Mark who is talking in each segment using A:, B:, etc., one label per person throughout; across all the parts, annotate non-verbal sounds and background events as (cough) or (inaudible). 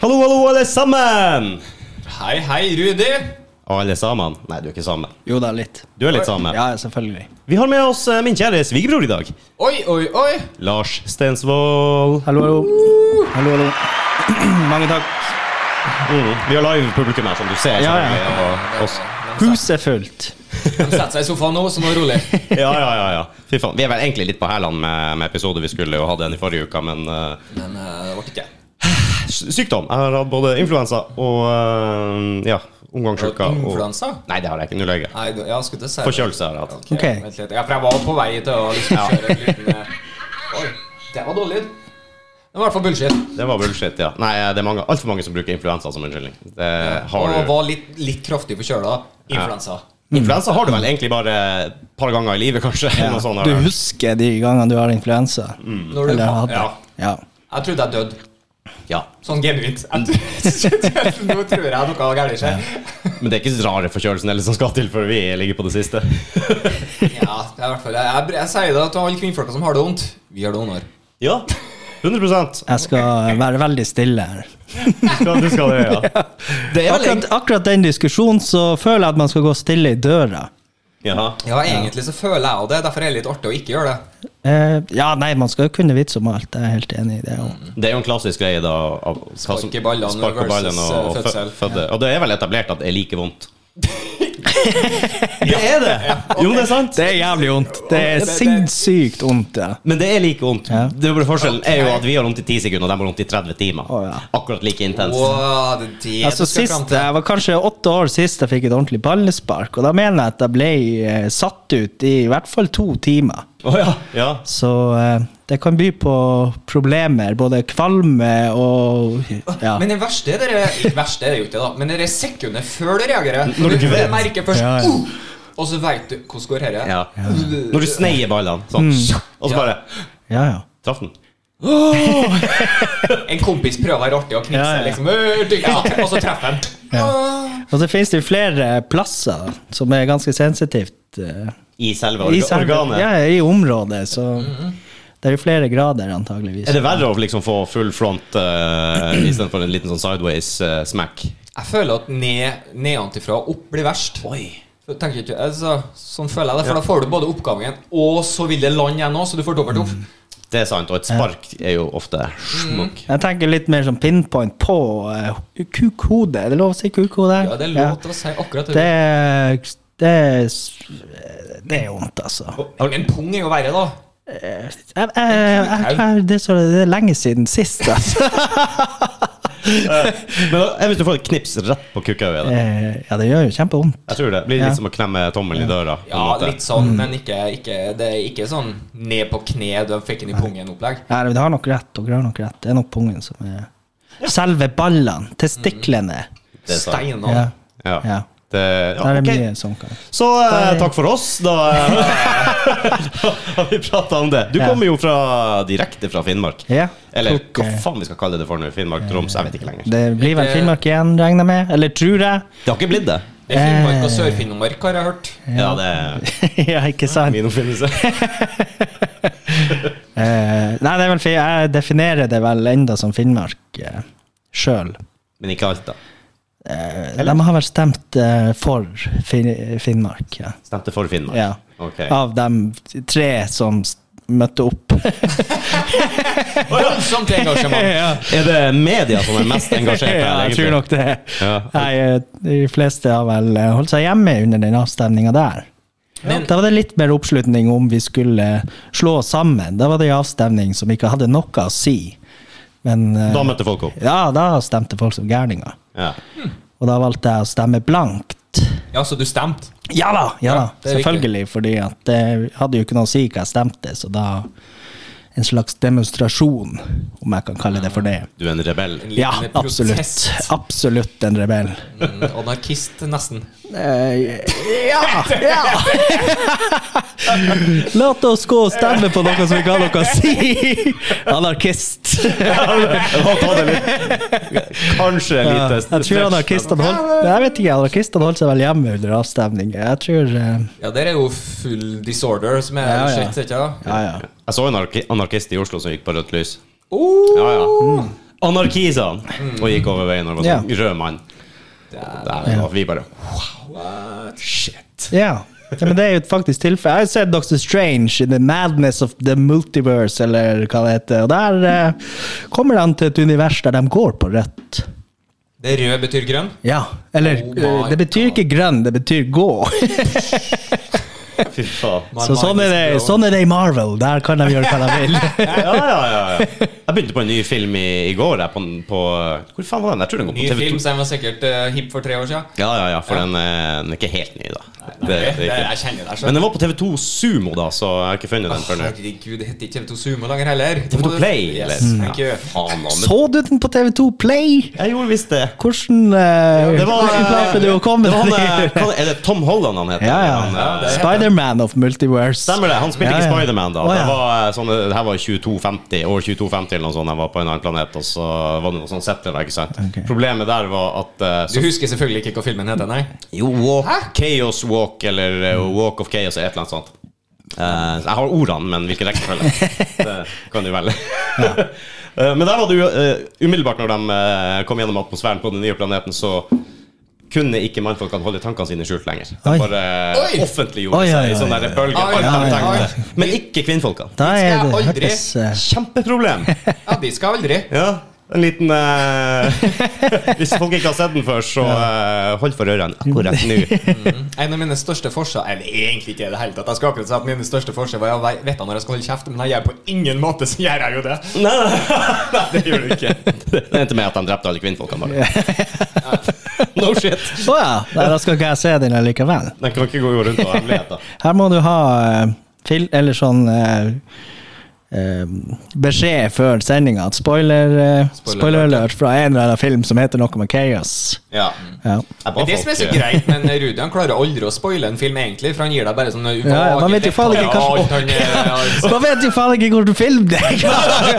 A: Hallo, hallo, alle sammen!
B: Hei, hei, Rudi.
A: Alle sammen? Nei, du er ikke same.
C: Jo da, litt.
A: Du er litt same.
C: Ja, selvfølgelig.
A: Vi har med oss eh, min kjære svigerbror i dag.
B: Oi, oi, oi.
A: Lars Stensvold.
C: Hallo, hallo. Hallo, hallo. Mange takk.
A: Mm. Vi har live publikum her, som du ser.
C: Ja, ja.
A: selvfølgelig, og oss.
C: Huset er fullt.
B: De setter seg i sofaen nå, så nå rolig.
A: Ja, ja, ja, ja. Fy faen. Vi er vel egentlig litt på hælene med, med episode vi skulle jo ha den i forrige uka, men eh,
B: Men eh, det ble ikke.
A: s- sykdom. Jeg har hatt både influensa og eh, ja, omgangsuka. og-
B: Influensa?
A: Nei, det har jeg ikke. Nå løy jeg.
B: Nei, du- ja, skulle til å si det.
A: Forkjølelse har jeg hatt.
B: Ok,
C: Ok.
B: Vent litt. Ja, for jeg var på vei til å liksom kjøre en liten eh, Oi, det var dårlig lyd. Det var i hvert fall bullshit.
A: Det var bullshit, ja. Nei, eh, det er altfor mange som bruker influensa som unnskyldning. Det har
B: Og
A: du.
B: var litt, litt kraftig forkjøla. Influensa.
A: Influensa har du vel egentlig bare et par ganger i livet, kanskje. Noe sånn Mm. sånt,
C: Du
A: har jeg hørt.
C: husker de gangene du har influensa?
B: Når du,
C: Eller har hatt
B: ja.
C: det? Ja.
B: Jeg trodde jeg døde.
A: ja.
B: Sånn genuint. Jeg trodde- (laughs) Nå tror jeg noe gærent skjer.
A: Men det er ikke så rare forkjølelsen eller som skal til før vi ligger på det siste.
B: Ja, det er i hvert fall Jeg, jeg, jeg sier det til alle kvinnfolka som har det vondt. Vi har det vondere.
A: (laughs) Ja, 100
C: Jeg skal være veldig stille her.
A: skal, Du skal det,
C: (laughs)
A: ja. Det er vel
C: Akkurat, akkurat den diskusjonen så føler jeg at man skal gå stille i døra.
A: Jaha.
B: Ja, egentlig så føler jeg jo det. Derfor er det litt artig å ikke gjøre det.
C: Eh, ja, nei, man skal jo kunne vitse om alt. Jeg er helt enig i det. også.
A: Det er jo en klassisk greie, da. Av, hva som-
B: Sparke ballene
A: sparke ballene
B: versus,
A: og,
B: eh,
A: og fø-
B: fødsel.
A: fødde. Og det er vel etablert at det er like
C: (laughs)
A: vondt. det er det! Jo, det er sant.
C: Det er jævlig vondt. Det er
B: Det- det-
C: sinnssykt vondt. Ja.
A: Men det er like vondt.
C: Ja.
A: Det er bare Forskjellen er jo at vi har vondt i 10 sekunder, og de har vondt i 30 timer.
C: Å, ja.
A: Akkurat like intenst.
B: Wow, det er det
C: Altså,
B: du skal fram
C: sist,
B: til.
C: jeg var kanskje åtte år sist jeg fikk et ordentlig ballespark, og da mener jeg at jeg ble eh, satt ut i i hvert fall to timer.
A: Å, ja. ja.
C: Så eh, det kan by på problemer, både kvalme og ja.
B: Men det verste er det Ikke verste er det jo ikke, da. Men det er sekundet før du reagerer.
A: Når du ikke vet.
B: merker først
C: Ja, ja.
B: «Uh!» Og så veit du hvordan går dette.
A: Ja. Når du sneier ballene sånn,
C: Mm.
A: og så
B: Ja.
A: bare
C: ja, ja.
A: traff den.
B: En kompis prøver å være artig og knipse,
C: Ja, ja, ja.
B: liksom. «Øh, du, ja», Og så treffer han. Ah.
C: Og så finnes det jo flere plasser som er ganske sensitivt eh,
A: I selve orga
C: i selve-
A: organet.
C: Ja, i området, så
B: Mm-hmm.
C: det er jo flere grader, antageligvis.
A: Er det verre å liksom få full front uh, istedenfor en liten sånn sideways eh, smack?
B: Jeg føler at ned- nedenfra og opp blir verst. Så Tenker ikke, altså, sånn føler jeg det, for da får du både oppgangen, og så vil det lande igjen òg, så du får dobbelt opp.
A: Det er sant, og et spark er jo ofte smokk.
C: Jeg tenker litt mer som pinpoint på uh, kukhode. Er det lov å si kukhode? her?
B: Ja, det er lov til å si akkurat det.
C: Det er, det er s- Det er vondt, altså.
B: Men pung er jo verre, da.
C: Jeg, jeg, jeg, jeg, det, er så, det er lenge siden sist, altså.
A: Men da, jeg hvis du får et knips rett på kukkauget. da.
C: Eh, Ja, det gjør jo kjempevondt.
A: Jeg tror det blir
C: Ja.
A: litt som å klemme tommelen i døra. på en
B: Ja,
A: måte.
B: litt sånn,
C: Mm.
B: men ikke, ikke, det er ikke sånn ned på kne, du fikk den i pungen-opplegg.
C: Nei, men det har nok rett. Dere har nok rett. Det er nok pungen som er Selve ballene, testiklene.
A: Det er sant.
B: Steinene.
C: Ja.
A: Ja.
C: Ja.
A: Det,
C: Der
A: ja,
C: er
A: ok.
C: mye sånn. kan-
A: Så eh,
C: Der-
A: takk for oss. Da eh, (laughs) har vi prata om det. Du
C: Ja.
A: kommer jo fra, direkte fra Finnmark.
C: Ja.
A: Eller
C: tok,
A: hva
C: eh,
A: faen vi skal kalle det for nå. Finnmark, Troms, jeg vet ikke lenger.
C: Det blir vel
B: Det-
C: Finnmark igjen, regner jeg med. Eller tror jeg. (laughs)
A: Det har ikke blitt det.
B: Det er Finnmark og
C: Eh.
B: Sør-Finnmark, har jeg hørt.
A: Ja, det er
C: ja, ikke sant?
A: min oppfinnelse.
C: (laughs) Eh, nei, det er vel, fi- jeg definerer det vel enda som Finnmark eh, sjøl.
A: Men ikke alt, da.
C: Eh, De har vel stemt eh, for fin Finnmark. Ja.
A: Stemte for Finnmark.
C: Ja.
A: Ok.
C: Av de tre som s- møtte
A: (laughs)
C: opp.
B: Voldsomt sånn engasjement.
C: ja.
A: Er det media som er mest engasjert her,
C: (laughs) Ja, jeg tror nok det.
A: Ja.
C: Nei, eh, de fleste har vel eh, holdt seg hjemme under den avstemninga der.
B: Men-
C: da var det litt mer oppslutning om vi skulle slå oss sammen. Da var det en avstemning som ikke hadde noe å si. Men eh,
A: Da møtte folk opp.
C: ja, da stemte folk som gærninger.
A: Ja.
C: Og da valgte jeg å stemme blankt.
B: Ja, så du stemte?
C: Ja da! ja da,
B: det er viktig.
C: Selvfølgelig, fordi at det hadde jo ikke noe å si hva jeg stemte, så da En slags demonstrasjon, om jeg kan kalle det for det.
A: Du er en rebell.
C: (laughs)
B: En liten
C: Ja, absolutt.
B: protest.
C: Absolutt en rebell.
B: Mm, anarkist, nesten.
C: Eh, ja! ja. (laughs) La oss gå og stemme på noe som ikke har noe å si! Anarkist.
A: Jeg må ta det litt. Kanskje en
C: Ja,
A: liten
C: jeg tror
A: stretch,
C: anarkistene holdt Jeg vet ikke, anarkistene holdt seg vel hjemme under avstemninger. Jeg tror eh,
B: Ja, der er jo full disorder som er
C: Ja, ja.
B: shit, ikke sant?
C: Ja, ja.
A: men- Jeg så en anarki- anarkist i Oslo som gikk på rødt lys.
B: Oh,
C: Mm.
A: Ja, ja. Anarkisene! Og gikk over veien og var sånn rød mann. Der, og vi bare (laughs) Shit.
C: Ja. ja, men det er jo et faktisk tilfelle. Jeg har sett Doctor Strange in the madness of the multiverse, eller hva det heter. Og der eh, kommer de til et univers der de går på rødt.
B: Det røde betyr grønn.
C: Ja, eller
B: Oh my
C: eh, Det betyr ikke grønn, det betyr gå.
A: Fy faen.
C: (laughs) Så sånn er, det, sånn er det i Marvel. Der kan de gjøre hva de
A: (laughs)
C: vil.
A: Ja, ja, ja, ja.
B: (laughs)
A: Jeg begynte på en ny film i, i går. Der, på, på, hvor faen var den? Jeg tror den går
B: Ny
A: på TV2.
B: film, så den var sikkert eh, hip for tre år siden.
A: Ja, ja, ja, for Den, er, den er ikke helt ny, da.
B: Nei,
A: Det- det er ikke-
B: jeg kjenner altså. deg
A: Men
B: sjøl.
A: den var på TV2 Sumo, da, så jeg har ikke funnet den før nå.
B: Herregud, det heter ikke TV2 Sumo lenger heller.
A: TV2 Play, eller?
B: Yes,
C: Mm.
B: thank you.
A: Faen, da, men-
C: Så du den på TV2 Play?
A: Jeg gjorde visst det.
C: Hvordan, eh,
A: Det var,
C: hvordan klarte du å komme
A: det var han, eh, (laughs)
C: dit?
A: hva- Er det Tom Holland han heter?
C: Ja,
A: Han,
C: ja.
A: eh,
B: det heter-
C: Spiderman of multiverse.
A: Stemmer det. Han spilte
C: Ja,
A: ikke
C: ja.
A: Spiderman da.
C: Å,
A: Det
C: ja.
A: var eh, sånn, det her var 2250, år 2250 eller noe sånt. Jeg var på en annen planet, og så var det noe sånn settler der, ikke sant.
C: Ok.
A: Problemet der var at eh,
B: Du husker selvfølgelig ikke hva filmen heter, nei?
A: Jo, walk, Chaos Walk eller eh, Walk of Chaos eller et eller annet sånt. Eh, jeg har ordene, men hvilken
C: (laughs)
A: rekkefølge? det kan du velge. (laughs) Eh, men der var det jo eh, umiddelbart når de eh, kom gjennom atmosfæren på den nye planeten, så kunne ikke mannfolkene holde tankene sine skjult lenger. De
C: Oi.
A: bare
B: Oi.
A: offentliggjorde
C: Oi, oi,
A: seg i
C: oi,
A: sånne der
C: oi.
A: bølger.
B: Oi,
A: bare de
C: oi,
A: tenkte.
B: oi.
A: Men ikke kvinnfolkene.
C: Da
B: Skal
C: er det
B: jeg aldri-
C: hørtes eh,
A: Kjempeproblem!
C: (laughs)
B: Ja, de skal aldri.
A: Ja, en liten eh, (laughs) Hvis folk ikke har sett den før, så eh, hold for ørene akkurat nå.
B: En av mine største forskjeller Eller egentlig ikke i det hele tatt. Jeg skal akkurat si at mine største forskjeller var å vei- vite når jeg skal holde kjeft, men jeg gjør på ingen måte så gjør jeg jo det.
A: Nei, nei, nei, det gjør du ikke. Det endte med at han drepte alle kvinnfolkene bare. (laughs) No shit.
C: Å ja. Nei, da skal ikke jeg se den likevel.
A: Den kan ikke gå rundt og ha hemmeligheter.
C: Her må du ha eh, fil, eller sånn eh, eh, beskjed før sendinga at spoiler, eh,
B: Spoiler
C: spoiler alert fra en eller annen film som heter noe med chaos.
A: Ja.
C: Ja.
A: Jeg ba
B: Men det som er så
A: folk, eh,
B: greit, men Rudi han klarer aldri å spoile en film, egentlig, for han gir deg bare sånn
C: Ja, ja, man vet jo faen ikke hva- (laughs) Da vet du faen ikke hvilken film (laughs) det er!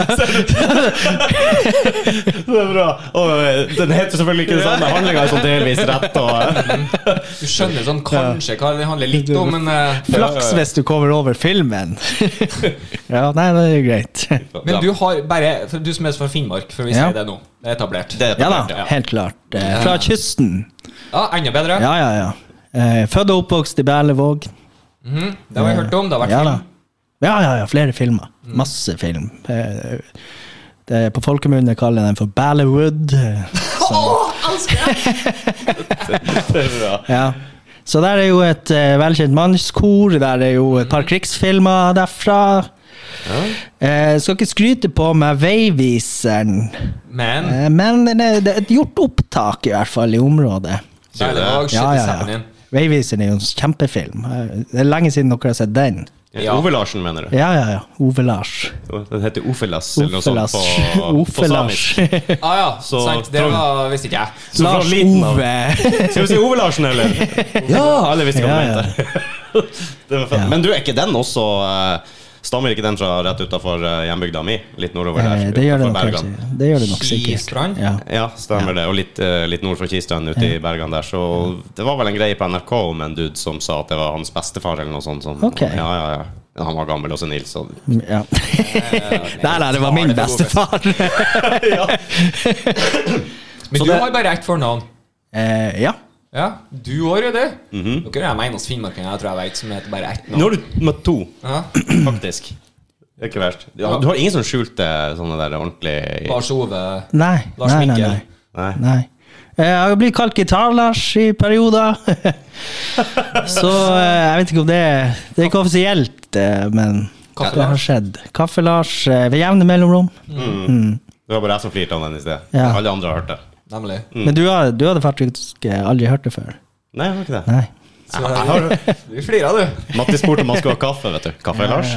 A: Det er bra. Og eh, den heter selvfølgelig ikke det samme. Handlinga er sånn delvis rett og
B: (laughs)
A: eh,
B: Du skjønner sånn kanskje hva det handler litt om, men eh,
C: Flaks hvis du kommer over filmen. (laughs) Ja, nei, det er jo greit.
B: Men du har bare for Du som er fra Finnmark, for vi
C: Ja.
B: sier det nå. Det er etablert.
A: Det er
C: Ja da,
A: etablert, ja.
C: helt klart. Eh, Fra kysten.
B: Ja, enda bedre.
C: Ja, ja, ja. Eh, Født og oppvokst i Berlevåg.
B: Mhm, Det har jeg hørt om. Det har vært
C: ja, da.
B: film.
C: Ja, ja, ja, flere filmer. Masse film. Eh, Det, på folkemunne kaller jeg den for Ballywood.
A: Det er bra.
C: Ja. Så der er jo et eh, velkjent mannskor, der er jo et par
A: Mm.
C: krigsfilmer derfra. Eh, skal ikke skryte på meg veiviseren,
B: Men
C: eh, men det det er et gjort opptak i hvert fall i området.
A: Sier du det?
B: Berlevåg, shit,
C: Ja,
B: it's
C: ja, ja.
B: happening.
C: Veiviseren er jo en kjempefilm. Eh, Det er lenge siden dere har sett den.
B: Ja.
A: Ove Larsen, mener du?
C: Ja, ja, ja. Ove Lars.
A: Den heter Ofelas eller noe
C: Ofe
A: sånt
C: Lars.
A: på, på
C: (laughs) Ofe Lars.
A: samisk.
B: Ah, ja,
A: Så-
B: sant. Det var, visste ikke jeg.
A: Så fra
C: Lars
A: liten av-
C: Ove.
A: Skal vi si Ove Larsen, eller? (laughs)
B: (laughs)
A: Ja, alle visste hva
C: Ja,
A: han
C: ja.
A: mente. (laughs) Det var fett. Men du, er ikke den også eh, Stammer ikke den fra rett utafor hjembygda mi? Litt nordover der?
C: Eh, Det gjør det
A: utenfor
C: nok
A: Bergen?
C: kanskje. Det gjør det nok sikkert.
B: Skistrand?
C: Ja.
A: Ja, stemmer det. Og litt, eh, litt nord for Kistrand, ute i Bergen der. Så det var vel en greie på NRK om en dude som sa at det var hans bestefar, eller noe sånt. Som,
C: Ok.
A: Ja, ja, ja. Han var gammel og senil,
C: (laughs)
A: så (laughs)
C: Ja. (laughs) Nei, nei, det var min bestefar.
B: Men
A: Så
B: du
A: det-
B: har bare ett fornavn.
C: (laughs) Eh, ja.
B: Ja, du har jo det.
C: Mhm.
B: Dere er de eneste finnmarkingene jeg tror jeg vet som heter bare ett navn.
A: Nå har du møtt to,
B: Ja.
A: faktisk. Det er ikke verst. Du har, du har ingen som skjulte sånne der ordentlig
B: Lars Ove
C: Nei.
B: Lars
C: nei, nei,
B: Mikkel.
C: nei.
A: Nei.
C: nei. Eh, Jeg blir kalt Gitar-Lars i perioder. (laughs) Så eh, jeg vet ikke om det Det er ikke offisielt, eh, men
B: Kaffe
C: det har
B: Lars.
C: skjedd. Kaffe-Lars eh, ved jevne mellomrom.
A: Det var bare jeg som flirte av den i sted.
C: Ja.
A: Alle andre har hørt det.
B: Nemlig.
A: Mm.
C: Men du, har- du hadde faktisk eh, aldri hørt det før?
A: Nei, jeg har ikke det.
C: Nei.
B: Så du flirer, du.
A: Matti spurte om han skulle ha kaffe, vet du. Kaffe, Lars?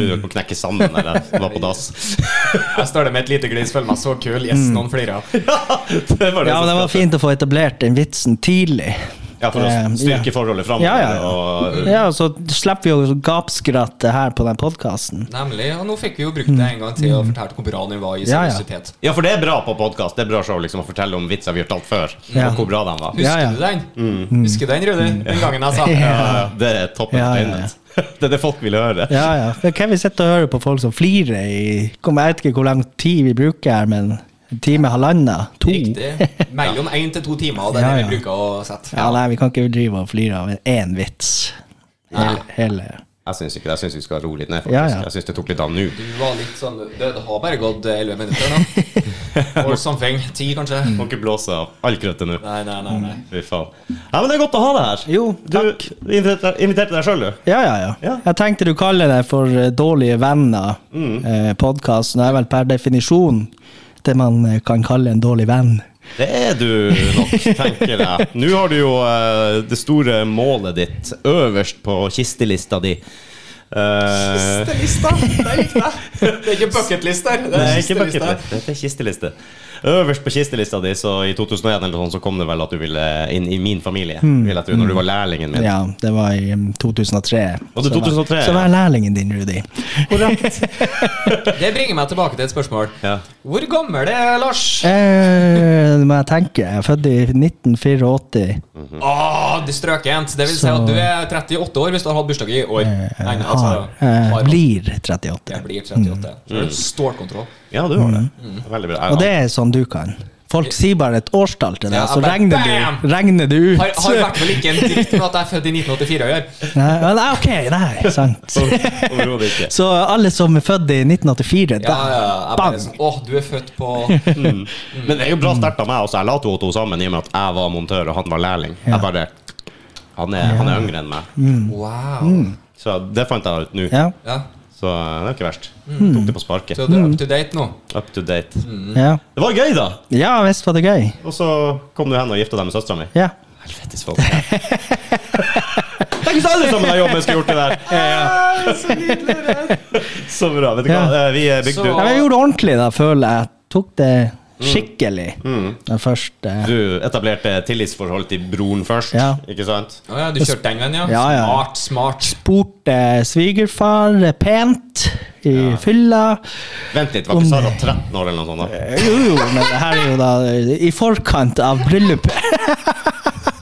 A: Du kan knekke sammen eller var på
C: (laughs)
A: dass.
B: Jeg står der med et lite glis, føler meg så kul. Yes,
C: Mm.
B: noen flirer.
A: det var
C: Ja,
A: som
C: men det var
A: skapte.
C: fint å få etablert den vitsen tidlig.
A: Ja, for å
C: Eh,
A: styrke
C: ja.
A: forholdet framover.
C: Ja, ja,
A: Og,
C: ja. ja, og så slipper vi å gapskratte her på den podkasten.
B: Nemlig. Og nå fikk vi jo brukt det en gang til og fortalt hvor bra den var i
C: Mm. Ja, ja.
B: seriøsitet.
A: ja, for det er bra på podkast. Det er bra show liksom, å fortelle om vitser vi har fortalt før,
C: Ja.
A: og hvor bra de var.
B: Husker
C: Ja, Mm. ja. (laughs)
B: du den? Husker du den, Rudi? Den gangen jeg sa
A: Ja, det er toppen
C: Ja,
A: av
C: ja, ja.
A: internet. (laughs) Det er det folk vil høre.
C: Ja, ja. Men Hvem vi sitter og hører på folk som flirer i Kom, Jeg vet ikke hvor lang tid vi bruker her, men en time, halvannen, to?
B: Riktig. Mellom én til to timer, og det er
C: Ja,
B: det
C: ja.
B: vi bruker å sette.
C: (laughs) Ja, nei, vi kan ikke drive og flire av én vits. Hele, hele.
A: Jeg syns ikke det. Jeg syns vi skal roe litt ned, faktisk.
C: Ja, ja.
A: Jeg syns det tok litt av nå.
B: Du var litt sånn Det det har bare gått eh,
A: (laughs)
B: elleve minutter nå. Or something. Ti, kanskje.
A: Må ikke blåse av all krøttet nå.
B: Nei, nei, nei. nei.
A: Fy faen. Ja, men det er godt å ha deg her.
C: Jo,
A: Du inviterte inviterte deg sjøl, du.
C: Ja, ja, ja,
A: Ja.
C: Jeg tenkte du kaller det for eh, Dårlige venner,
A: Mm.
C: eh, podkasten. Det er vel per definisjon det man eh, kan kalle en dårlig venn.
A: Det er du nok, tenker jeg. Nå har du jo eh, det store målet ditt øverst på kistelista di. Eh,
B: Kistelista! Det likte jeg. (laughs) Det er ikke bucketlist der. Det
A: Nei,
B: er
A: ikke bucket
B: kistelista.
A: list. Dette er kisteliste. Øverst på kistelista di, så i 2001 eller sånn, så kom det vel at du ville inn i min familie. Vil jeg tro, når du var lærlingen min.
C: Hmm. Ja, det var i mm, 2003.
A: Og det er
C: Så var-
A: 2003,
C: Så
A: ja.
C: var jeg lærlingen din, Rudi.
B: Det bringer meg tilbake til et spørsmål.
A: Ja.
B: Hvor gammel er Lars?
C: Eh, det må jeg tenke. Jeg er født i 1984.
B: Mm.
A: Mhm.
B: Åh, du strøkent! Det vil si at du er 38 år hvis du har hatt bursdag i år. Nei, nei, altså,
C: Har, eh,
B: har-
C: blir 38.
B: Jeg blir
A: Mm.
B: 38. Så det er Stålkontroll.
A: Ja, du har det. Veldig bra.
C: Hmm. Og det er sånn du kan. Folk sier bare et årstall til deg,
B: Ja,
C: så
B: bare
C: regner
B: bam!
C: du, regner du ut.
B: Har, har i hvert fall ikke en dritt med at jeg er født i 1984 å gjøre.
C: (laughs) Nei, ja, nei, ok, nei,
B: (laughs)
C: sant.
A: Overhodet ikke.
C: Så alle som er født i 1984,
B: Ja, ja,
C: da,
B: jeg
C: bang!
B: bare sånn, Åh, du er født på
C: (laughs)
B: Jeg
A: Men det er jo bra sterkt av meg også. Jeg la to og to sammen i og med at jeg var montør og han var lærling. Jeg bare han er, han er yngre enn meg.
B: Wow.
C: Mm.
A: Så det fant jeg ut nå.
C: Ja,
B: Ja.
A: Så eh, det er ikke verst. Tok det på sparket.
B: Så du er
C: Mhm.
B: up to date nå?
A: Up to date.
C: ja.
A: Det var gøy, da!
C: ja visst var det gøy.
A: Og så kom du hen og gifta deg med søstera mi.
C: Ja.
A: Helvetes (laughs) folk. Tenk hvis alle sammen har jobben skulle gjort det der! (laughs)
B: Så nydelig det
A: Så bra. Vet du hva,
C: Ja.
A: Eh, vi er bygd
B: Så-
A: ut.
C: Ja, men jeg gjorde det ordentlig da, føler jeg. Tok det
B: Mm.
C: skikkelig. Den første
A: Du etablerte tillitsforhold til broren først,
C: Ja.
A: ikke sant?
B: Å ja, du kjørte den veien, ja?
C: Ja, ja.
B: Smart, smart.
C: Spurte svigerfar eh, pent i fylla.
A: Vent litt, var ikke Sara 13 år eller noe sånt? da?
C: Jo, jo, men det her er jo da i forkant av bryllupet.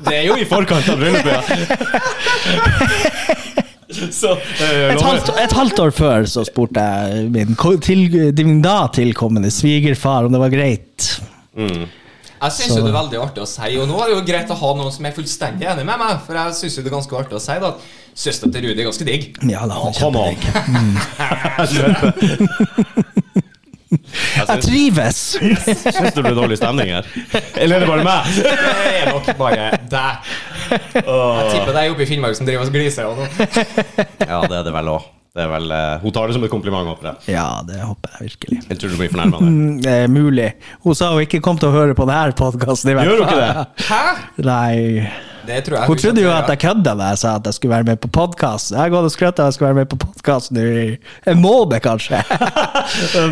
A: Det er jo i forkant av bryllupet, (laughs) ja. Så eh,
C: Et halvt, et halvt år før så spurte jeg min, ko- til, din da tilkommende svigerfar om det var greit.
A: mm.
B: Jeg syns jo det er veldig artig å si, og nå er det jo greit å ha noen som er fullstendig enig med meg, for jeg syns jo det er ganske artig å si da at søstera til Rudi er ganske digg.
C: Ja, da, han
A: Come
C: (laughs)
A: on. (laughs)
C: Jeg
A: Jeg
C: trives!
A: syns det ble dårlig stemning (laughs) her. Eller er det bare meg?
B: Det er nok bare deg. Jeg tipper det er oppe i Finnmark som driver og gliser av nå.
A: Ja, det er det vel òg. Hun tar det som et kompliment, håper jeg.
C: Ja, det håper jeg virkelig.
A: Jeg tror du blir fornærma.
C: Mm, Det er mulig. Hun sa hun ikke kom til å høre på denne podkasten.
A: Gjør hun ikke det?
B: Hæ?
C: Nei.
B: Det tror jeg
C: Hun trodde jo at
B: skjønte,
C: jeg kødda da jeg sa at jeg skulle være med på podkast. Jeg har gått og skrøt av at jeg skulle være med på podkast nå i en måned,
A: (laughs)
C: kanskje.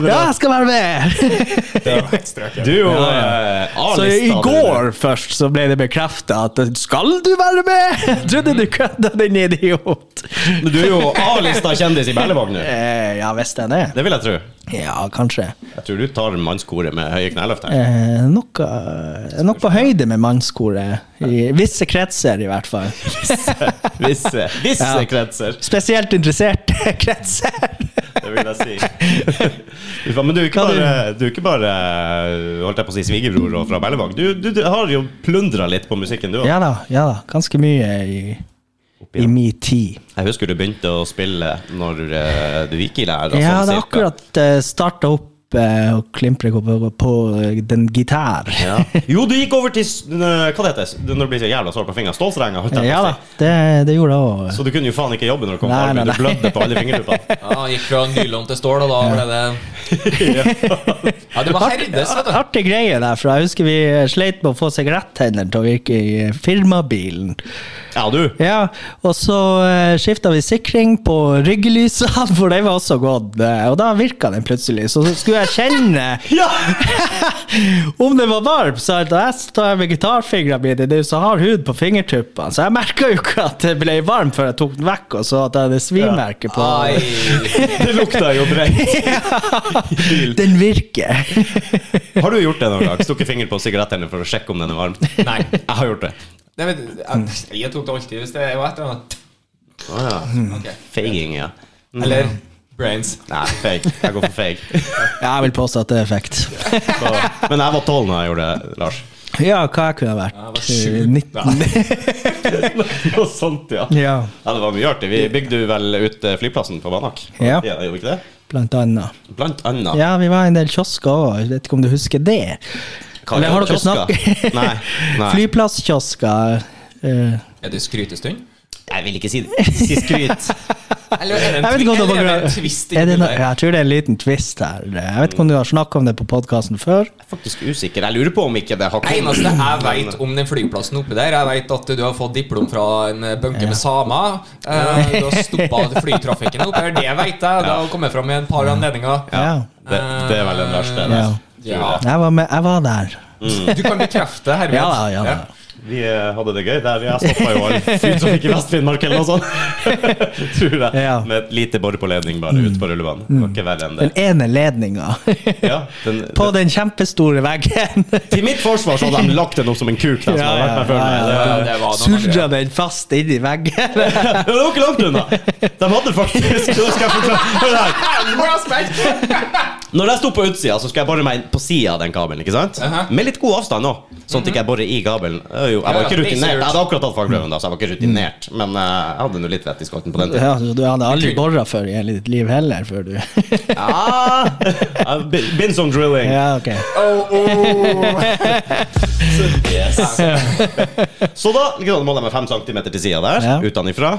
C: Ja, jeg skal være med!
B: ja. Det er jo helt strøket.
A: Du eh, og ja,
C: Så i går først så ble det bekrefta at Skal du være med?!
A: (laughs)
C: Jeg trodde du kødda, din idiot!
A: Men du er jo A-lista kjendis i Berlevåg nå.
C: Eh, ja, hvis den er.
A: Det vil jeg tro.
C: Ja, kanskje.
A: Jeg tror du tar mannskoret med høye kneløft her.
C: Eh, noe, nok på høyde med mannskoret. I visse kretser, i hvert fall.
A: (laughs) Visse, visse
C: Ja.
A: kretser,
C: Spesielt interesserte (laughs) kretser.
A: det vil (laughs) jeg si. Fy faen, Men du er ikke
C: Hva
A: bare, du er ikke bare eh, holdt jeg på å si, svigerbror og fra Berlevåg. Du, du, du har jo plundra litt på musikken, du òg.
C: Ja da, ja da. Ganske mye i, i min tid.
A: Jeg husker du begynte å spille når eh, du gikk i lære. da,
C: Ja,
A: sånn
C: det
A: cirka.
C: er akkurat starta opp eh, og klimpret på, på, på eh, den gitar.
A: Ja.
C: (laughs)
A: Jo, du gikk over til s- n- eh, Hva det heter det? Når det blir så jævla sår på fingrene? Stålstrenger? holdt jeg på å
C: Ja da,
A: si.
C: det, det gjorde jeg òg.
A: Så du kunne jo faen ikke jobbe når du kom på
C: Nei,
A: arbeid.
C: nei,
A: Du blødde på alle
C: (laughs)
A: fingertuppene.
B: Ja, han gikk fra nylon til stål, og da ble det Ja, det var herdes, vet du.
C: Artig greie derfra. Jeg husker vi sleit med å få sigaretthenderen til å virke i eh, firmabilen.
A: Ja, du.
C: Ja, og så uh, skifta vi sikring på ryggelysene, (laughs) for de var også gått. eh, Og da virka den plutselig. Så skulle jeg kjenne
A: Ja!
C: (laughs) om det var varmt. Så jeg- jeg står med gitarfingrene mine, det er jo så hard hud på fingertuppene, så jeg merka jo ikke at det ble varmt før jeg tok den vekk, og så at jeg hadde svimerke på.
B: Ai.
A: Det lukta jo brent. Bil.
C: Den (laughs) virker.
A: Har du gjort det noen gang? Stukket finger på sigarettene for å sjekke om den er varm?
B: Nei.
A: Jeg har gjort det.
B: Nei, men, jeg, jeg tok det alltid hvis det var et eller annet
A: Å
C: Hmm.
A: ja.
B: Ok.
A: Feiging, ja.
C: Mm.
B: Eller brains.
A: Nei, feig. Jeg går for feig.
C: Jeg vil påstå at det er effekt.
A: Så, men jeg var tolv da jeg gjorde det,
C: (laughs)
A: Lars.
C: Ja, hva jeg kunne ha vært?
B: Jeg var sju.
C: 19.
A: Noe sånt, ja.
C: Ja,
A: Ja, Det var mye artig. Vi bygde jo vel ut eh, flyplassen på Banak.
C: Ja.
A: Gjorde vi ikke det?
C: blant annet.
A: Blant annet.
C: Ja, vi var i en del kiosker òg, jeg vet ikke om du husker det?
A: Hva
C: Eller
A: er
C: har dere
A: kiosker?
C: (laughs) snakket
A: Nei, nei.
C: Flyplasskiosker. eh,
B: Er det skrytestund?
A: Jeg vil ikke si, si skryt.
B: Eller er det en,
C: Jeg vet
B: twi-
C: ikke om det
B: eller
C: var
B: er det en twist
C: Er
B: inni
C: det no
B: der?
C: Jeg tror det er en liten twist her. Jeg vet ikke om du har snakka om det på podkasten før.
A: Jeg er faktisk usikker. Jeg lurer på om ikke det har
B: Det eneste jeg vet om den flyplassen oppe der, jeg vet at du har fått diplom fra en eh, bunke med samer. Eh, Du har stoppa flytrafikken oppe her, det vet jeg. Det har kommet fram i et par anledninger.
A: Ja.
C: Ja.
A: Det, det er vel den verste.
C: Ja.
A: der.
B: Ja.
C: Jeg var, med, jeg var der.
B: Mm. Du kan bekrefte, herved.
C: Ja, ja, ja.
A: Vi eh, hadde det gøy der. Jeg stoppa jo all flytrafikk i Vest-Finnmark eller noe sånt. (laughs) Tror jeg.
C: Ja. Mm.
A: Med et lite bor på ledning bare ut på rullebanen. Det var ikke verre enn det.
C: Den ene ledninga.
A: Ja, den,
C: (laughs) Mm. På den kjempestore veggen.
A: til mitt forsvar så hadde de lagt den opp som en kuk. Den, som
C: Ja,
A: hadde vært
C: ja,
A: der før
C: ja,
A: meg.
B: ja.
A: Det-
B: det var noe
C: Surra
B: greier.
C: den fast inn i veggen.
A: Men Det var ikke langt unna. De hadde faktisk Nå skal jeg forklare Hør her. Når jeg sto på utsida, så skal jeg bore meg inn på sida av den kabelen. ikke sant?
B: Aha.
A: Med litt god avstand òg, sånn at jeg ikke borer i kabelen. Jeg var jo- Jeg var ikke
B: Ja, ja,
A: rutinert. Jeg hadde
B: research.
A: akkurat tatt fagprøven, da, så jeg var ikke rutinert.
B: Mm.
A: Men eh, jeg hadde nå litt vett i skolten på den
B: (laughs)
A: tida.
C: (laughs) Ja, så du hadde aldri bora før i hele ditt liv heller, før du (laughs)
A: Ah, (laughs) I've been- been some drilling.
C: Ja, ok.
A: Så da liksom, måler jeg meg fem centimeter til sida der,
C: Ja.
A: utenifra.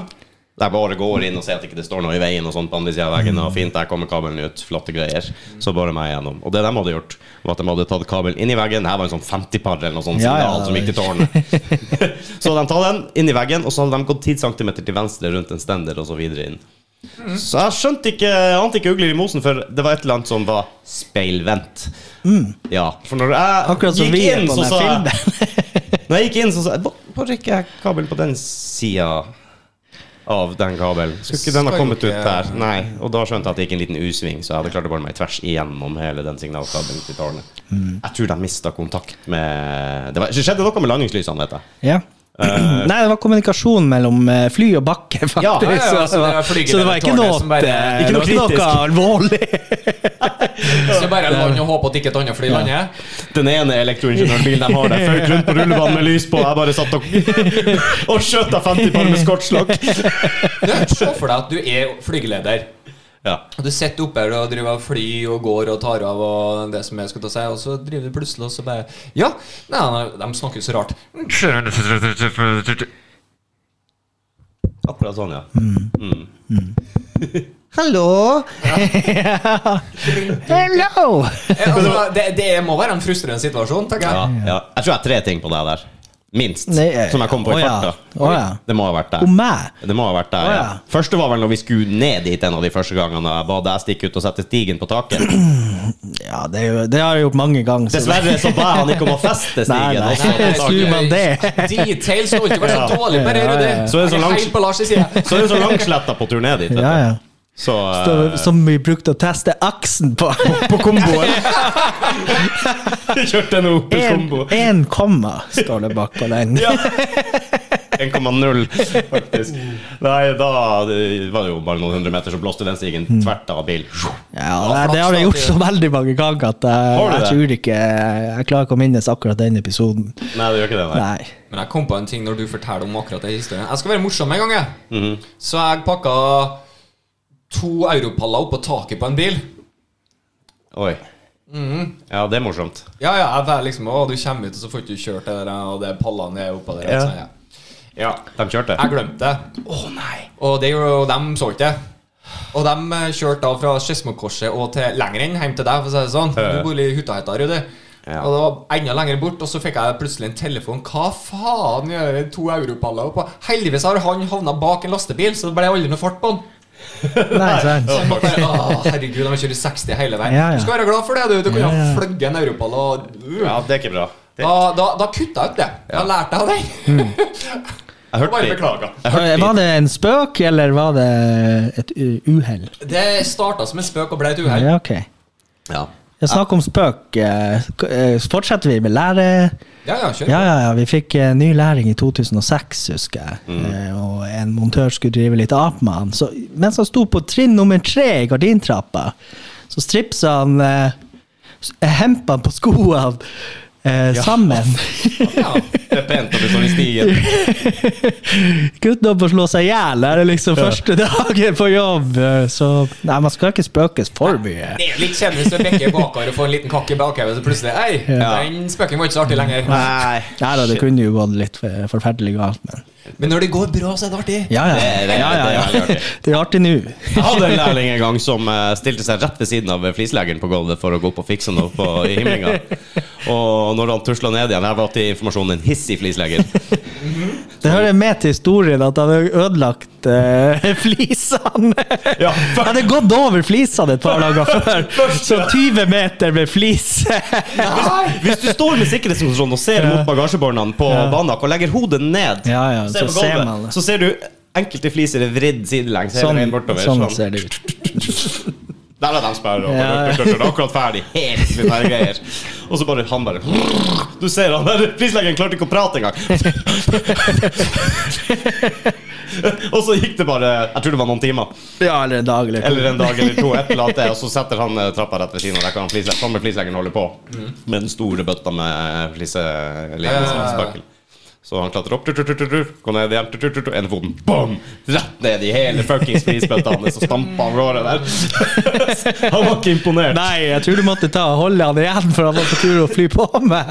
A: Jeg bare går inn og ser at ikke det står noe i veien og sånn på andre siden av veggen. Og fint, der kommer kabelen ut. Flotte greier. Så bare meg gjennom. Og det de hadde gjort, var at de hadde tatt kabelen inn i veggen. Her var en sånn 50-par eller noe sånt
C: Ja, ja,
A: signal som gikk til tårnet. (laughs) så de tar den inn i veggen, og så hadde de gått 10 cm til venstre rundt en stender og så videre inn. Så jeg skjønte ikke jeg ante ikke ugler i mosen, for det var et eller annet som var speilvendt. Ja, for når jeg
C: Mm. Akkurat som
A: gikk
C: vi er
A: inn,
C: på
A: så
C: den
A: sa jeg-
C: filmen. (laughs)
A: når jeg gikk inn, så sa jeg "Hvor- Hvor ikke jeg kabelen på den sida av den kabelen? Skulle ikke den ha
B: Skal jo
A: kommet ut
B: ikke-
A: der? Nei. Og da skjønte jeg at det gikk en liten U-sving, så jeg hadde klart å bore meg tvers igjennom hele den signalkabelen til tårnet.
C: Mm.
A: Jeg tror de mista kontakt med det, var, det skjedde noe med landingslysene, vet jeg.
C: Ja. (clears throat) Nei, det var kommunikasjon mellom eh, fly og bakke, faktisk.
A: Ja, ja,
B: ja,
C: så,
B: så det var
C: så
B: flygeledertårnet
C: det var ikke noe,
B: som bare-
C: eh,
A: Ikke noe
C: det var
A: kritisk.
C: alvorlig.
B: Så bare land og håpe at ikke et annet fly lander.
A: Den ene elektroingeniørbilen de har der, føyk rundt på rullebanen med lys på, og jeg bare satt og, og (laughs) skjøt av 50 par med skottslokk.
B: Du, Se for deg at du er flygeleder.
A: Ja.
B: Og Du sitter oppe her og driver og flyr og går og tar av og det som jeg skulle til å si, og så driver du plutselig og så bare Ja, nei, nei, de snakker jo så rart.
A: Akkurat sånn, ja.
C: Mm. (laughs) Hallo! Hello!
B: Eh, Altså, det, det må være en frustrerende situasjon, tenker
A: Ja,
B: jeg.
A: ja. Jeg tror jeg har tre ting på deg der. Minst.
C: Nei, eh,
A: som jeg kom på
C: å
A: i
C: ja,
A: farta.
C: å ja.
A: Det må ha vært
C: Om
A: der.
C: meg?
A: Det må ha vært der,
C: Å
A: ja.
C: ja.
A: Første var vel når vi skulle ned dit en av de første gangene. og Jeg ba deg stikke ut og sette stigen på taket.
C: (clears throat) Ja, det, er jo, det har jeg gjort mange ganger. så-
A: Dessverre så ba jeg han ikke om å feste stigen. altså.
C: Nei, nei.
A: og så på
C: (laughs) Skulle
A: taket.
C: man det?
B: (laughs) Details har ikke vært så dårlig på det,
C: Ja, ja,
B: Rudi.
C: ja.
A: Så er det så
B: Jeg
A: langt-
B: helt på Lars' side.
A: (laughs) Så er det så langsletta på tur ned dit. vet du.
C: (laughs) Ja, ja.
A: Så, eh,
C: Så, som vi brukte å teste aksen på.
A: (laughs) på komboen. Kjørte en Opel kombo.
C: Én komma står det bak på den.
A: (laughs) Ja. 1,0, faktisk. Nei, da det var det jo bare noen hundre meter, så blåste den stigen
C: Mm.
A: tvert av bil.
C: Ja, nei, det har jeg gjort så veldig mange ganger at
A: Har
C: jeg,
A: du
C: jeg
A: det?
C: tror ikke Jeg klarer ikke å minnes akkurat den episoden.
A: Nei, det gjør ikke det, nei.
C: Nei.
B: Men jeg kom på en ting når du forteller om akkurat den historien. Jeg skal være morsom en gang, jeg.
A: Mhm.
B: Så jeg pakka to europaller oppå taket på en bil.
A: Oi. Ja, det er morsomt.
B: Ja, ja, jeg var liksom Å, du kommer ut, og så får ikke du kjørt det der, og det er pallene er oppå der.
A: Ja.
B: Så, ja. ja.
A: De kjørte.
B: Jeg glemte det. Og det gjorde- og dem så ikke det. Og de kjørte da fra Skedsmokorset og til lenger enn hjem til deg, for å si det sånn.
A: Ja.
B: Du bor i Hutaheita, Rudi.
A: Ja.
B: Og det var enda lenger bort, og så fikk jeg plutselig en telefon. Hva faen gjør det to europaller oppå? Heldigvis har han havna bak en lastebil, så det ble aldri noe fart på han.
C: Nei, sant.
B: Så jeg bare, «Åh, herregud, de kjører 60 hele veien.
C: Ja, ja.
B: Du skal være glad for det, du. Du kunne
C: Ja, ja.
B: ha fløyet en europall og uh.»
A: Ja, det er ikke bra. Det,
B: da, da, da kutta jeg ut det. Da lærte jeg av det. (laughs)
A: jeg hørte
B: bare
A: det.
B: beklager.
A: Jeg hørte
C: Eh, Var
A: det.
C: det en spøk, eller var det et u- uhell?
B: Det starta som en spøk og ble et uhell.
C: Ja, ok.
A: Ja.
C: Jeg snakker om spøk. eh, k- eh, Fortsetter vi med lære...
B: Ja, ja, kjør.
C: Ja, ja, ja. Vi fikk eh, ny læring i 2006, husker jeg. Eh, og en montør skulle drive litt ap med han. Så, mens han sto på trinn nummer tre i gardintrappa, så stripsa han eh, s- hempene på skoene eh, sammen. (laughs)
B: Ja.
A: Det er pent at du står i stigen.
C: Gutten holdt på å slå seg i hjel. Det er liksom første dagen på jobb. eh, Så nei, man skal ikke spøkes for mye.
B: Det er litt kjedelig hvis du bekker bakar og får en liten kakk i bakhodet, så plutselig Ei,
C: Ja.
B: den spøken var ikke så artig lenger.
A: Nei.
C: Nei da, det kunne jo gått litt eh, forferdelig galt, men
B: Men når det går bra, så er det artig.
C: Ja, ja.
A: Det er- det er-
C: ja, ja, ja.
A: det er veldig artig.
C: (laughs) Det er artig nå.
A: Jeg hadde en lærling en gang som eh, stilte seg rett ved siden av flislegeren på gulvet for å gå opp og fikse noe på, i himlinga. Og når han tusla ned igjen Her var til informasjonen en hissig flislegger.
C: Det hører med til historien at han har ødelagt eh, (laughs) flisene.
A: Ja,
C: Han hadde gått over flisene et par dager før, så 20 meter med flis. (laughs)
A: Hvis du står med sikkerhetskontrollen og ser mot bagasjebåndene på
C: Ja.
A: Banak og legger hodet ned,
C: Ja, ja,
A: ser
C: så
A: på
C: ser
A: gulvet,
C: man det.
A: så ser du enkelte fliser er vridd sidelengs hele
C: Sånn,
A: veien bortover.
C: sånn
A: sånn.
C: ser det ut.
A: Der er de sperra, og
C: Ja, ja.
A: det er akkurat ferdig. Helt med sånne greier. Og så bare han bare Du ser han der prislegeren klarte ikke å prate engang. og så gikk det bare Jeg tror det var noen timer.
C: Ja, eller en dag eller to.
A: Eller en dag eller to, et eller annet, og så setter han eh, trappa rett ved siden av der kan flisle- samme flisleggeren holder på med den store bøtta med
B: Mm.
A: eh,
B: Ja, ja, ja.
A: flisespøkel. Så han klatrer opp, tur, tur, tur, tur, tur, går ned igjen, tur, tur, tur, tur, ender foten, bam! Rett ned i hele fuckings flisbøtta hans, og stamper han låret der. (laughs) Han var ikke imponert.
C: (laughs) Nei, jeg tror du måtte ta og holde han igjen, for han var på tur å fly på meg.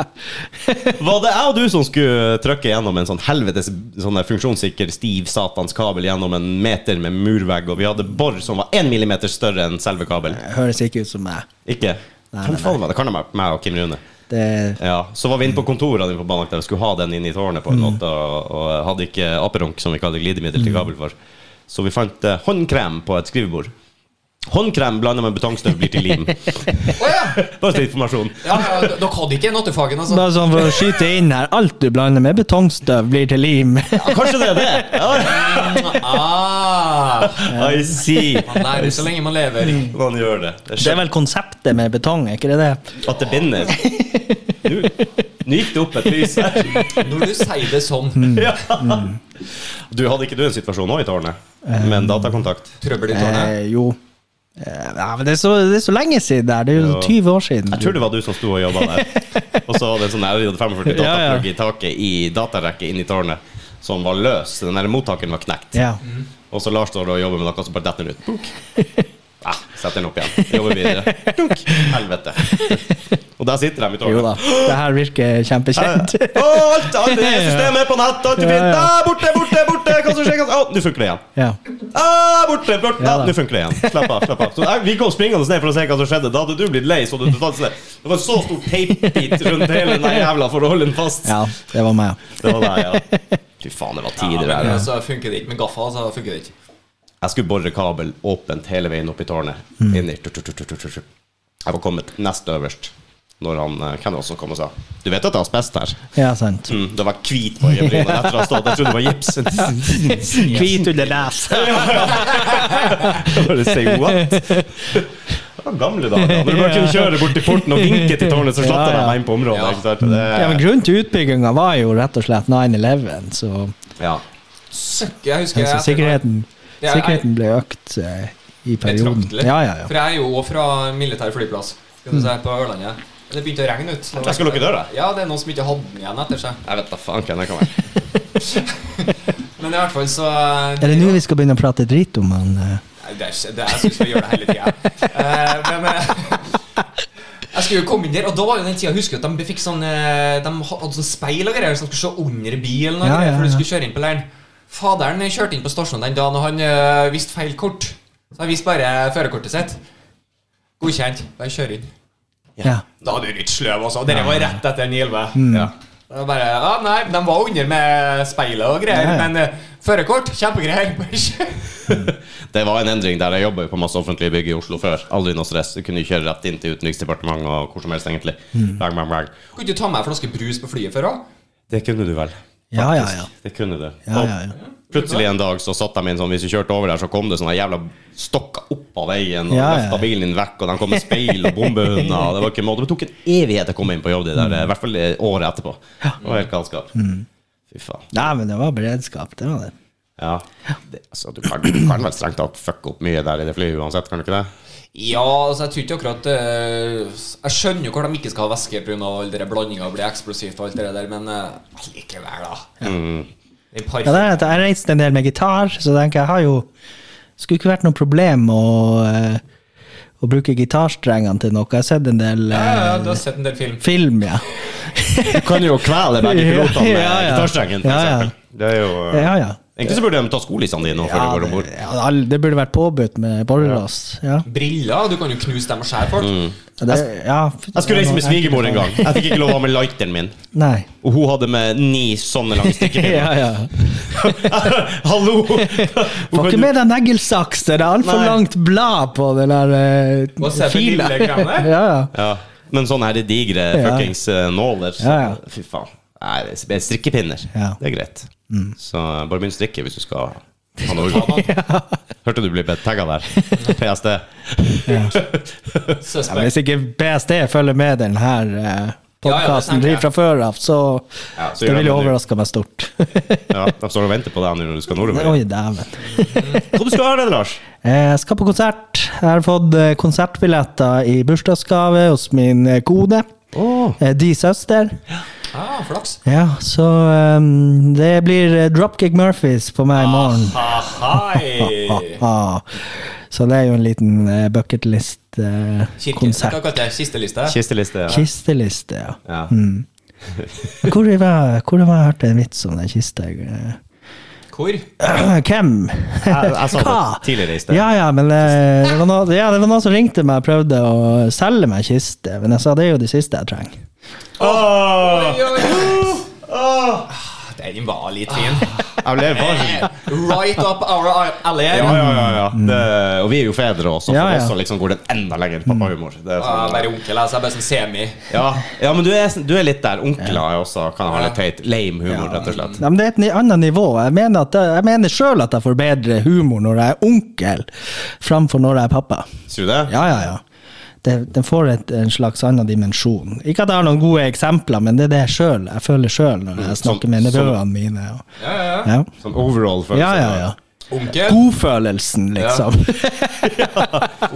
C: (laughs)
A: Var det jeg og du som skulle trykke gjennom en sånn helvetes sånn der funksjonssikker, stiv satans kabel gjennom en meter med murvegg, og vi hadde bor som var én millimeter større enn selve kabelen?
C: Høres ikke ut som meg.
A: Ikke?
C: Nei,
A: Hvem
C: nei,
A: faen var det? Kan det være meg og Kim Rune?
C: Det,
A: Ja, Så var vi inne på kontorene på Banak der og skulle ha den inn i tårnet, på en måte og, og hadde ikke Aperonk, som vi kaller glidemiddel, til kabel for. Så vi fant eh, håndkrem på et skrivebord. Håndkrem blanda med betongstøv blir til lim.
B: Å ja.
A: Bare til informasjon.
B: Ja, ja, d- Dere hadde ikke nattefagen, altså?
C: bare sånn for å skyte inn her, alt du blander med betongstøv, blir til lim.
A: Ja, kanskje det er det? Ja.
B: Ah,
A: I see.
B: man lærer så lenge man lever.
C: Mm.
A: Man gjør det. Det
C: Det er
A: skjer
C: vel konseptet med betong, er ikke det det?
A: at det binder. Nå nå gikk det opp et lys her.
B: Når du sier det sånn.
C: Mm.
A: Ja. Du hadde ikke du en situasjon nå i tårnet, med en datakontakt?
B: Trøbbel i tårnet.
C: Eh, jo. Eh, ja, men det, er så, det er så lenge siden der. Det er jo
A: Ja.
C: 20 år siden.
A: Jeg tror det var du som sto og jobba der. Og så hadde en sånn Audi 45
C: Ja, ja.
A: dataplugg i taket i datarekke inn i tårnet, som var løs. Den der mottakeren var knekt.
C: Ja.
A: Og så Lars står og jobber med noe, og så bare detter den ut. Punk. (laughs) Ja, setter den opp igjen. Jobber videre. Dunk. Helvete. Og der sitter de i
C: (laughs) Jo da.
A: tårnet.
C: Det her virker kjempekjent.
A: Eh, Å, alt, alt
C: (laughs)
A: det er systemet er på nett, alt er
C: Ja,
A: fint.
C: ja.
A: Ah, borte, borte, borte! Hva som skjer? Hva- Å, nå funker det igjen.
C: (laughs) Ja.
A: Ah, borte, borte.
C: Ja
A: Ah,
C: da.
A: Nå funker det igjen. Slapp av. slapp av så, nei, Vi kom springende ned for å se hva som skjedde. Da hadde du blitt lei. så du du tatt seg. Det var en så stor teipbit rundt hele den jævla for å holde den fast.
C: ja, det var meg.
A: Det var deg, ja. Fy faen, det var
B: Ja,
A: tider
B: men,
A: der.
B: altså, funker det ikke med gaffa, så funker det ikke.
A: Jeg skulle bore kabel åpent hele veien opp i tårnet. Inn i tut, tut, tut, tut, tut, tut. Jeg var kommet nest øverst når han eh, Ken også kom og sa Du vet at det er asbest her?
C: Ja, sant.
A: Mm, det var hvit på
C: (laughs)
A: øyenbrynene etter å ha stått. Jeg trodde det var gips.
C: Hvit under nes.
A: (laughs) Bare say what? Det var gamle dager. Når du bare kunne kjøre bort til porten og vinke til tårnet, så slapp
C: Ja, ja.
A: de meg inn på området.
B: Ja.
A: Ikke sant? Det,
C: Ja, men Grunnen til utbygginga var jo rett og slett 9-11, så,
A: ja.
B: Søkk, jeg husker
C: så
B: jeg-
C: sikkerheten,
B: Ja, jeg-
C: sikkerheten ble økt eh, i perioden.
B: Betraktelig.
C: Ja, ja, Mm. ja.
B: For jeg er jo fra militær flyplass skal du si, på Ørlandet. Det begynte å regne ut.
A: Jeg skal lukke døra.
B: Ja, det er noen som ikke hadde den igjen etter seg.
A: Jeg vet da faen hvem det kan være.
B: Men i hvert fall så
C: Er det nå vi skal begynne å prate drit om han eh?
B: Nei, Det er, ikke- det, jeg syns vi gjør det hele tida. men eh, jeg skulle jo komme inn der, og da var jo den tida jeg husker at de fikk sånn eh, De hadde sånn speil og greier, så de skulle se under bilen og
C: Ja,
B: greier,
C: ja,
B: før du
C: ja.
B: skulle kjøre inn på leiren. Faderen eh, kjørte inn på stasjonen den dagen, og han eh, viste feil kort. Så han viste bare førerkortet sitt. Godkjent. Bare kjør inn.
C: Ja.
B: Da er du litt sløv, altså. Dere var rett etter en Hjelve.
C: Mm.
A: Ja.
B: Det var bare, ja, nei, De var under med speilet og greier,
C: Ja, ja.
B: men eh, førerkort, kjempegreier. Bare kjør.
C: (laughs)
B: (laughs)
A: Det var en endring der jeg jobba på masse offentlige bygg i Oslo før. Aldri noe stress. Du kunne kjøre rett inn til Utenriksdepartementet og hvor som helst, egentlig.
C: Hmm.
A: Bang, bang, bang.
B: Kunne ikke du ta med ei flaske brus på flyet før òg?
A: Det kunne du vel.
C: Ja, ja, ja.
A: Det kunne du.
C: Ja, ja, ja.
A: Plutselig en dag så satt de inn sånn Hvis vi kjørte over der, så kom det sånne jævla stokker opp av veien og
C: Ja, ja.
A: løfta bilen din vekk, og de kom med speil og bombehunder. og Det var ikke måte. Det tok en evighet å komme inn på jobb, det der, i hvert fall eh, året etterpå. Det var helt galskap.
C: Mm.
A: Fy faen.
C: Nei, men det var beredskap, det var det.
A: Ja. Det, altså, du, kan, du kan vel strengt tatt fucke opp mye der i det flyet uansett, kan du ikke det?
B: Ja, altså jeg tror ikke akkurat eh, Jeg skjønner jo hvor de ikke skal ha væske pga. all den blandinga og bli eksplosivt og alt det der, men eh, likevel, da. Det er par-
C: Ja, det er at jeg reiste en del med gitar, så tenker jeg, jeg har jo Skulle ikke vært noe problem å, eh, å bruke gitarstrengene til noe. Jeg har sett en del
B: ja, ja,
C: eh,
B: du har sett en del film.
C: film, ja.
A: Du kan jo kvele begge pilotene med
C: Ja, ja.
A: gitarstrengen, for
C: Ja, ja.
A: eksempel. Det er jo eh,
C: Ja, ja.
A: Egentlig så burde de ta skolissene dine før
C: Ja,
A: du går om
C: det,
A: bord.
C: ja, alle- det burde vært påbudt med borrelås. Ja.
B: Briller, du kan jo knuse dem og skjære folk.
C: Ja, det- ja.
A: Jeg skulle reise med svigermor en gang. Jeg fikk ikke lov å ha med lighteren min.
C: Nei.
A: Og hun hadde med ni sånne
C: (laughs)
A: lange stikkepinner.
C: Ja, ja.
A: (laughs) Hallo!
C: Får ikke med deg neglesaks. Det er altfor
A: Nei.
C: langt blad på den der
B: Og se
C: uh,
B: på
C: fila.
B: lille greiene.
C: ja, (laughs) ja.
A: Ja. Men sånne her digre
C: Ja.
A: fuckings eh, nåler. Så,
C: Ja, ja.
A: Fy faen. Nei, det er strikkepinner.
C: Ja. Mm.
A: Det er greit. Så eh, bare begynn å strikke hvis du skal
C: (laughs)
A: ha noe overgang. Hørte du ble tagga der? PST.
C: Ja, men
B: Suspect.
C: hvis ikke PST følger med den her eh, podkasten
B: Ja, ja, det tenker jeg.
C: fra før av, så,
A: Ja, så
C: det
A: gjør
C: vil
A: de
C: jo
A: det.
C: overraske meg stort.
A: Ja, de står og venter på deg nå når du skal nordover.
C: (laughs) Oi, dæven.
A: Hva du skal du gjøre, Lars?
C: Eh, Jeg skal på konsert. Jeg har fått eh, konsertbilletter i bursdagsgave hos min eh, kone.
A: Åh.
C: Eh, De søster.
B: Ah, flaks.
C: Ja, så eh, det blir eh, Dropkick Murphys på
A: Ah,
C: meg i morgen.
B: Ahai.
C: Ah, så det er jo en liten eh,
B: Kirke. Hva
C: bucketlist-konsert.
B: kalte jeg kisteliste?
A: (laughs) Kisteliste. Ja.
C: Kisteliste, ja.
A: Ja.
C: Mm. Hvor var, hvor var jeg hørte en vits om den kista? eh?
B: Hvor?
C: (clears throat) Hvem?
A: Jeg, jeg sa det
C: (laughs) Hva?
A: tidligere i sted.
C: Ja, ja, men eh, det var, noen, ja, det var noen som ringte meg og prøvde å selge meg kiste, men jeg sa det er jo det siste jeg trenger.
A: Åh!
B: Oi, oi, oi. Ah, Den var litt fin. Eh,
A: Jeg ble varm.
B: Right up our alley.
A: Ja, ja, ja. ja. Det, og vi er jo fedre også, så
C: mm. Ja,
A: for
C: ja.
A: oss så liksom går den enda lenger enn pappahumor. Det er
B: Ah,
A: sånn-
B: Bare onkel, altså. Jeg er bare sånn semi.
A: Ja, ja, men du er, du er litt der. Onkler er også kan ha litt teit lame humor, rett og slett.
C: Ja, men det er et ni- annet nivå. Jeg mener, at, jeg mener selv at jeg får bedre humor når jeg er onkel, framfor når jeg er pappa.
A: Sier du det?
C: Ja, ja, ja. Det, den får et, en slags annen dimensjon. Ikke at jeg har noen gode eksempler, men det er det jeg selv, jeg føler sjøl når jeg snakker med
A: Sånn-
C: nevøene mine. Og,
B: Ja, ja, ja.
C: ja.
A: Sånn overall følelse.
C: ja, ja, ja.
B: Onkel.
C: Godfølelsen, liksom.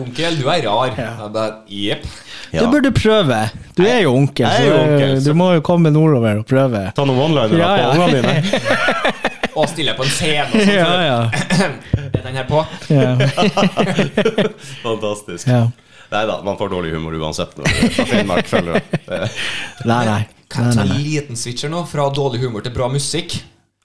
B: Onkel, du er rar. Jeg bare, Jepp.
A: Ja.
C: (laughs) Du burde prøve. Du er jo onkel,
A: Jeg er jo onkel,
C: så
A: så-
C: du må jo komme nordover og prøve.
A: Ta noen one-linere
C: Ja, ja.
A: på ungene
C: (laughs)
A: dine. (laughs)
B: Og stille på en scene. Og sånn,
C: Ja, ja.
B: (clears throat) Er den her på?
C: ja.
A: Fantastisk.
C: Ja.
A: Nei da, man får dårlig humor uansett. Når du er fra Finnmark,
C: (laughs)
A: følger du. Det-
C: Nei, nei.
B: Kan
C: nei,
B: jeg ta
C: nei,
B: en
C: nei.
B: liten switcher nå? Fra dårlig humor til bra musikk.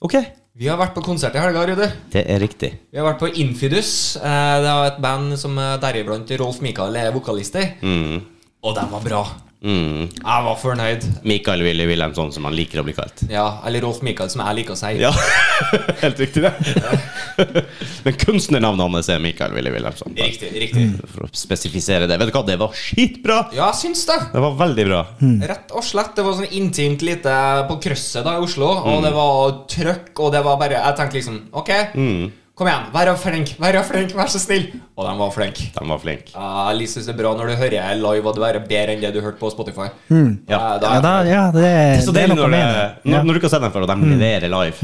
A: Ok,
B: Vi har vært på konsert i helga, Rudi.
A: det er riktig.
B: Vi har vært på Infidus. Eh, Det var et band som eh, deriblant Rolf Mikael er vokalist i.
A: Mm.
B: Og de var bra.
A: Mm.
B: Jeg var fornøyd.
A: Mikael Willy Wilhelmsson, som han liker å bli kalt.
B: Ja, Eller Rolf Mikael, som jeg liker å si.
A: Ja, (laughs) helt riktig det. Men kunstnernavnet hans er Mikael Willy Wilhelmsson. bare
B: Riktig. riktig
C: Mm.
A: For å spesifisere det. Vet du hva, det var skitbra!
B: Ja, jeg syns det.
A: Det var veldig bra.
C: Mm.
B: Rett og slett. Det var sånn intimt lite på krøsset da i Oslo, og det var trøkk, og det var bare Jeg tenkte liksom OK, kom igjen, vær flink, vær flink, vær så snill. Og de var flinke.
A: De var flinke.
B: Ja, jeg syns det er bra når du hører live, og det er bedre enn det du hørte på Spotify.
A: Ja.
B: Ja,
C: Ja, da,
B: da,
C: ja, det,
A: Det er
C: er-
A: så
C: Eh, det er
A: deilig
C: noe
A: når, det,
C: med det.
A: når,
C: Ja.
A: når du ikke har sett dem før, og de leverer live.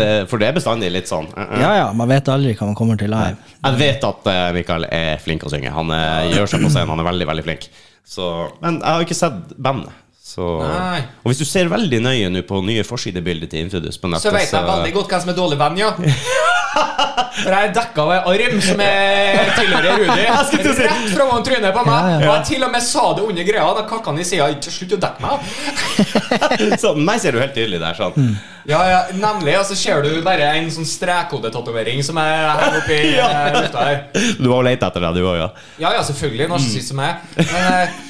A: Det, for det er bestandig litt sånn eh, eh.
C: ja, ja, man vet aldri hva man kommer til live.
A: Jeg vet at eh, Mikael er flink å synge. Han eh, gjør seg på scenen, han er veldig, veldig flink. Så, men jeg har ikke sett bandet. Så.
B: Nei.
A: Og hvis du ser veldig nøye nå på nye forsidebilder til Infidus på nettet
B: så vet jeg veldig godt hvem som er dårlig venn, ja. For jeg er dekka av en arm som er tilhører Rudi.
A: Jeg skulle til å si-
B: Rett foran trynet på meg.
C: Ja, ja.
B: Og jeg til og med sa det under greia. Da kakka han i sida. Slutt å dekke meg.
A: (laughs) så, Meg ser du helt tydelig der. Sånn.
C: Mm.
B: Ja, ja, nemlig. Og så ser du bare en sånn strekhodetatovering som er her oppe i
A: (laughs) Ja.
B: eh, lufta her.
A: Du var leit etter det, du òg, ja.
B: Ja, ja, selvfølgelig.
A: Mm.
B: Narsissist som jeg er. Men, eh,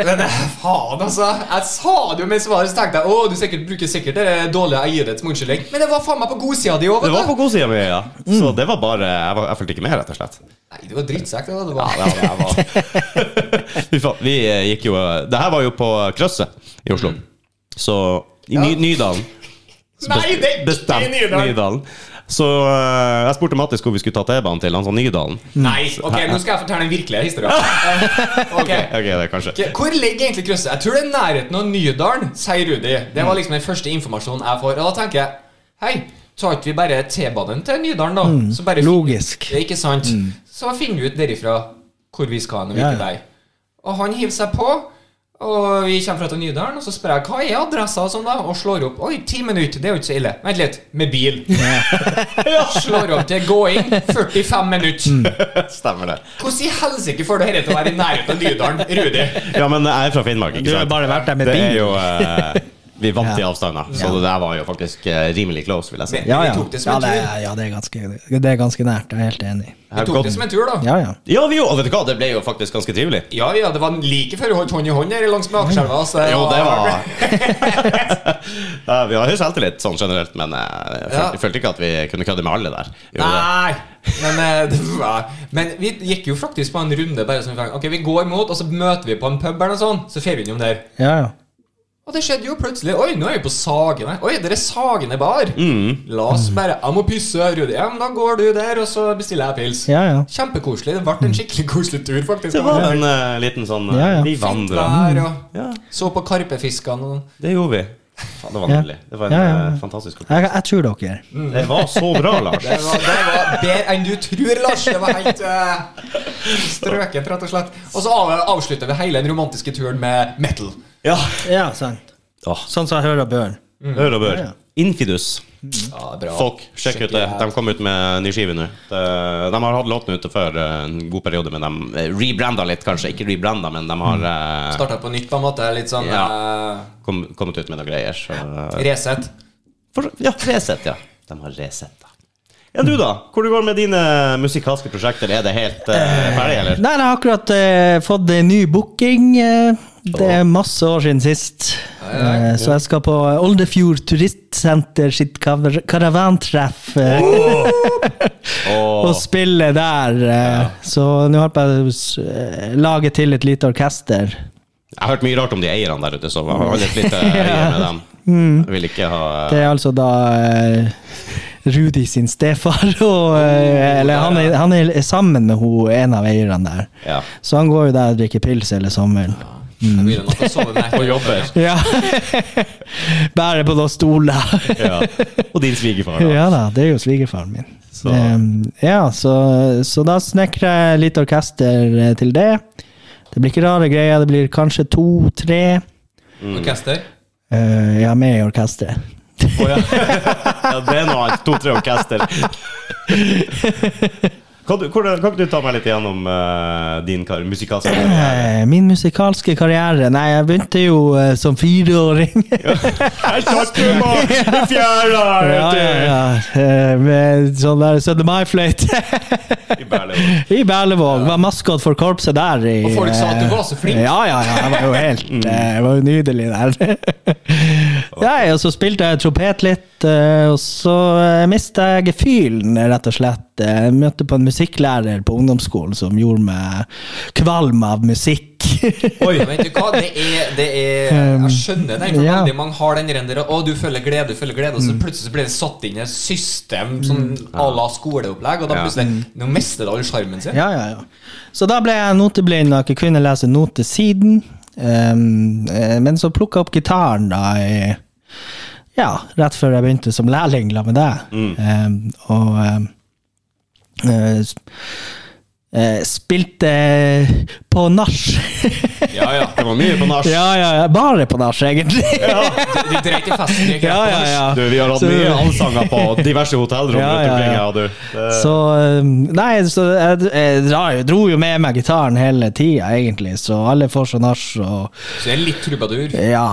B: men eh, faen, altså. Jeg sa det jo mens jeg var her, så tenkte jeg å, du sikkert, bruker sikkert eh, det dårlige eierets munnskyldning. Men det var faen meg på godsida di òg,
A: Det var
B: vet du.
A: på godsida mi, ja.
C: Mm.
A: Så det var bare Jeg, var- jeg fulgte ikke med, rett og slett.
B: Nei, det var drittsekk, det. da. det var.
A: Ja, det
C: (laughs)
A: var, Fy faen, vi eh, gikk jo eh, Det her var jo på Krøsset i Oslo.
C: Mm.
A: Så i Ny Nydalen
B: Nei, det er ikke
A: Bestemt
B: i Nydalen.
A: Nydalen. Så eh, jeg spurte Mattis hvor vi skulle ta T-banen til. Han sa Nydalen.
B: Nei, ok,
A: Mm.
B: nå skal jeg fortelle den virkelige
A: (laughs)
B: historien. Eh, ok.
A: Ok, det er kanskje
B: Ok, Hvor ligger egentlig krysset? Jeg tror det er nærheten av Nydalen, sier Rudi. Det
C: Mm.
B: var liksom den første informasjonen jeg får. Og da tenker jeg hei, tar ikke vi bare T-banen til Nydalen, da? Så bare fin-
C: Mm. Logisk. Mm.
B: Det er ikke sant? Så finner vi ut derifra hvor vi skal hen, og
C: Ja,
B: hvilken
C: ja.
B: vei. Og han hiver seg på, og vi kommer fra til Nydalen, og så spør jeg hva er adressa og sånn, da? Og slår opp. Oi, ti minutter, det er jo ikke så ille. Vent litt. Med bil. (laughs) Slår opp til gåing. 45
C: Mm.
B: minutter.
A: (laughs) Stemmer det.
B: Hvordan i helsike får du dette til å være i nærheten av Nydalen, Rudi?
A: Ja, men jeg er fra Finnmark, ikke
C: Du har
A: sant?
C: bare vært der med
A: Det er
C: bil.
A: jo eh, Vi vant til
C: Ja.
A: avstander, så det der var jo faktisk eh, rimelig close, vil jeg si.
C: Ja, ja.
B: Vi tok det som
C: Ja,
B: en
C: det
B: tur.
C: er, ja, det er, ganske, det er ganske nært. Jeg er helt enig.
B: Vi tok det som en tur, da.
C: Ja, ja.
A: Ja, vi jo, og vet du hva, det ble jo faktisk ganske trivelig.
B: Ja, ja, det var like før vi holdt hånd i hånd her langs med Akerselva. så
A: Jo, det var (laughs) Ja, Vi har høy selvtillit sånn generelt, men eh, jeg følte,
B: Ja.
A: følte ikke at vi kunne kødde med alle der. Jo, det-
B: Nei! Men, eh, det var, men vi gikk jo faktisk på en runde. Bare sånn, ok, Vi går imot, og så møter vi på en pub, eller noe sånt, så fer vi innom der.
C: ja, ja.
B: Og det skjedde jo plutselig. Oi, nå er vi på Sagene. Oi, dere er Sagene bar.
A: Mm.
B: La oss bare Jeg må pisse, Rudi. Ja, men da går du der, og så bestiller jeg pils.
C: ja, ja.
B: Kjempekoselig. Det ble en skikkelig koselig tur, faktisk.
A: Det var en eh, liten sånn eh,
C: Ja, ja.
A: Vi
B: Fint
A: vandra.
B: vær, og
A: Ja,
B: så på karpefiskene. og-
A: det gjorde vi. Faen, det var
C: Ja.
A: nydelig. Det var en
C: Ja, ja, ja.
A: eh, fantastisk opplevelse.
C: Jeg, jeg tror dere.
A: Det var så bra,
B: (laughs)
A: Lars.
B: Det var, det var bedre enn du tror, Lars. Det var helt eh, strøkent, rett og slett. Og så av, avslutter vi hele den romantiske turen med metal.
A: Ja.
C: Ja, sant.
A: Åh,
C: Sånn som jeg hører Børn.
A: Hør og bør.
C: Ja, ja.
A: Infidus.
B: Ja, bra.
A: Folk, sjekk ut det. De kom ut med ny skive nå. Det- De har hatt låten ute før eh, en god periode, men de eh, rebranda litt, kanskje. Ikke rebranda, men de har eh,
B: Starta på nytt, på en måte. Litt sånn
A: Ja.
B: eh,
A: kom, kommet ut med noen greier. Så, eh,
B: Resett.
A: for, ja, Resett, ja. De har Resett, da. Ja, du, da? Hvor det går med dine musikalske prosjekter? Er det helt eh, ferdig, eller?
C: Nei, jeg har akkurat eh, fått en ny booking. eh, det er masse år siden sist. Eh, så jeg skal på Oldefjord turistsenter sitt kaver- karavantreff eh, (laughs)
A: Åh,
C: og spille der. eh, Så nå håper jeg å s- eh, lage til et lite orkester.
A: jeg har hørt mye rart om de eierne der ute, så jeg har litt lite øye med dem. Jeg vil ikke ha eh,
C: Mm. Det er altså da eh, Rudi sin stefar, (laughs) og, eh, eller han er, han er sammen med ho, en av eierne der.
A: Ja.
C: Så han går jo der og drikker pils hele sommeren.
B: Jeg begynner nok å sove med
A: Og jobber.
C: Ja. (laughs) Bærer på noen stoler.
A: Ja. Og din svigerfar, da.
C: (laughs) Ja da, det er jo svigerfaren min.
A: Så-
C: Ehm, ja, så, så da snekrer jeg litt orkester eh, til det. Det blir ikke rare greier, det blir kanskje to-tre.
A: Mm.
B: Orkester.
C: Eh, jeg er med i orkesteret.
A: Å, ja. ja, det er noe annet. To-tre orkester. Kan, du, hvordan- kan ikke du ta meg litt gjennom eh, din kar musikalske
C: (laughs)
A: karriere?
C: Eh, min musikalske karriere Nei, jeg begynte jo eh, som fireåring.
A: Jeg satt jo med med fjæra
C: (laughs) ja,
A: vet du,
C: ja, ja. Eh, Med sånn der 17. mai-fløyte (laughs)
A: i Berlevåg.
C: i Berlevåg. Var maskot for korpset der. I,
B: Og folk sa at du
C: eh,
B: var så flink. Mm.
C: Ja, ja, ja. Jeg var jo helt eh, Jeg var jo nydelig der. (laughs) Nei, og så spilte jeg trompet litt, eh, og så mista jeg gefühlen, rett og slett. Eh, Jeg møtte på en musikklærer på ungdomsskolen som gjorde meg kvalm av musikk. (laughs)
B: Oi, vet du hva? Det er, det er Jeg skjønner den. For
C: Um, Ja. Mm.
B: Veldig mange har den der Å, du føler glede, du føler glede. Og så plutselig så blir det satt inn i et system sånn à la skoleopplegg, og da
A: Ja.
B: plutselig Nå mister det all sjarmen sin.
C: Mm. Ja, ja, ja. Så da ble jeg noteblind og ikke kunne lese noter siden. Um, eh, men så plukka jeg opp gitaren, da. i- ja, rett før jeg begynte som lærling la med deg.
A: Mm.
C: Um, og um, eh, s- eh, spilte på nach.
A: Ja, ja. Det var mye på nach.
C: (laughs) ja, ja, ja. Bare på nach, egentlig.
B: Du, du dreit i festen. du gikk
C: (laughs) ja,
B: rett på
C: ja,
B: nach.
C: ja.
A: Du, vi har hatt
C: Så-
A: mye allsanger på diverse hotellrom
C: Ja,
A: rundt
C: ja,
A: omkring. Ja,
C: ja.
A: du. Det,
C: Så um, Nei, så jeg, jeg drar jo- dro jo med meg gitaren hele tida, egentlig, så alle får seg nach. og
B: Så jeg er litt trubadur.
C: Ja.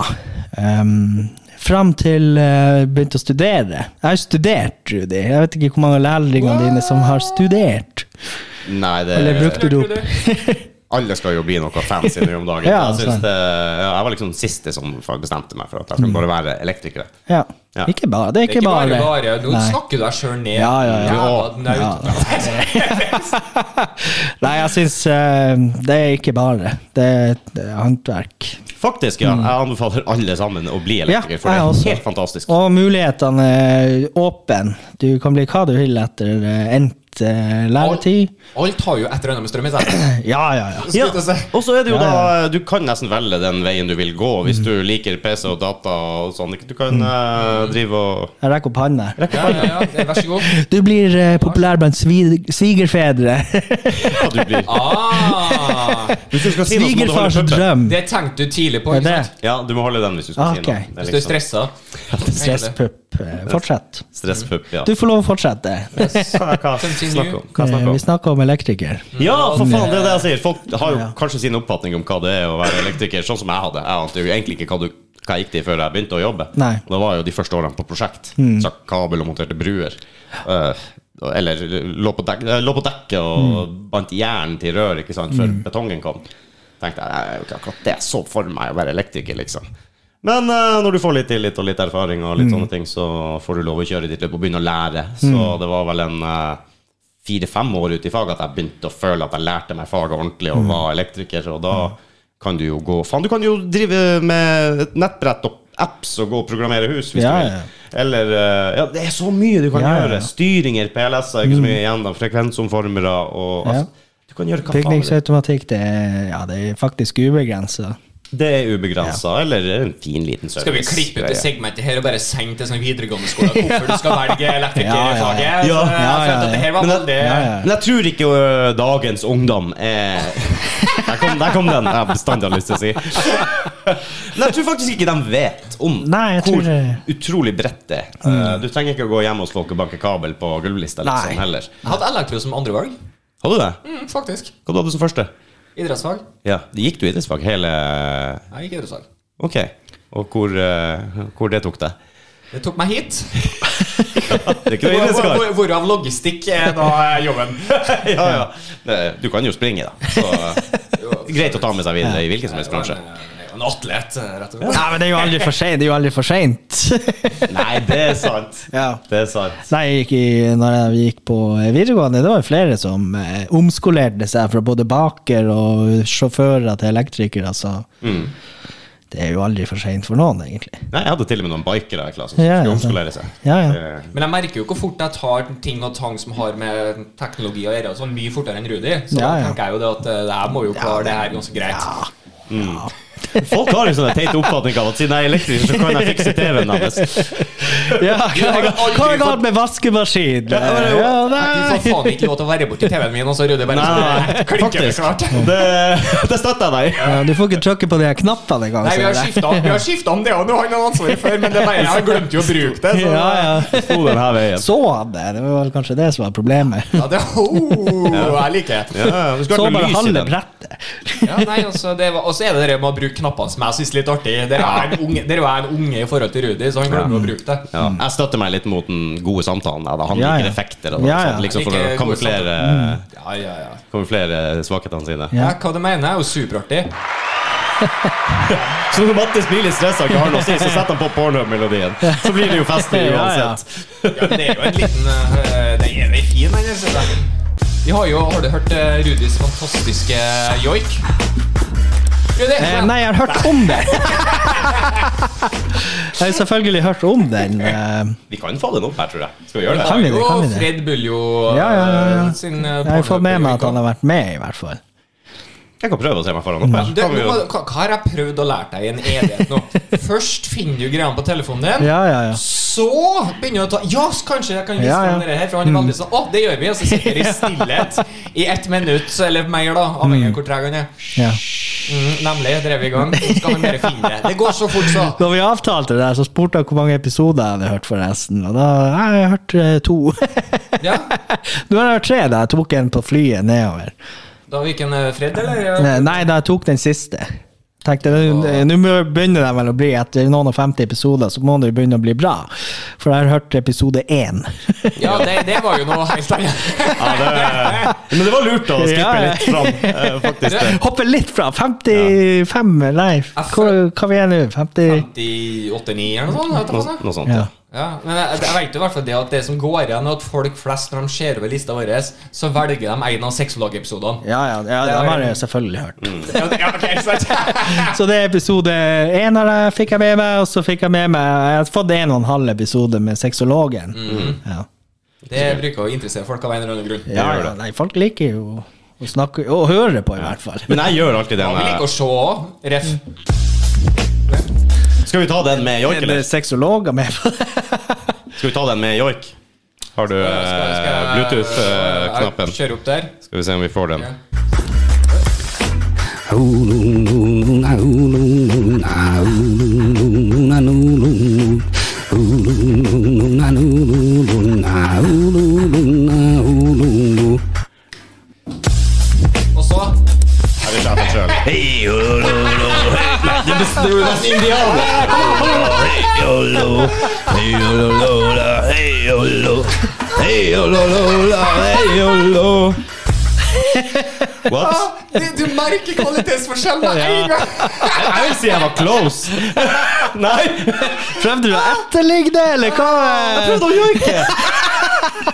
C: Um, fram til jeg begynte å studere. Jeg har studert, Rudi. Jeg vet ikke hvor mange av lærlingene dine som har studert.
A: nei,
C: Eller
A: Eh, det
C: brukte du opp?
A: Alle skal jo bli noe fancy nå om dagen.
C: Ja,
A: jeg,
C: sånn.
A: synes
C: sant.
A: det, ja, jeg var liksom siste som bestemte meg for at jeg skulle bare være elektriker.
C: Ja.
A: Ja.
C: Ikke bare. Det er
B: Det er
C: ikke bare.
B: bare. Nå
C: Nei. (laughs)
B: snakker du deg sjøl ned.
C: Ja, ja, ja.
B: Jævla naut. (laughs) Altså,
C: Nei, jeg syns eh, det er ikke bare. Det er, det er håndverk.
A: Faktisk, ja. Jeg anbefaler alle sammen å bli elektriker,
C: Ja,
A: for det
C: jeg også.
A: er helt fantastisk.
C: Og mulighetene er åpne. Du kan bli hva du vil etter eh, endt eh,
B: Alt,
C: læretid.
B: alt har jo et eller annet med strøm i seg.
C: Ja, ja, ja.
A: Ja.
B: Skulle jeg til å si.
A: Og så er det jo
C: Ja, Mm.
A: da Du kan nesten velge den veien du vil gå, hvis du liker PC og data og sånn. Du kan eh, drive og
C: Jeg rekker opp hånda.
B: Ja, ja, ja, det- vær så god.
C: (laughs) Du blir eh, populær blant svi- svigerfedre.
A: ja, du blir
B: Ah,
A: Hvis du skal si noe, så må du holde
C: Svigerfars
A: puppen.
C: drøm.
B: det tenkte du tidlig på.
C: Det er
B: Ikke
C: det.
B: sant?
A: Ja, du må holde den hvis du skal
C: Ok.
A: si noe.
B: Hvis
A: Det
B: du
A: er
B: er
A: liksom
B: stressa.
C: Stresspupp. Eh, Fortsett.
A: Stresspupp, ja.
C: Du får lov å fortsette.
A: Hva, hva snakker om? Hva
C: Eh,
A: snakker
C: Vi
A: om?
C: snakker om elektriker.
A: Ja, for faen, det er det jeg sier. Folk har jo
C: Mm. Ja.
A: kanskje sin oppfatning om hva det er å være elektriker, sånn som jeg hadde. Jeg ante jo egentlig ikke hva, du, hva jeg gikk til før jeg begynte å jobbe.
C: Nei. Mm.
A: Det var jo de første årene på prosjekt. Trakk kabel og monterte bruer. Eh, eller lå på, dek, eh, lå på dekket og
C: Mm.
A: bandt jern til rør ikke sant, før betongen kom. Tenkte jeg, det er jo ikke akkurat det jeg så for meg å være elektriker, liksom. Men eh, når du får litt tillit og litt erfaring, og litt
C: Mm.
A: sånne ting, så får du lov å kjøre ditt løp og begynne å lære. Så
C: Mm.
A: det var vel en eh, fire-fem år ute i faget at jeg begynte å føle at jeg lærte meg faget ordentlig
C: Mm.
A: og var elektriker. Og da kan du jo gå Faen, du kan jo drive med et nettbrett og apps og gå og programmere hus hvis
C: Ja,
A: du
C: ja.
A: vil. Eller eh, Ja, det er så mye du kan
C: Ja, Mm. ja,
A: gjøre.
C: ja.
A: Styringer, PLS-er, ikke så mye igjen da. Frekvensomformere og altså, Du kan gjøre hva faen du vil.
C: Bygningsautomatikk, det, er- ja, det er faktisk ubegrensa.
A: Det er ubegrensa, eller en fin liten service.
B: Skal vi klippe ut det segmentet her og bare sende til sånn videregående skole hvorfor du skal velge elektrikerfaget?
C: Ja,
A: ja, ja. Ja,
B: Så Altså, jeg
C: ja,
B: følte at
C: ja.
B: det her var
A: Men
B: veldig
C: Ja, ja.
A: Men jeg tror ikke ø, dagens ungdom er
B: (laughs)
A: der kom, der kom den jeg bestandig har lyst til å si. Men jeg tror faktisk ikke de vet om
C: Nei, jeg
A: hvor
C: tror det- Mm.
A: utrolig bredt det er. Eh, Du trenger ikke å gå hjem hos folk og banke kabel på gulvlista
C: Nei.
A: liksom, heller.
B: Jeg hadde elektro som andrevalg.
A: Hadde du det?
B: Mm, faktisk.
A: Hva hadde du som første?
B: Idrettsfag.
A: Ja, Gikk du idrettsfag hele
B: Nei, ikke idrettsfag.
A: Ok. Og hvor, ø, hvor det tok
B: (laughs)
A: deg?
B: Det tok meg hit.
A: Det er ikke noe
B: Hvor- hvor-
A: idrettsfag.
B: hvor- Hvorav logistikk er da eh,
C: (laughs)
B: jobben.
A: Ja, ja. Det- Du kan jo springe, da. Så ø, greit å ta med seg videre i hvilken som helst bransje.
B: eh, En atlet, rett og slett.
C: Nei, men det er jo aldri for seint. Det er jo aldri for (laughs) seint.
A: Nei, det er sant.
C: Ja.
A: Det er sant.
C: Nei, jeg gikk i, når jeg gikk på videregående, det var jo flere som eh, omskolerte seg fra både baker og sjåfører til elektrikere, så det er jo aldri for seint for noen,
A: (laughs)
C: egentlig.
A: Nei, jeg hadde til og med noen bikere i klassen som skulle
C: Ja, ja, sant.
A: omskolere seg.
C: Ja, ja.
A: Eh,
B: Men jeg merker jo hvor fort jeg tar ting og tang som har med teknologi å gjøre. og Sånn mye fortere enn Rudi. Så
C: Ja,
B: da
C: ja.
B: tenker jeg jo det at eh, det her må jo klare det her ganske greit.
A: Folk har jo sånne teite oppfatninger av at siden jeg er elektriker, så kan jeg fikse TV-en deres.
C: Ja, hva er
B: aldri
C: hva er
B: fått-
C: galt med vaskemaskin?
A: men-
C: Ja,
B: Jeg får faen ikke lov til å være borti TV-en min, og så Rudi bare
A: Nei,
B: (laughs)
A: nei,
B: sånn,
C: (laughs)
A: nei,
B: klikker det
A: faktisk.
B: snart.
A: Det, det støtter jeg deg i.
C: Ja, du får ikke trykke på de her knappene engang.
B: Nei, vi har
C: ser jeg.
B: skifta- vi har skifta om det òg, nå har han ansvaret før, men det er bare, jeg har glemt jo å bruke det. Så.
C: Ja, ja.
A: Sto den her veien.
C: Så han det? Det var vel kanskje det som var problemet.
B: Ja, det, (laughs) oh, jeg liker det.
A: Ja, ja, det
C: Så
A: skulle vært noe
C: bare
A: lys i
C: halve
A: den.
C: brettet.
B: Ja, nei, altså, det var, og så er det det med å bruke knappene som jeg syns er litt artig. Der er en unge, der er jeg en unge i forhold til Rudi, så han glemmer å bruke det.
A: Ja, jeg støtter meg litt mot den gode samtalen. Ja, da. Han
C: Ja,
A: liker
C: ja.
A: effekter og sånt,
C: Ja, ja.
A: liksom for å
B: Liker gode Mm.
A: kamuflere,
B: Ja, ja, ja.
A: kamuflere svakhetene sine.
C: Ja.
B: ja hva du mener, er jo superartig.
A: Så når Mattis blir litt stressa og ikke har noe å si, så setter han på Pornhub-melodien. Så blir det jo festlig
C: (laughs) Ja, ja.
A: uansett.
B: Ja, men det er jo en liten øh, Den er veldig fin, den. synes jeg. Vi har jo Har du hørt øh, Rudis fantastiske joik? Rudi!
C: Eh,
B: kom igjen.
C: nei, jeg har hørt om den! (laughs) Jeg har selvfølgelig hørt om den. eh,
A: Vi kan få den opp her, tror jeg. Skal vi gjøre det?
C: Kan vi det? Kan
B: Og
C: vi det?
B: Fred Buljo øh,
C: Ja, ja, ja, ja.
B: sin øh,
C: Jeg har fått med meg at han har vært med, i hvert fall.
A: Jeg kan prøve å se meg foran opp her.
B: du,
A: Kan vi
B: nå,
A: jo-
B: må- hva, hva har jeg prøvd å lære deg i en evighet
C: (laughs)
B: nå? Først finner du greiene på telefonen din.
C: Ja, ja, ja.
B: Så begynner du å ta Ja, så kanskje jeg kan vise
C: Ja, Mm. ja.
B: fram dere her, for han er veldig sånn Å, det gjør vi! Og så sitter
C: (laughs)
B: vi i stillhet i ett minutt, eller mer, da, avhengig
C: Mm.
B: av hvor treg han er.
C: ja.
B: Mm, nemlig. Drev i
C: (laughs)
B: gang. Så skal han bare finne det. Det går så fort, så.
C: Da vi avtalte det der, så spurte jeg hvor mange episoder jeg hadde hørt, forresten. Og da «Nei, jeg har hørt eh, to. (laughs)
B: Ja.
C: Nå har jeg hørt tre, da. Jeg tok en på flyet nedover.
B: Da gikk en eh, Fred, eller?
C: Nei, da jeg tok den siste. Tenkte, nå- Nå må- begynner de vel å bli Etter noen og femti episoder så må det jo begynne å bli bra. For jeg har hørt episode én.
B: Ja, det,
C: (laughs)
B: det var jo noe helt annet.
A: Ja, det, (laughs) men det var lurt å
C: Ja,
A: skippe
C: ja.
A: litt fram, eh, faktisk. Det.
C: Hoppe litt fra 55, nei, hva, hva vi er nå? 50
B: 58-9 eller noe sånt?
A: Noe,
B: etterpå, da.
A: noe sånt.
C: ja.
A: Ja.
B: Ja, men jeg, jeg vet jo i hvert fall det at det som går igjen, er at folk flest, når de ser over lista vår, så velger de en av sexologepisodene.
C: Ja, ja, ja,
B: Det
C: det
B: er-
C: har jeg selvfølgelig hørt.
B: Ja, det- ja, ok, sant.
C: (laughs) Så det er episode én av det fikk jeg med meg, og så fikk jeg med meg Jeg har fått en og en halv episode med sexologen. Ja.
B: det bruker å interessere folk av en eller annen grunn.
C: Ja,
A: gjør
C: ja, nei, folk liker jo å snakke og høre på, i hvert fall.
A: Men jeg gjør alltid eh, det.
B: Ja, vi
A: når
B: liker å
A: jeg-
B: se òg. Ref.
C: Mm.
A: Skal vi ta den med joik,
C: Er det
A: eller?
C: sexologer med på det?
A: Skal vi ta den med joik? Har du
B: Skal- skal jeg-
A: Eh, Bluetooth-knappen?
B: jeg Kjører opp der.
A: Skal vi se om vi får den.
B: Ja.
D: Hei,
B: Og så
A: Jeg vil ta den selv. What?
B: Ah! Du, du merker kvalitetsforskjell med en gang!
A: Jeg vil si jeg var close. Ah. Nei!
C: Prøvde du å etterligne det, eller hva?
A: Jeg prøvde å joike!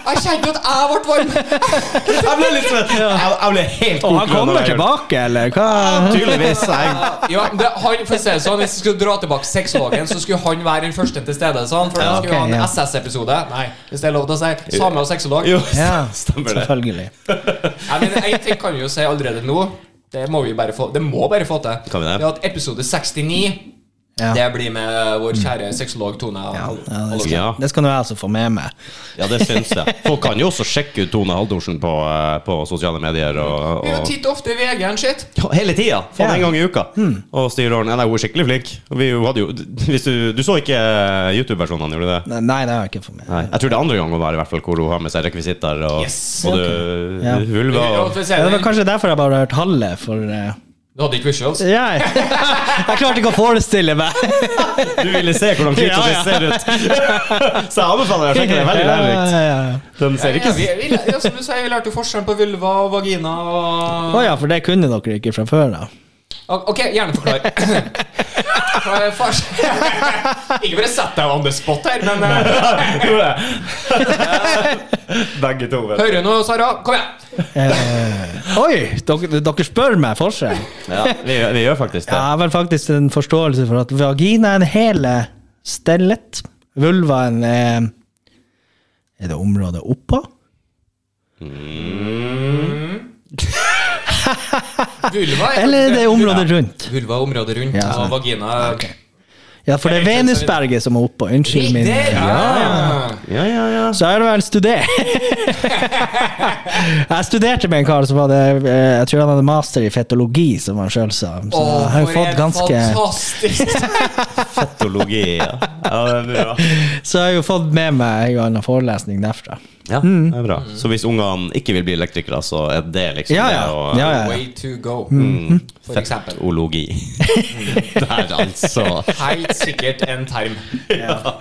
B: Jeg kjente at jeg ble varm.
A: Jeg ble litt svett. Jeg, jeg ble helt
C: Og han
A: kokt når
C: kommer
A: jeg gjorde det.
C: tilbake, eller hva?
A: Tydeligvis. Jeg,
B: Ja, men det, han, for å si det sånn, Hvis vi skulle dra tilbake sexologen, så skulle han være den første til stede. Sånn, for da
C: Ja,
B: skulle vi ha
C: ok,
B: en
C: ja.
B: SS-episode. Nei, hvis det er lov til å si. Same og sexolog.
A: jo,
C: Ja,
A: stemmer det.
C: selvfølgelig.
B: Nei, men en ting kan vi jo si allerede nå. Det må vi bare få Det må bare få til.
A: Kan vi det?
B: er at episode 69
C: Ja. Mm.
B: Det blir med vår kjære sexolog Tone.
C: Ja, ja, det, skal,
A: Ja.
C: det skal nå jeg altså få med meg.
A: ja, det syns jeg. Folk kan jo også sjekke ut Tone Haldorsen på, eh, på sosiale medier. Og,
B: Vi er jo
A: og
B: titt ofte i VG-en sitt.
A: Ja, hele tida! Faen, en gang i uka.
C: Hmm.
A: Og styreåren Nei, hun er skikkelig flink. Og Vi hadde jo, hvis du, du så ikke eh, YouTube-versjonen, gjorde du det?
C: Nei, nei, det har jeg ikke fått med
A: Nei.
C: meg.
A: Jeg tror det er andre gang hun har i hvert fall hvor hun har med seg rekvisitter og
B: Yes.
A: både
C: Ja.
A: vulva
B: Og
A: og
B: for å si
C: Ja, det var
B: det,
C: kanskje derfor jeg bare har hørt halve, for eh,
B: Du hadde ikke visuals?
C: ja, jeg, jeg klarte ikke å forestille meg.
A: Du ville se hvordan klitoris
C: Ja, ja.
A: ser ut! (laughs) Så jeg anbefaler deg å sjekke det. Veldig lærerikt.
C: Ja, ja, ja.
A: Den ser
B: Ja,
A: ikke
B: vi, vi, ja, som du sier, vi lærte jo forskjellen på vulva og vagina
C: Å
B: og
C: ja, for det kunne dere ikke fra før, da.
B: Ok, ok, gjerne forklar. Hva er fars- (laughs) Ikke bare sett deg on the spot her, men eh,
A: Gjorde (laughs) jeg. Begge to, vet du.
B: Hører du nå, Sara? Kom igjen!
C: Eh, oi, dere, dere spør meg forskjell.
A: Ja, vi, vi gjør faktisk
C: Jeg
A: det.
C: har vel faktisk en forståelse for at vagina er en hele stellet. Vulva er en eh, Er det området oppå?
B: Vulva er
C: Ah, Eller er det området rundt?
B: Vulva er området rundt,
C: Ja,
B: og
C: sånn.
B: vagina er
C: Ja, for det er Venusberget som er oppå. Unnskyld min eh,
B: Riktig! Ja.
A: Ja, ja, ja.
C: Så er det vel studert. (laughs) jeg studerte med en kar som hadde eh, Jeg tror han hadde master i fetologi, som han sjøl sa. Så
B: Åh,
C: jeg har jo
B: for
C: fått
B: en
C: ganske
B: fantastisk
A: Patologi, ja. (laughs) ja det er bra.
C: Så jeg har jo fått med meg en og annen forelesning derfra.
A: Ja, det er bra. Mm. Så hvis ungene ikke vil bli elektrikere, så er det liksom
C: Ja,
A: det
C: ja.
A: å
C: Ja, Mm. ja.
B: way to go, for
A: (laughs)
B: eksempel.
A: Fettologi. Der, altså.
B: Helt sikkert en term.
A: Ja.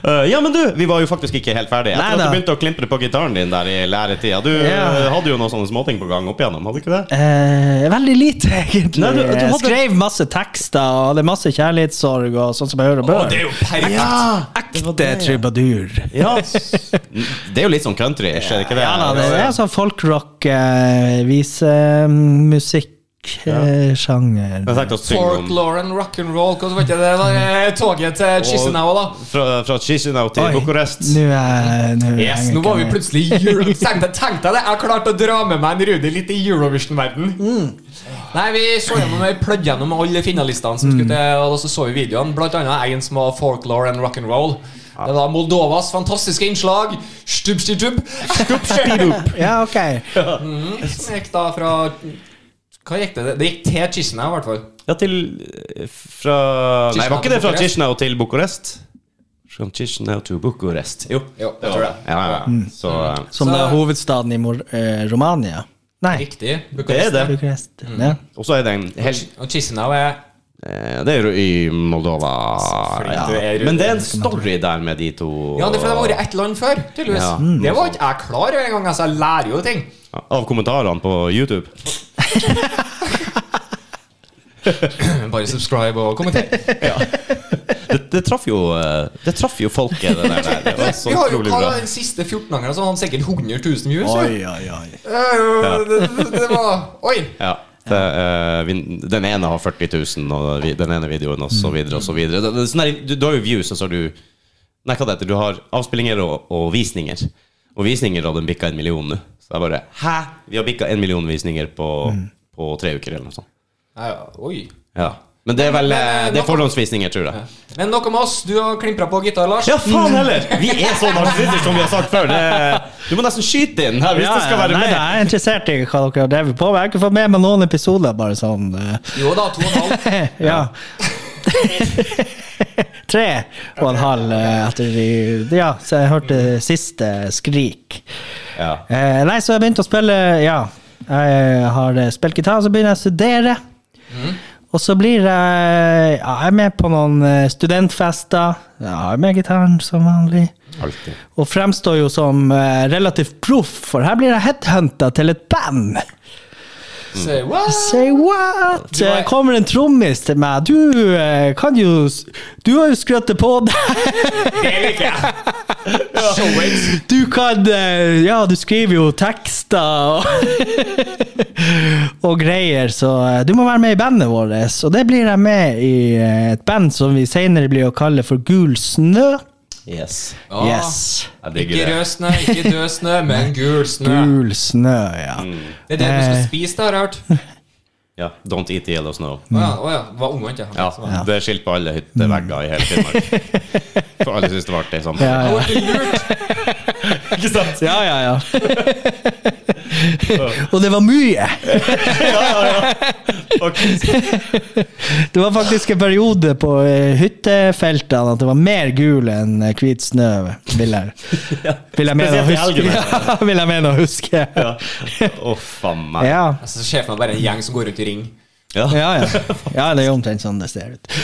A: Eh, ja, men du, vi var jo faktisk ikke helt ferdige. Etter
C: Nei
A: at
C: da.
A: du begynte å klimpre på gitaren din der i læretida. Du
C: Ja.
A: eh, hadde jo noen sånne småting på gang opp igjennom, hadde du ikke det?
C: Eh, veldig lite, egentlig.
A: Nei, du- du
C: Jeg
A: hadde-
C: skrev masse tekster og hadde masse kjærlighetssorg og sånn som jeg hører bør.
B: Og
C: Ah,
B: det er jo perfekt!
C: Ekte trubadur.
A: Ja. Det er jo litt sånn country, er det ikke det?
C: Ja, da, det er sånn folkrock, eh, visemusikksjanger.
A: Jeg tenkte å synge om
B: Folklore and rock'n'roll, hva var ikke det var eh, toget til Chisinau, da?
A: fra, fra Chisinau til
C: Oi,
A: Bucuresti.
C: Nå er nå henger
B: Yes,
C: jeg
B: nå
C: ikke
B: var vi
C: med.
B: plutselig i Euro...
A: (laughs)
B: Tenk deg, tenk deg det! Jeg klarte å dra med meg en Rudi litt i Eurovision-verden.
A: Mm.
B: Nei, vi så gjennom Vi plødde gjennom alle finalistene som skulle
A: Mm.
B: til, og så så vi videoen. Blant annet en som var folklore and rock'n'roll. Det var Moldovas fantastiske innslag. Stubb-sti-tubb.
C: Ja, ok.
B: Som gikk da fra Hva gikk det? Det gikk til Chisinau, i hvert fall.
A: Ja, til eh, Fra Nei,
B: Chisinau
A: var ikke det fra
B: til Bucuresti?
A: Chisinau til Bucuresti? Fra Chisinau til Bucuresti. Jo,
B: Jo,
A: det
B: jeg tror
A: var
B: det.
A: det. Ja, ja, ja. Så eh,
C: Som
B: Så-
C: det er hovedstaden i Mor eh, Romania. Nei,
B: Riktig.
A: det er det.
C: Bucuresti. Ja.
A: Og så er det en hel
B: Og Chisinau er
A: Eh, Det er jo i Moldova.
B: Fordi du er
A: Men det er en story der med de to
B: Ja, det er fordi det har vært ett land før, tydeligvis.
A: Ja. Mm.
B: Det var ikke jeg klar over engang. Altså, jeg lærer jo ting.
A: eh, Av kommentarene på YouTube.
B: (laughs) Bare subscribe og kommenter.
A: Det, det traff jo eh, Det traff jo folket, det der. der. Det var så
B: Vi har jo
A: utrolig
B: hva
A: bra.
B: da, den siste 14-angeren, så har han sikkert 100 000 views. jo.
C: Oi, oi, oi.
B: Ja. Det, det- det var Oi!
A: Ja. Det, eh, vin- den ene har 40 000, og vi- den ene videoen, og så videre og så videre. Det, det, er sånn der, du, du har jo views, og så har du Nei, hva det heter Du har avspillinger og, og visninger. Og visninger hadde bikka en million nå. Så jeg bare Hæ?! Vi har bikka en million visninger på, på tre uker, eller noe sånt.
B: Nei, oi.
A: Ja. Men det er vel eh,
B: Men, eh,
A: Det
B: nå-
A: er forhåndsvisninger, tror jeg.
B: Men noe med oss. Du har klimpra på gitar, Lars. Mm.
A: Ja, faen heller! Vi er så narsissister som vi har sagt før. Det, du må nesten skyte inn her hvis
C: Ja,
A: du skal være
C: nei,
A: med.
C: da, jeg er interessert i hva dere har drevet på med. Jeg har ikke fått med meg noen episoder, bare sånn. eh,
B: Jo da, to og en halv.
C: (laughs) ja. Tre og en halv eh, etter de- Ja, så jeg hørte siste skrik.
A: Ja.
C: Eh, nei, så jeg begynte å spille Ja, jeg har eh, spilt gitar, og så begynner jeg å studere.
B: Mhm.
C: Og så blir jeg ja, Jeg er med på noen eh, studentfester. Jeg har med gitaren som vanlig.
A: Alltid.
C: Og fremstår jo som eh, relativt proff, for her blir jeg headhunta til et band.
A: Mm.
B: Say what?
C: Say what? Eh,
B: Du er-
C: Kommer en trommis til meg. Du eh, kan jo s- Du har jo skrøtet på deg.
B: Det liker jeg. Show it.
C: Du kan eh, Ja, du skriver jo tekster og, (laughs) og greier, så eh, du må være med i bandet vårt. Og det blir jeg med i eh, et band som vi senere blir å kalle for Gul snø.
A: Yes.
B: Ja.
C: Yes.
A: Jeg
B: Ikke
A: digger det.
B: rød snø, ikke død snø, men gul snø.
C: Gul snø, ja.
B: Det er det du
A: Eh.
B: skal spise, det
A: (laughs)
B: har jeg hørt.
A: Ja. Don't eat yellow snow.
B: Å ja, å ja. det Var omvendt, ja.
A: Ja, det er skilt på alle hyttevegger i hele Finnmark.
C: (laughs)
A: For alle syns det var artig. Sånn.
C: Ja, ja.
B: Jeg ble lurt.
A: (laughs) Ikke sant?
C: Ja, ja, ja. og det var mye.
A: (laughs) Faktisk.
C: Det var faktisk en periode på eh, hyttefeltene at det var mer gul enn eh, hvit snø, vil
A: (laughs)
C: jeg, vil jeg mene å
A: Spesielt i
C: huske.
A: helgene.
C: Ja, vil jeg mene å huske.
A: Ja. Å, faen meg.
C: Ja,
B: Altså, Sjefen er bare en gjeng som går rundt i ring.
A: Ja.
C: ja.
A: (laughs)
C: ja. ja det er jo omtrent sånn det ser ut.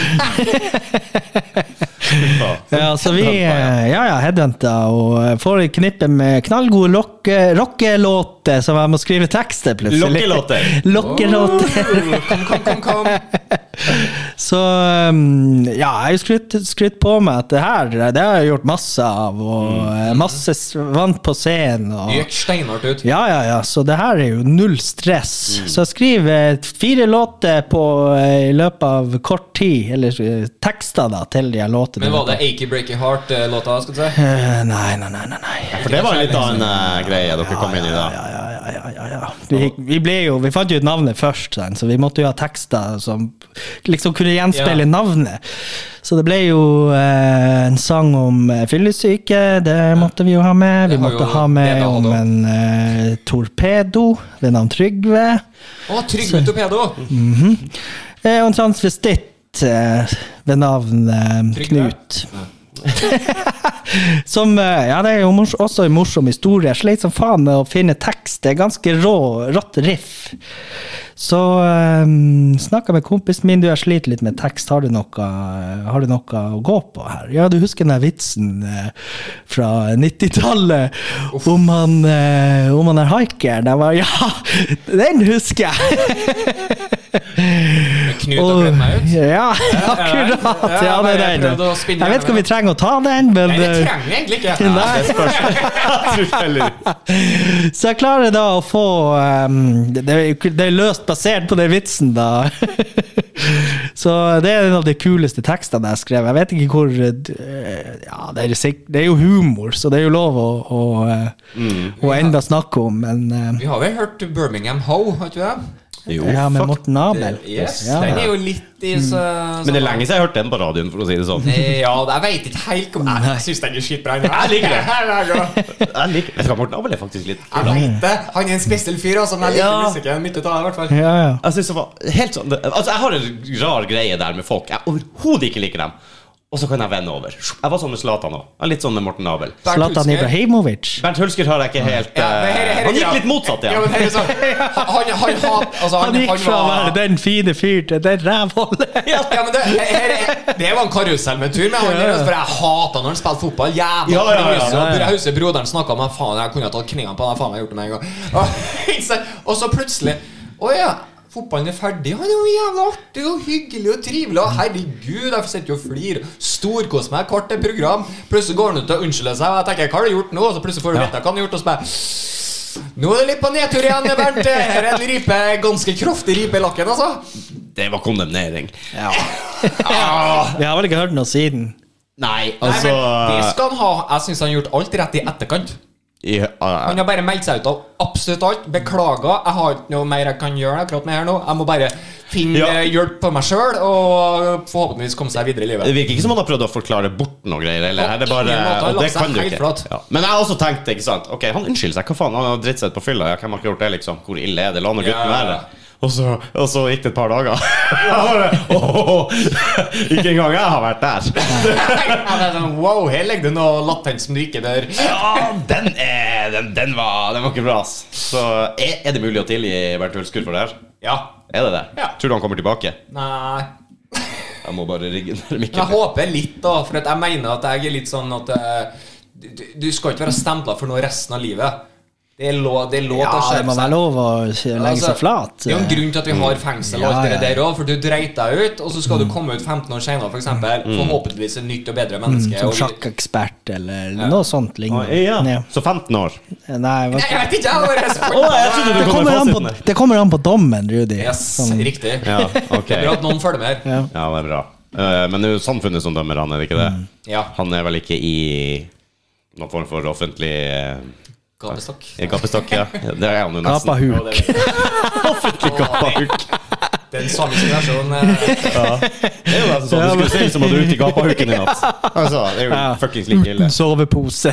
C: Ja, så vi eh, ja, ja, headhunta og eh, får et knippe med knallgode lokke- rockelåter som jeg må skrive tekster plutselig.
A: Lokkelåter.
C: (laughs) Lokkelåter.
B: Oh, Kom, kom, kom, kom.
C: Så um, ja, jeg har jo skrytt, skrytt på meg at det her det har jeg gjort masse av. Og
B: Mm.
C: eh, masse s- vant på scenen. Og,
B: Gikk steinhardt ut.
C: ja, ja, ja, så det her er jo null stress.
B: Mm.
C: Så jeg skriver eh, fire låter på, eh, i løpet av kort tid, eller eh, tekster da, til de her låtene.
B: Men var det Achy Breaky Heart-låta? skal du si?
C: Eh, nei, nei, nei, nei, nei.
A: For det var en litt annen eh, greie dere kom inn i da.
C: Ja, ja, ja, ja, ja, ja. Vi, vi, ble jo, vi fant jo ut navnet først, sant, så vi måtte jo ha tekster som liksom kunne gjenspeile
B: Ja.
C: navnet. Så det ble jo eh, en sang om eh, fyllesyke, det måtte vi jo ha med.
B: Det
C: Vi
B: har jo
C: måtte ha med
B: Lena
C: om
B: hatt
C: en eh, torpedo ved navn Trygve.
B: Å, Trygve Torpedo!
C: Eh, og en transvestitt eh, ved navn eh,
B: Trygve?
C: Knut. (laughs) Som, eh, ja, det er jo mors også en morsom historie. Jeg sleit som faen med å finne tekst. Det er ganske rå, rått riff. Så um, snakka med kompisen min, du, jeg sliter litt med tekst. Har du noe, eh, har du noe å gå på her? Ja, du husker den der vitsen eh, fra 90-tallet om, han, eh, om han er haikeren? Jeg bare (laughs) ja, den husker jeg!
B: Knut har kledd meg ut.
C: ja, (laughs)
B: ja,
C: akkurat. Ja, det
B: bare jeg
C: er den.
B: prøvde å spinne
C: Jeg vet ikke om
B: gjennom
C: vi trenger å ta den, men
B: Nei, det
C: eh,
B: trenger jeg egentlig ikke.
C: (laughs) Nei.
B: Ja, det
A: (laughs)
B: spørs.
C: Så jeg klarer da å få ehm, det, det er jo ikke- det er løst basert på den vitsen, da. (laughs) så det er en av de kuleste tekstene jeg skrev. Jeg vet ikke hvor eh, Ja, det er, sikk- det er jo humor, så det er jo lov å, å, eh,
B: Mm.
C: å enda snakke om, men eh,
B: Vi har vel hørt Birmingham Hoe, har ikke vi det?
A: Jo,
C: Ja, med
A: fuck.
C: Morten Abel.
B: Yes,
C: Ja.
B: Den er jo litt i så,
A: Men det er lenge siden jeg hørte den på radioen, for å si det sånn.
B: Eh, Ja, jeg veit ikke helt om Jeg syns den er skitbra. Jeg liker det.
A: Jeg liker Vet du hva, Morten Abel er faktisk litt
B: Jeg vet det. Han er en spesiell fyr, altså. Men jeg
A: Ja.
B: liker musikken. Mye av det, i hvert fall.
C: Ja, ja.
A: Jeg synes det var helt sånn Altså, jeg har en rar greie der med folk. Jeg overhodet ikke liker dem. Og så kan jeg vende over. Jeg var sånn med Zlatan òg. Litt sånn med Morten Abel.
B: Bernt
C: Zlatan
B: Hulsker.
C: Ibrahimovic.
A: Bernt Hulsker har jeg ikke helt
B: Ja, men her-
A: eh,
B: her-
A: Han
B: ja.
A: gikk litt motsatt,
B: Ja,
A: ja.
B: men her er sånn Han, han, han, hat- altså, han,
C: Han gikk fra å
B: var-
C: være den fine fyr til den rævhålet.
B: (laughs) Ja, men det, her, her, det var en karusell med tur med han der, for jeg hata når han spilte fotball. Jævla
A: Ja, ja, ja,
B: mye, så
A: ja, ja.
B: Jeg husker broderen snakka om (laughs) at faen, jeg kunne ha tatt knærne på han, faen, jeg har gjort det med en gang. Og, så- og så plutselig Å ja. fotballen er ferdig. Han er jo jævla artig og hyggelig og trivelig. Og herregud, jeg sitter jo og flirer. Storkoser meg hvert et program. Plutselig går han ut og unnskylder seg. Og jeg tenker, hva har du gjort nå? Og så plutselig får du vite hva han har gjort hos meg. Nå er det litt på nedtur igjen, Bernt. Her er en ripe, ganske kraftig ripe i lakken, altså.
A: Det var kondemnering. (laughs) Ah,
C: Vi har vel ikke hørt noe siden.
A: Nei,
B: Nei,
A: altså
B: men det skal han ha. Jeg syns han har gjort alt rett i etterkant.
A: i, ah,
B: Han har bare meldt seg ut av absolutt alt. Beklager, jeg har ikke noe mer jeg kan gjøre akkurat med her nå. Jeg må bare finne
A: Ja.
B: eh, hjelp på meg sjøl og forhåpentligvis komme seg videre i (laughs) livet.
A: Det virker ikke som han har prøvd å forklare bort noe greier. Eller?
B: På
A: Her er det bare,
B: ingen måte, han
A: og
B: la
A: det
B: seg
A: kan du
B: helt
A: ikke.
B: flat.
A: Ja. Men jeg har også tenkt ikke sant? Ok, han unnskylder seg. Hva faen, han har dritt seg ut på fylla. Ja, hvem har ikke gjort det, liksom? Hvor ille er det? La nå gutten
B: Ja.
A: være. Og så, og så gikk det et par dager. (laughs) Jeg bare, «Åh, ikke engang jeg har vært der.
B: Ja, det er sånn, wow, her ligger det noe latent som du ikke dør.
A: (laughs) Ja, den, er, den, den, var, den var ikke bra, ass. Så er, er det mulig å tilgi Bernt Hulskur for det her?
B: Ja.
A: Er det det?
B: Ja.
A: Tror du han kommer tilbake?
B: Nei.
A: Jeg må bare rigge ned
B: Men jeg
A: mikken.
B: håper litt, da, for at jeg mener at jeg er litt sånn at eh, du, du- du skal ikke være stempla for noe resten av livet. Det er lov, det er lov
C: Ja,
B: til å
C: det
B: skjerpe
C: må
B: seg.
C: være lov å legge
B: Altså,
C: seg flat. eh,
B: Det er jo en grunn til at vi har fengsel og
C: Ja,
B: alt det
C: ja.
B: der òg, for du dreit deg ut, og så skal du komme ut 15 år senere, f.eks. Forhåpentligvis et nytt og bedre menneske.
C: Som
B: og-
C: sjakkekspert eller noe sånt
A: Å,
C: lignende.
A: ja.
C: Ja.
A: Så 15 år.
C: Nei, hva-
B: Nei, jeg vet ikke, jeg har bare spurt.
A: Å, jeg trodde du
C: det
A: kom
C: kommer,
A: med
C: an på,
A: fasiten.
C: det kommer an på dommen, Rudi.
B: Yes,
C: Sånn.
B: riktig.
A: Ja, ok.
B: Det er Bra at noen følger med her.
C: Ja.
A: Ja, det er bra. Eh, Men det er jo samfunnet som dømmer han, er det ikke det?
B: Ja.
A: Han er vel ikke i noen form for offentlig eh,
B: Gapestokk.
A: i gapestokk? Ja. Det er han jo nesten.
C: Gapa huk.
A: Offentlig gapahuk.
B: Den samiske versjonen. eh,
A: Det er jo nesten sånn du skulle se ut som om du er ute i gapahuken i natt. Altså, det er jo fuckings like ille,
C: Uten sovepose.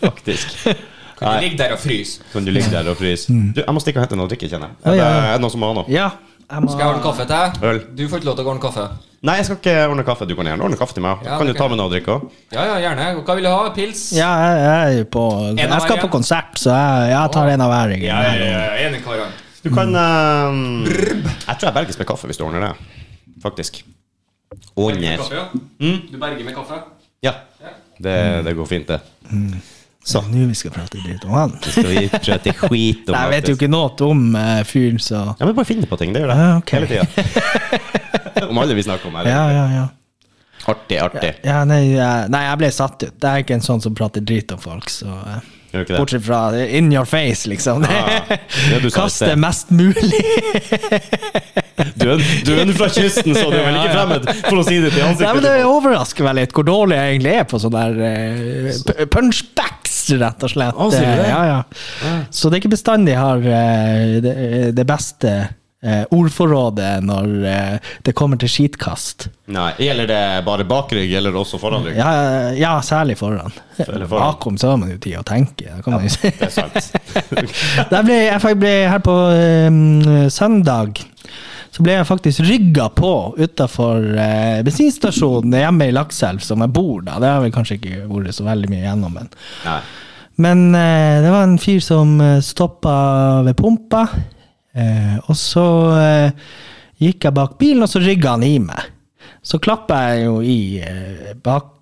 A: faktisk.
B: Kan du
A: Nei,
B: ligge der og fryse?
A: kan du ligge der og fryse? Du, jeg må stikke og hente noe å drikke, kjenner jeg. Er det
C: ja.
A: er det noen som må ha noe?
C: (laughs) ja. Jeg må,
B: Skal jeg ordne kaffe til deg?
A: Øl.
B: Du får ikke lov til å ordne kaffe.
A: Nei, jeg skal ikke ordne kaffe. Du kan gjerne ordne kaffe til meg.
B: Ja,
A: Kan du
B: det
A: ta
B: kan
A: med noe å drikke òg?
B: Ja, ja, gjerne. Hva vil du ha? Pils?
C: ja, jeg, jeg, er på,
B: En av
C: jeg skal
B: hver,
C: på
B: ja.
C: konsert, så jeg, jeg tar en av hver.
B: Ja, ja, ja, ja, enig, Karan.
A: Du kan eh, Jeg tror jeg berges med kaffe hvis du ordner det. Faktisk. Under.
B: Kaffe, ja. Du berger med kaffe?
A: Ja. Det, det går fint, det.
C: Så nå vi skal prate litt om han.
A: Skal vi prate skit om
C: (laughs) Nei, Jeg vet jo
A: Mattis?
C: ikke noe om eh, fyren, så
A: Ja, men bare finne på ting. Det gjør det
C: Ja, Ah, ok.
A: hele tida.
C: (laughs)
A: om alle vi snakker om her.
C: Ja, ja, ja.
A: Artig, artig.
C: ja nei, jeg, nei, jeg ble satt ut. Det er ikke en sånn som prater drit om folk, så eh,
A: Gjør du ikke det?
C: Bortsett fra in your face, liksom.
A: Ja, det du sa i
C: (laughs) Kaste
A: sted.
C: mest mulig. (laughs)
A: Du er, du er fra kysten, så du er vel ikke fremmed for å si det til
C: Nei, men det
A: ansiktet?
C: overrasker meg litt hvor dårlig jeg egentlig er på sånne der eh, p- punchbacks, rett og slett.
A: Å, sier du det?
C: Eh, Ja, ja. Så det er ikke bestandig jeg har eh, det, det beste eh, ordforrådet når eh, det kommer til skitkast.
A: Nei, Gjelder det bare bakrygg, eller også foranrygg?
C: Ja, ja særlig foran.
A: Særlig foran.
C: Bakom så har man jo tid å tenke. Da kan man jo si.
A: Det er sant.
C: Der ble, jeg fak- ble her på eh, søndag så ble jeg faktisk rygga på utafor uh, bensinstasjonen hjemme i Lakselv, som jeg bor da. Det har jeg vel kanskje ikke vært så veldig mye gjennom, men
A: Nei.
C: men eh, det var en fyr som eh, stoppa ved pumpa, eh, og så eh, gikk jeg bak bilen, og så rygga han i meg. Så klappa jeg jo i eh,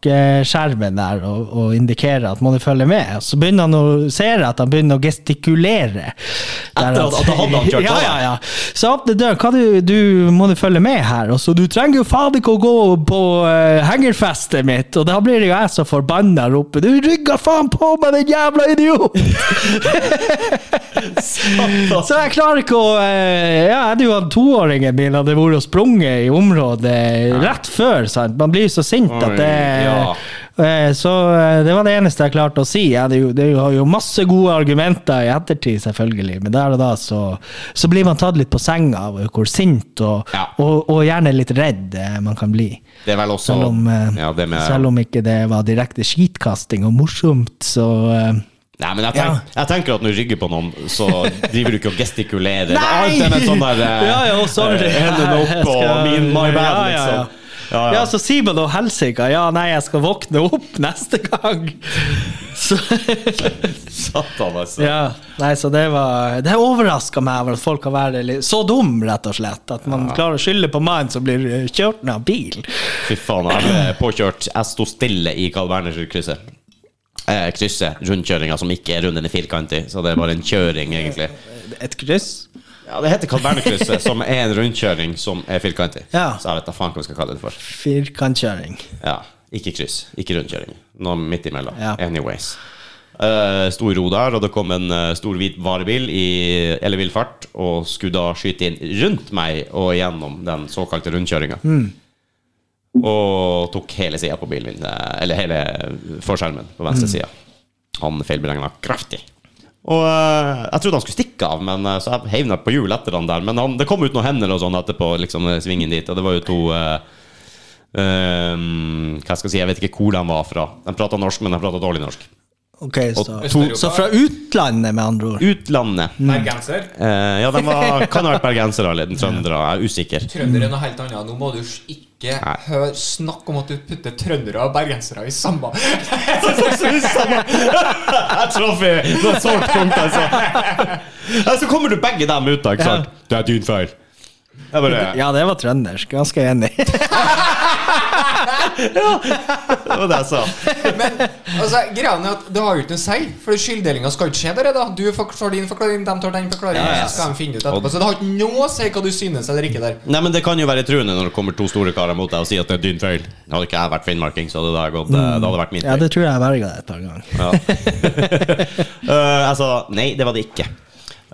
C: bakskjermen der og, og indikerer at må du følge med. Og så begynner han å, ser jeg at han begynner å gestikulere. Der
A: at- at han hadde kjørt
C: (laughs) ja,
A: av, da.
C: ja, ja. Så åpner døren. Hva du, du må du følge med her? Og så du trenger jo faen ikke å gå på eh, hengerfestet mitt! Og da blir jo jeg så forbanna og roper Du rygga faen på meg, den jævla
A: (laughs)
C: idiot! så jeg klarer ikke å eh, Ja, jeg hadde jo hatt toåringen min hadde vært og sprunget i området rett før, sant. Man blir jo så sint at det
A: Oi, ja.
C: Eh, Så eh, det var det eneste jeg klarte å si. Jeg hadde jo, det er jo- har jo masse gode argumenter i ettertid, selvfølgelig, men der og da så, så blir man tatt litt på senga av hvor sint og,
A: Ja.
C: og, og gjerne litt redd eh, man kan bli.
A: Det er vel også
C: Selv om, eh,
A: ja, det med,
C: selv om ikke det var direkte skitkasting og morsomt, så eh,
A: Nei, men jeg, tenk, jeg tenker at når du rygger på noen, så driver du ikke og gestikulerer. Det er
C: Nei!
A: alltid en sånn der eh,
C: Ja, ja, sorry.
A: eh, Hendene
C: Jeg
A: opp og
C: skal-
A: min, my bad,
C: Ja, ja, ja.
A: liksom. Ja,
C: Ja,
A: ja.
C: så sier man da helsike. Ja, nei, jeg skal våkne opp neste gang. (laughs) Så,
A: Satan, altså.
C: ja. Nei, så det var Det overraska meg over at folk kan være litt, så dum, rett og slett. At man klarer å skylde på mannen som blir eh, kjørt ned av bil.
A: Fy faen, jeg ble påkjørt. Jeg sto stille i Carl Berners krysset. Eh, krysset, rundkjøringa som ikke er rund, den er firkantig. Så det er bare en kjøring, egentlig.
C: Et kryss?
A: Ja, Ja, det heter Kalvernekrysset, som er en rundkjøring som er firkantig.
C: Ja.
A: Så jeg vet da faen hva vi skal kalle det for.
C: Firkantkjøring.
A: Ja, ikke kryss, ikke rundkjøring. Noe midt imellom.
C: Ja.
A: Anyways. Eh, stor ro der, og det kom en eh, stor hvit varebil i ellevill fart og skulle da skyte inn rundt meg og gjennom den såkalte rundkjøringa. Og tok hele sida på bilen min, eh, eller hele forskjermen på venstre sida. Han feilberegna kraftig. Og eh, jeg trodde han skulle stikke av, men eh, så jeg heiv meg på hjul etter han der. Men han, det kom ut noen hender og sånn etterpå, liksom eh, svingen dit, og det var jo to eh, Ehm, hva skal jeg si, jeg vet ikke hvor de var fra. De prata norsk, men de prata dårlig norsk.
C: Ok, så.
A: Og
B: to-
C: så fra utlandet, med andre ord.
A: Utlandet.
B: Bergenser.
A: Eh, ja, de var kan ha vært bergensere eller trøndere, jeg er
B: (laughs)
A: usikker. (laughs)
B: Trøndere er noe helt annet. Nå må du s- ikke
A: Nei.
B: høre snakk om at du putter trøndere og bergensere i samme (laughs)
A: (laughs) Jeg traff i noen sårt punkt, altså. Ja, så kommer du begge dem ut, da, ikke sant? Det er din feil. Jeg bare,
C: Ja, det var trøndersk. Ganske enig.
A: det var det jeg sa.
B: Men altså, greia er at det har jo ikke noe å si, for skylddelinga skal jo ikke skje der. da Du forklarer din forklaring, de tar den forklaringen,
A: Ja, ja.
B: så skal de finne ut etterpå. Så det har ikke noe å si hva du synes eller ikke der.
A: Nei, men Det kan jo være truende når det kommer to store karer mot deg og sier at det er din feil. Hadde ikke jeg vært finnmarking, så hadde det, gått, eh, det hadde vært min
C: Mm. Ja,
A: feil.
C: det tror jeg jeg verga deg et par ganger.
A: Ja. (laughs) Eh, jeg sa nei, det var det ikke.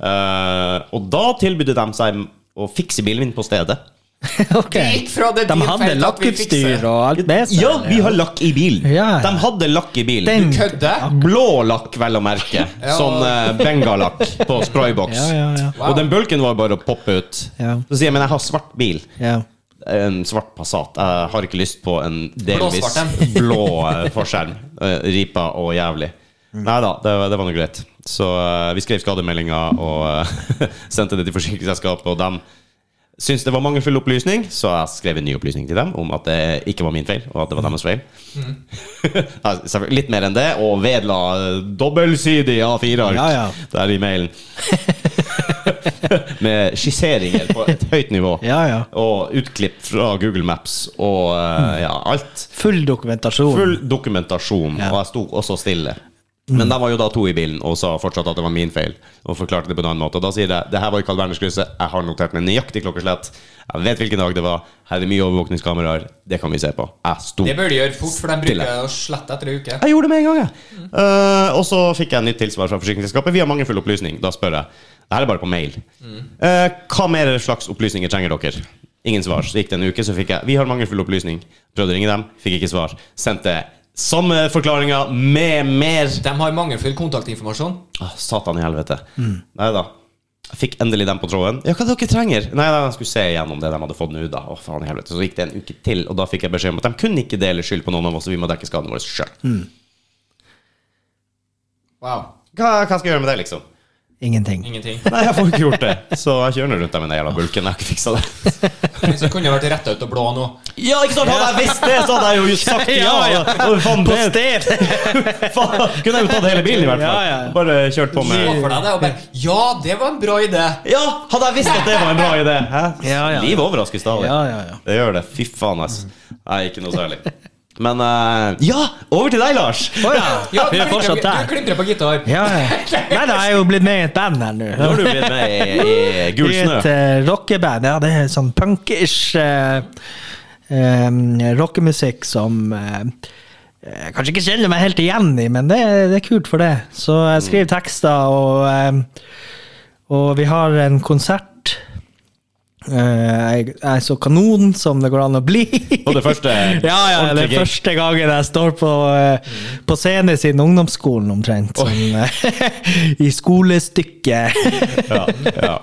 A: Eh, og da tilbød de seg å fikse bilen min på stedet.
C: (laughs) Ok.
B: Det gikk fra det
C: De
B: din
C: hadde
B: feil til at vi fikser.
C: lakkeutstyr og alt med seg.
A: Ja,
C: eller?
A: vi har lakk i bilen!
C: Ja.
A: De hadde lakk i bilen.
C: Den-
B: Kødder?
A: Blå lakk, vel å
C: (laughs)
A: merke.
B: Ja.
A: Sånn eh, bengalakk på sprayboks.
C: Ja, ja, ja.
B: Wow.
A: Og den bulken var bare å poppe ut.
C: Ja.
A: Så sier jeg, men jeg har svart bil.
C: ja.
A: En svart Passat. Jeg har ikke lyst på en delvis (laughs)
B: Blåsvart
A: blå eh, forskjerm. Eh, ripa og jævlig.
C: Mm.
A: Nei da, det, var- det var nå greit. Så eh, vi skrev skademeldinga og eh, (laughs) sendte det til forsikringsselskapet, og dem syntes det var mangelfull opplysning, så jeg skrev en ny opplysning til dem om at det ikke var min feil, og at det var deres feil.
C: Mm.
A: (laughs) Ja, selvfølgelig Litt mer enn det, og vedla eh, dobbeltsidig A4-ark
C: Ja, ja.
A: der i
C: (laughs)
A: mailen. (laughs) Med skisseringer på et høyt nivå.
C: Ja, ja.
A: Og utklipp fra Google Maps og eh, ja, alt.
C: Full dokumentasjon.
A: Full dokumentasjon, og jeg sto også stille. Men der var jo da to i bilen og sa fortsatt at det var min feil. Og forklarte det på en annen måte. Og da sier jeg det her var i Carl Berners krysset, jeg har notert meg nøyaktig klokkeslett. Jeg vet hvilken dag det var. Her er mye overvåkningskameraer. Det kan vi se på. Jeg sto
B: Det bør de gjøre fort, for de
A: Stille.
B: bruker å slette etter ei uke.
A: jeg gjorde det med en gang, jeg. Eh, og så fikk jeg nytt tilsvar fra forsikringsselskapet. Vi har mangelfull opplysning. Da spør jeg. Det her er bare på mail. Eh, hva mer slags opplysninger trenger dere? Ingen svar. Så gikk det en uke, så fikk jeg Vi har mangelfull opplysning. Prøvde å ringe dem, fikk ikke svar. Sendte samme forklaringa med mer
B: De har mangelfull kontaktinformasjon.
A: Ah, Satan i helvete. Nei da. Jeg fikk endelig dem på tråden. Ja, hva dere trenger? Nei, nei, jeg skulle se igjennom det de hadde fått nå, da. Å, faen i helvete. Så gikk det en uke til, og da fikk jeg beskjed om at de kunne ikke dele skyld på noen av oss, så vi må dekke skadene våre sjøl.
B: Wow.
A: Hva, hva skal jeg gjøre med det, liksom?
C: (laughs) Ingenting.
B: Ingenting. (laughs)
A: Nei, jeg får ikke gjort det. Så jeg kjører nå rundt der med den jævla bulken. Jeg har ikke fiksa det.
B: Men så kunne det vært retta ut og blå nå.
A: Ja, ikke sant? Hadde jeg visst det, så hadde jeg jo sagt (laughs) ja. Og faen,
C: På
A: det,
C: stedet!
A: faen, kunne jeg jo tatt hele bilen, i hvert fall.
C: Ja, ja.
A: Bare kjørt på
B: Se
A: med
B: for deg det, og bare Ja, det var en bra idé!
A: Ja, hadde jeg visst at det var en bra idé! Hæ?
C: Ja, ja.
A: Livet overrasker stadig.
C: Ja, ja, ja.
A: Det gjør det. Fy faen, ass. Nei, ikke noe særlig. Men eh, Ja! Over til deg, Lars!
C: (laughs) Å ja.
B: Ja, du
C: Vi er
B: klimprer-
C: fortsatt
B: Du
C: der.
B: klimprer på gitar.
C: Ja, ja. Nei, da, jeg er jo blitt med i et band her nå.
A: Nå har du blitt med i, i Gul
C: I
A: snø.
C: et eh, rockeband. Ja, det er sånn punkish eh, eh, rockemusikk som eh, jeg kanskje ikke kjenner meg helt igjen i, men det, er- det er kult for det. Så jeg
A: Mm.
C: skriver tekster, og, eh, og vi har en konsert. Eh, jeg jeg er så kanon som det går an å bli.
A: Og det første
C: (laughs) ja, ja, det
A: ordentlige
C: er første gangen jeg står på, eh, på scenen siden ungdomsskolen, omtrent. Sånn, eh, (laughs) I skolestykket.
A: Ja, ja.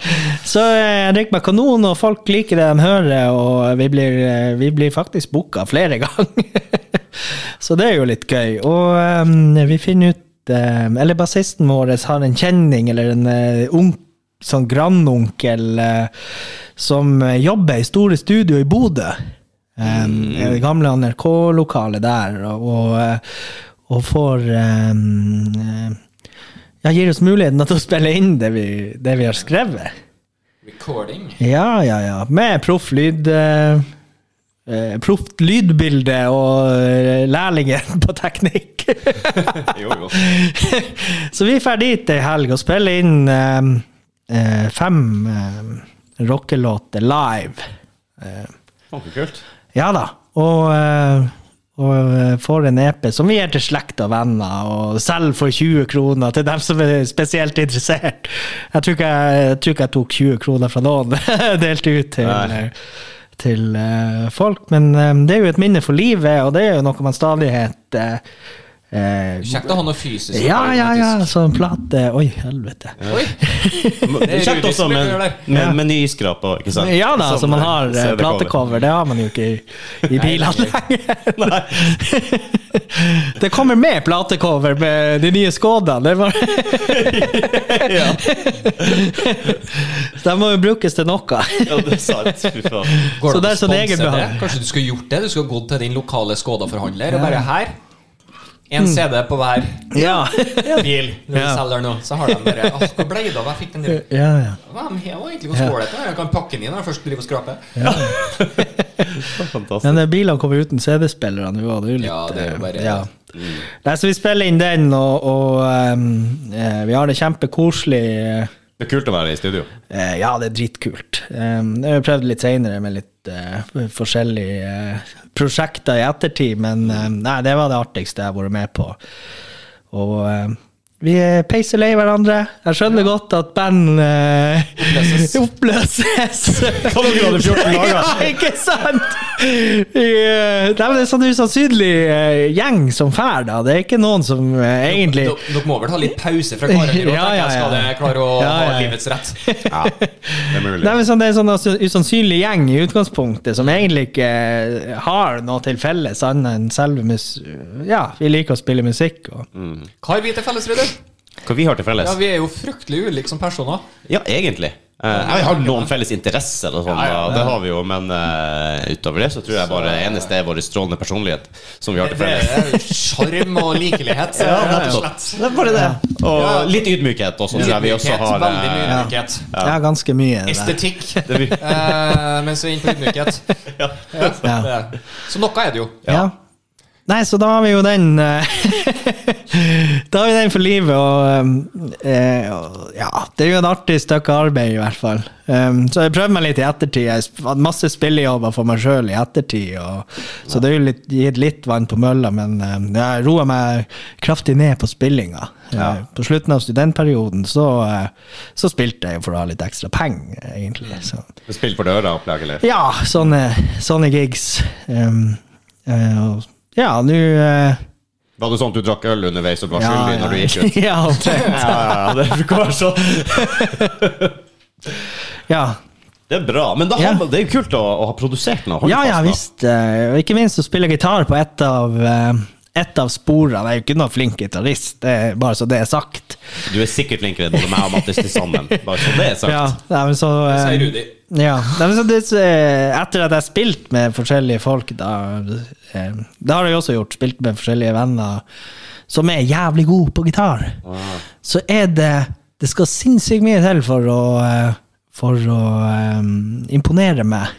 C: Så eh, jeg drikker meg kanon, og folk liker det de hører, og vi blir, eh, vi blir faktisk booka flere (laughs) ganger. Så det er jo litt gøy. Og eh, vi finner ut eh, Eller bassisten vår har en kjenning eller en eh, ung- sånn grandonkel eh, som eh, jobber i store studio i Bodø. Eh, i Det gamle NRK-lokalet der, og, og, eh, og får eh, eh, ja, gir oss muligheten til å spille inn det vi, det vi har skrevet.
B: Recording.
C: Ja, ja, ja. Med proff lyd eh, eh, Proft lydbilde og eh, lærlingen på teknikk. (laughs)
A: Jo, jo.
C: Så vi drar dit ei helg og spiller inn eh, eh, fem eh, rockelåter live. Eh,
A: Faen, så kult.
C: ja da. Og, eh, og eh, får en EP som vi gir til slekt og venner, og selger for 20 kroner til dem som er spesielt interessert. Jeg tror ikke jeg, jeg, tror ikke jeg tok 20 kroner fra noen, (laughs) delte ut til, eh,
A: Nei.
C: til eh, folk. Men eh, det er jo et minne for livet, og det er jo noe man stadig het
B: Kjekt å ha noe fysisk.
C: ja, ja, ja, sånn plate Oi, helvete.
B: Oi. er
A: Kjekt også med,
B: Rudis-spillere der.
A: med, med nyskraper, ikke sant?
C: Ja da,
A: Som,
C: så man
A: eh,
C: har eh,
A: CD-cover.
C: platecover. Det har man jo ikke i, i bilene lenger.
A: Nei.
C: (laughs) Det kommer med platecover med de nye Skoda. Det var
A: ja.
C: (laughs) De må jo brukes til noe.
A: ja, (laughs) det er sant. Fy faen.
B: Går
C: Så
B: det an
C: det
B: å
C: er sånn
B: sponse det?
C: egenbehandling.
B: Kanskje du skulle gjort det? Du skulle gått til din lokale Skoda-forhandler og bare her. En CD på hver
C: Mm. Ja.
B: bil når du
C: Ja.
B: selger nå. Så har de bare Åh, hvor ble det av? Jeg fikk den der.
C: ja, ja.
B: Hva er det her? egentlig hvor skålete? Jeg kan pakke den inn når jeg først driver og skraper.
A: Fantastisk.
C: Men eh, bilene kommer uten CD-spillere nå, og det er jo litt
B: Ja, det er jo bare-
C: eh, ja. Nei, så vi spiller inn den, og, og ehm, eh, vi har det kjempekoselig. eh,
A: Det er kult å være i studio.
C: Eh, ja, det er dritkult. Um, jeg har prøvd litt seinere med litt eh, forskjellige eh, prosjekter i ettertid, men eh, nei, det var det artigste jeg har vært med på. Og eh, vi eh, peiser lei hverandre. Jeg skjønner godt at band eh,
B: Oppløses.
C: (laughs) oppløses.
A: Hva om vi hadde 14 dager?
C: (laughs) Ja, ikke sant? Vi, eh, nei, men det er sånn usannsynlig eh, gjeng som fær, da. Det er ikke noen som eh, egentlig
B: Dere dere må vel ta litt pause fra hverandre? og
C: Ja,
B: tenke,
C: ja,
B: Skal
C: ja.
B: det klare å
C: Ja, ja,
B: ha
C: ja.
B: livets rett?
A: Ja, det er mulig.
C: (laughs) Nei, men sånn, det er en sånn us- usannsynlig gjeng i utgangspunktet, som egentlig ikke eh, har noe til felles annet enn selve mus... Ja, vi liker å spille musikk. Og.
B: Hva har vi til felles, Rydder?
A: Hva vi har til felles?
B: Ja,
A: Ja,
B: vi er jo fryktelig ulike som personer.
A: egentlig. Eh, jeg har noen felles interesser, og sånn, og det har vi jo, men eh, utover det så tror jeg bare det eneste er vår strålende personlighet som vi har til
B: Det
A: felles.
B: er jo Sjarm og likelighet.
A: Ja,
B: rett
A: nettopp.
B: og slett.
A: Det er bare det.
B: Ja.
A: Og litt ydmykhet også, tror jeg vi også
B: Ydmykhet,
A: har.
B: Veldig mye
A: eh,
B: ydmykhet.
C: Ja. ganske mye. det der.
B: Estetikk.
A: Det er mye.
B: Eh, mens vi er inne på ydmykhet.
A: eh, Ja.
C: Ja.
B: Det er- Så noe er det jo.
C: Ja. Nei, så da har vi jo den (laughs) eh, Da har vi den for livet, og um, eh, og, Ja, det er jo et artig stykke arbeid, i hvert fall. Um, så jeg prøvde meg litt i ettertid. Jeg sp- hadde masse spillejobber for meg sjøl i ettertid, og, så det er jo litt, gitt litt vann på mølla, men um, jeg roa meg kraftig ned på spillinga. Eh, på slutten av studentperioden så, eh, så spilte jeg jo for å ha litt ekstra penger, egentlig. Så.
A: Spill for døra, opplegg, eller?
C: Ja, sånne, sånne gigs. Um, eh, og, ja, nå eh,
A: Var det sånn at du drakk øl underveis og du var
C: ja,
A: skyldig når du gikk ut?
C: (laughs) ja, omtrent.
A: Ja, ja, ja, det går sånn.
C: Ja,
A: Det er bra. Men da
C: Ja.
A: har, man- det er jo kult å, å ha produsert noe. Hold
C: ja, ja
A: fast, da.
C: visst. eh, Og ikke minst å spille gitar på ett av, eh, ett av sporene. Jeg er jo ikke noen flink gitarist, det er bare så det er sagt.
A: Du er sikkert flinkere enn både meg og Mattis til sammen. Bare så det er sagt.
C: (laughs) Ja, nei, men så, eh,
B: sier Rudi.
C: Ja, nei, men så det, eh, etter at jeg har spilt med forskjellige folk, da eh, Det har jeg også gjort, spilt med forskjellige venner som er jævlig gode på gitar. Så er det Det skal sinnssykt mye til for å eh, for å eh, imponere meg.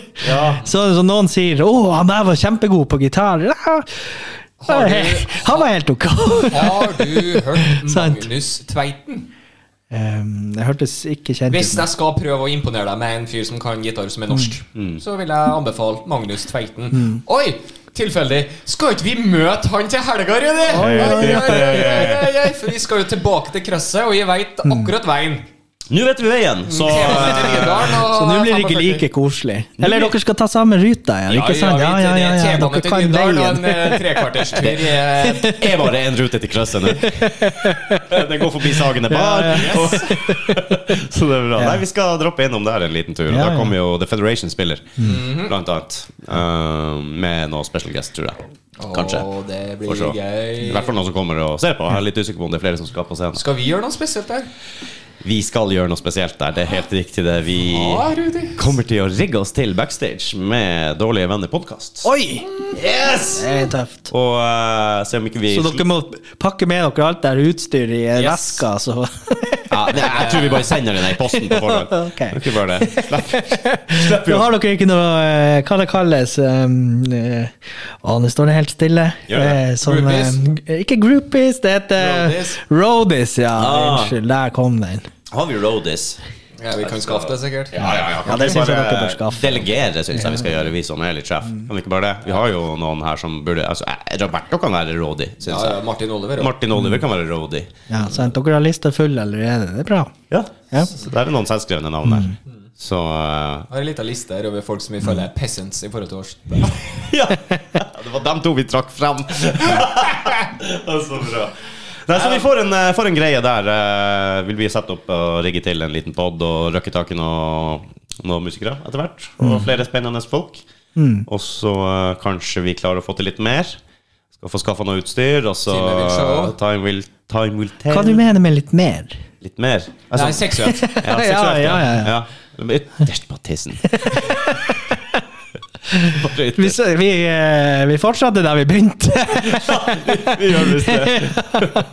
C: (laughs) så, så noen sier 'Å, han der var kjempegod på gitar'. Ja,
B: Har du-
C: han var helt ok.
B: Har du hørt
C: (laughs) Sant.
B: Magnus Tveiten?
C: Eh, det hørtes ikke kjent
B: Hvis
C: ut.
B: jeg skal prøve å imponere deg med en fyr som kan gitar som er norsk,
C: Mm.
B: så vil jeg anbefale Magnus Tveiten. Oi! Tilfeldig. Skal ikke vi møte han til helga, Rudi? Oi, oi, oi, oi, oi, For vi skal jo tilbake til krøsset, og jeg veit akkurat veien.
A: Nå vet vi veien, så
C: Så nå blir det ikke like koselig. Eller dere skal ta samme ruta, ja. Ikke sant? Ja, ja, ja, ja,
B: T-banen
C: Dere
B: til
C: kan
B: Nydalen og en
C: veien.
B: eh, trekvarterstur i eh,
A: (laughs) det er bare én rute til krysset nå. Den går forbi Sagene bar.
C: Ja,
A: og- (laughs) Så det er bra. Nei, vi skal droppe innom der en liten tur. og
C: Ja,
A: Da
C: ja.
A: kommer jo The Federation spiller,
B: Mhm.
A: blant annet. Uh, med noe special guest, tror jeg. Kanskje.
B: Å, det
A: Får se.
B: blir gøy.
A: I hvert fall noen som kommer og ser på. Jeg er litt usikker på om det er flere som skal på scenen.
B: Skal vi gjøre noe spesielt der?
A: Vi skal gjøre noe spesielt der. Det er helt riktig, det. Vi
B: Ja, Rudi.
A: kommer til å rigge oss til backstage med Dårlige venner podkast.
C: Oi!
A: Yes!
C: Det er tøft.
A: Og eh, se om ikke vi
C: Så dere må pakke med dere alt der utstyr i eh,
B: Yes.
C: veska, så
A: (laughs) ja, det, Jeg tror vi bare sender den i posten på forhånd.
C: (laughs) Ok.
A: Ikke bare det. Slipp, slipp
C: Da
A: jo.
C: har dere ikke noe eh, Hva det kalles um, eh, Å, nå står det helt stille.
A: Gjør det.
C: Eh, Sånn, eh,
B: Groupies?
C: ikke groupies, det heter
B: Roadies.
C: Roadies, ja.
A: Ah.
C: Unnskyld, der kom den.
A: Har vi roadies?
B: Ja, vi kan skaffe det, sikkert.
A: Ja, ja, ja.
C: Ja, det
A: vi
C: synes jeg
A: bare
C: dere bør skaffe.
A: Delegere syns jeg vi skal gjøre, vi som er litt sjef.
C: Mm.
A: Kan vi ikke bare det? Vi har jo noen her som burde altså, eh, Roberto kan være roadie, syns
B: Ja, ja,
A: jeg.
B: Martin Oliver også.
A: Martin Oliver kan være roadie.
C: Ja, sant? Dere har lista full allerede. Det er bra.
A: Ja.
C: Ja. Mm.
A: Så der er noen selvskrevne navn her. Så eh,
B: Jeg har en liten liste her over folk som vi føler er peasants i forhold til oss.
A: (laughs) Ja! Det var dem to vi trakk (laughs) fram. så bra. Nei, så vi får en, eh, får en greie der. eh, Vil vi sette opp og rigge til en liten pod og røkke tak i noen noen musikere etter hvert? Og
C: Mm.
A: flere spennende folk. Og så eh, kanskje vi klarer å få til litt mer. Skal få skaffa noe utstyr, og så
B: Time will show.
A: eh, Time will, time will tell.
C: Hva du mener med litt mer?
A: Litt mer. Altså,
B: Nei,
A: (laughs)
B: seksuelt.
A: ja,
C: (laughs) Ja,
A: seksuelt,
C: ja, ja, ja.
A: Ja. Ytterst på tissen.
C: (laughs)
A: Bare ytterst.
C: Vi, s- vi, eh, vi fortsatte der vi begynte.
A: Vi gjør visst det.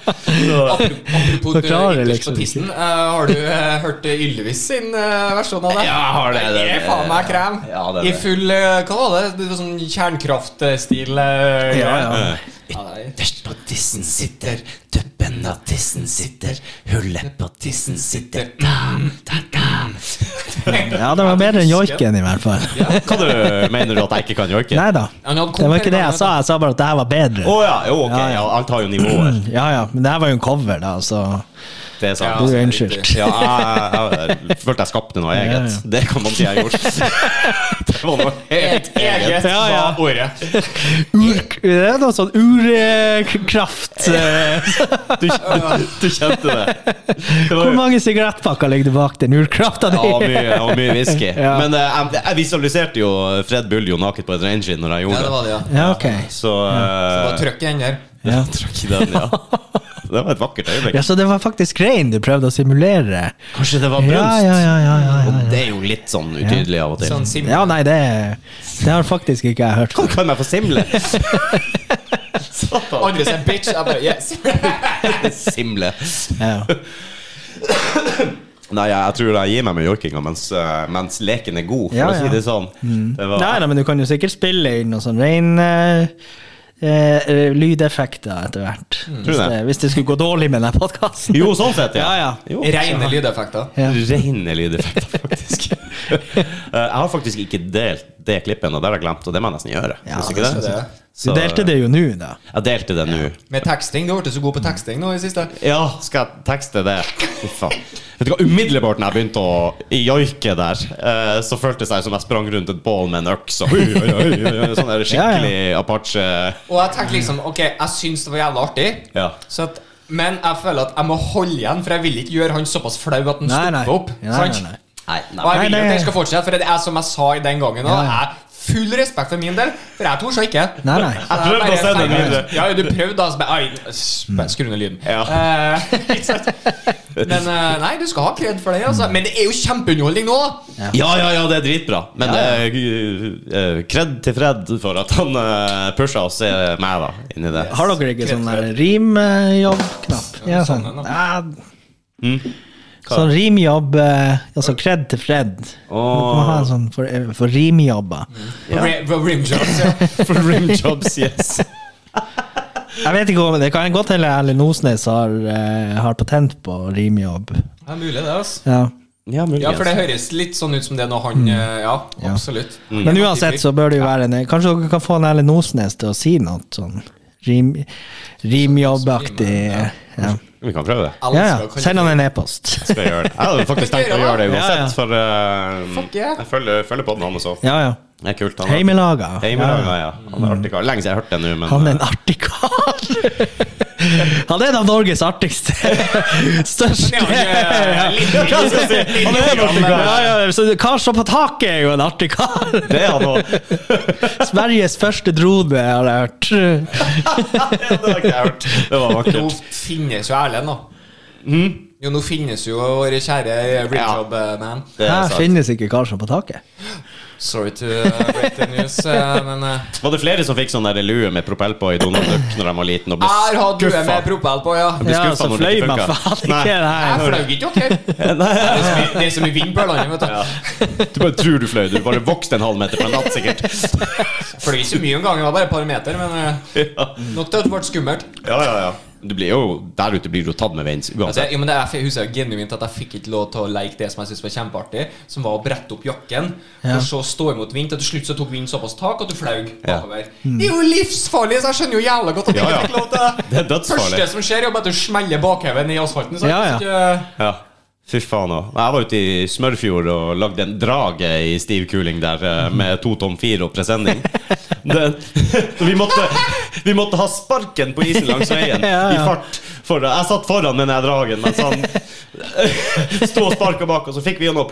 B: Apropos det
C: Forklarer
B: ytterst
C: liksom
B: på tissen. eh, har du eh, hørt Ylvis sin eh, versjon av det?
A: Ja, jeg har det, det-
B: Det er faen meg krem.
A: Ja, det er
B: I
A: det.
B: full eh, Hva var det? det var sånn kjernkraftstil. eh,
C: Ja, ja.
B: Nei.
A: Ytterst på tissen sitter, tuppen av tissen sitter, hullet på tissen sitter tam, tam, tam.
C: Ja, det var bedre enn joiken, i hvert fall.
A: Hva du, mener du at jeg ikke kan joike?
C: Nei da.
B: Han hadde
C: Det var ikke det
B: kommet-
C: jeg sa, jeg sa bare at det her var
A: Å
C: bedre.
A: ja, jo ok, ja, alt har jo nivåer.
C: Ja ja, men det her var jo en cover, da, så
A: Det er
C: du
A: sant.
C: er
B: det er
C: unnskyldt.
B: riktig.
A: Ja, jeg, jeg, jeg følte jeg skapte noe
C: Ja,
A: eget.
C: ja.
A: Det kan man si jeg (laughs) gjorde. Det var noe helt eget.
C: Ja, ja.
A: var ordet.
C: Ur, det er noe sånn urkraft
A: Du, du, du kjente det. det var
C: Hvor
A: jo-
C: mange sigarettpakker ligger det bak den urkrafta
A: Ja,
C: di?
A: mye, og mye whisky.
C: Ja.
A: Men eh, jeg, jeg visualiserte jo Fred Buljo naken på et reinskinn når jeg
B: Ja,
A: gjorde
B: det var det, ja.
C: Ja, ok.
A: Så
B: Bare
A: eh,
B: trykk i den der.
C: Ja.
A: trakk i den, ja. Det var et vakkert øyeblikk.
C: ja, Så det var faktisk rein du prøvde å simulere?
A: Kanskje det var
C: Ja, ja, ja. ja, ja, ja,
A: Og
C: ja.
A: det er jo litt sånn utydelig av og til.
B: Sånn sim
C: Ja, nei, det, det har faktisk ikke jeg
A: (laughs)
C: hørt.
A: Kan- Kan jeg få
C: (laughs)
A: simle? Satan.
B: Andre sier bitch. Jeg bare
C: (laughs)
B: yes.
A: (laughs) simle.
C: Ja.
A: Nei, jeg, jeg tror jeg gir meg med joikinga mens, eh, mens leken er god, for å
C: Ja, ja. Mm.
A: si det sånn. Det var,
C: Nei, nei, men du kan jo sikkert spille inn noen sånn rein eh, eh, lydeffekter etter hvert.
A: Mm. Tror du
C: Hvis,
A: det?
C: det, hvis det skulle gå dårlig med den podkasten.
A: Jo, sånn sett, ja.
C: Ja, ja.
A: Jo,
B: Reine lydeffekter.
C: Ja.
A: Rene lydeffekter,
C: (laughs)
A: faktisk. Eh, jeg har faktisk ikke delt det klippet, og det har jeg glemt, og det må jeg nesten gjøre.
C: Ja,
A: Husker ikke
B: det er
C: Du
A: Så- eh,
C: delte det jo nå, da.
A: Jeg delte det nå.
B: Med teksting. Du har blitt så god på teksting nå i det siste.
A: Ja, skal jeg tekste det? Fy faen. Vet du hva, Umiddelbart når jeg begynte å joike der, eh, så føltes det som jeg sprang rundt et bål med en øks. Og, oi, oi, oi, oi, oi, sånn der skikkelig apache
B: Og jeg tenkte liksom Ok, jeg syns det var jævla artig.
A: Ja.
B: Så at, men jeg føler at jeg må holde igjen, for jeg vil ikke gjøre han såpass flau at han
C: Nei, nei.
B: stopper opp.
C: Nei, nei,
B: sant?
C: nei.
A: Nei, nei.
B: Og jeg vil
C: Nei,
B: jo
C: det-
B: at den skal fortsette, for det er som jeg sa i den gangen òg.
C: Ja.
B: Full respekt for min del, for jeg torde ikke.
C: Nei, nei.
B: Så
A: Jeg prøvde
B: bare
A: å sende
B: stenger
A: den
B: ut.
A: videre.
B: Ja, du prøvde, altså. men, Ai, s-
C: Mm.
B: bare skru ned lyden.
A: Ja.
B: Eh, (laughs) ikke sant? men eh, nei, du skal ha kred for det. Altså. Men det er jo kjempeunderholdning nå, da!
A: Ja, ja, ja, det er dritbra. Men eh, kred til Fred for at han uh, pusha oss eh, meg, da, inni det.
C: Har dere ikke sånn der
B: Kreftfred.
C: rimjobb-knapp? Ja, sånn.
B: sånn,
C: Ja.
A: Mm.
C: Sånn rimjobb eh, Altså kred til Fred. Du må ha en (laughs) sånn for, eh, for rimjobber.
A: Ja.
B: Ri- Rimjobs,
C: (laughs)
B: ja.
A: For rimjobs, yes.
C: Jeg vet ikke om Det kan godt hende Erlend Osnes har, eh, har patent på rimjobb.
B: Det er mulig, det. altså
C: Ja.
A: Ja, muligens.
B: Ja, for det høres litt sånn ut som det når han eh, Ja,
C: Mm. Ja.
B: absolutt.
A: Mm.
C: Men uansett så bør det jo være en Kanskje dere kan få en Erlend Osnes til å si noe sånn rim, rimjobbaktig eh, ja.
A: Vi kan prøve det.
B: Jeg
C: ja,
B: elsker å
C: ja.
B: kalle
C: Send han
B: det-
C: en e-post.
A: (laughs) Skal jeg gjøre det? Jeg hadde faktisk tenkt å gjøre det
C: Ja, ja.
A: uansett, for eh,
B: Fuck yeah.
A: jeg følger, følger på den hans òg.
C: (laughs) Ja, ja.
A: Det er kult. Han er-
C: Heimelaga.
A: Heimelaga, Ah, ja. Han er artig kar. Lenge siden jeg har hørt det nå, men
C: Han er
A: eh,
C: en artig kar!
A: (laughs)
C: Han er en av Norges artigste. Største
B: Ja,
A: eh,
B: ja, ja. Litt-
C: Ja, hva skal jeg si?
B: litt-
C: Han er en artig kar.
B: Ja,
C: Ja, ja, så Kar står på taket er jo en artig kar.
A: det er han òg.
C: (laughs) Sveriges første drone, har jeg
A: (laughs)
C: hørt.
A: Det har jeg ikke hørt. Det var
B: Nå
A: vakkert.
B: finnes jo Erlend, da.
A: Mm.
B: Jo, nå finnes jo vår kjære Rimjob-man.
A: Det er
C: Her
A: sant.
C: finnes ikke kar som på taket.
B: Sorry to uh, break the news, eh, men eh,
A: Var det flere som fikk sånn der lue med propell på i Donald Duck når de var liten og ble
B: Jeg har hatt due
A: skuffa?
B: med propell på, ja.
A: blir
C: Ja,
A: skuffet
C: så
A: når det
C: fløy
A: ikke
C: man
A: funker.
C: faen
A: Nei.
C: ikke.
B: Jeg
C: Nei.
B: fløy ikke, dere. Det
A: altså,
B: er så mye- det er så mye vind på landet, vet du.
A: Du bare tror du fløy. Du bare vokste en halv meter på en natt, sikkert.
B: (laughs) Fløy ikke så mye en gang, det var bare et par meter, men eh,
A: Ja,
B: nok til at det ble skummelt.
A: ja, ja. ja. Du blir jo, der ute blir du jo tatt med veien
B: Altså,
A: uansett.
B: jo, men det, jeg husker jo genuint at jeg fikk ikke lov til å leke det som jeg syntes var kjempeartig, som var å brette opp jakken, for så å stå imot vind. Til slutt så tok vinden såpass tak at du flaug
A: Ja.
B: bakover.
C: Mm.
B: Det er jo livsfarlig, så jeg skjønner jo jævla godt at jeg
A: Ja, ja.
B: ikke fikk lov til det.
A: Det er dødsfarlig.
B: første som skjer, er jo bare at du smeller bakheven i asfalten. Så eh,
C: Ja, ja.
B: jeg synes ikke-
A: Ja. Fy faen òg. Jeg var ute i Smørfjord og lagde en drage i stiv kuling der eh, med to tom fire og
C: (laughs)
A: presenning. Det, (laughs) så vi måtte, vi måtte ha sparken på isen langs veien
C: (laughs) Ja,
A: i
C: ja.
A: fart. For, jeg satt foran med den her dragen mens han (laughs) sto og sparka bak, og så fikk vi han opp.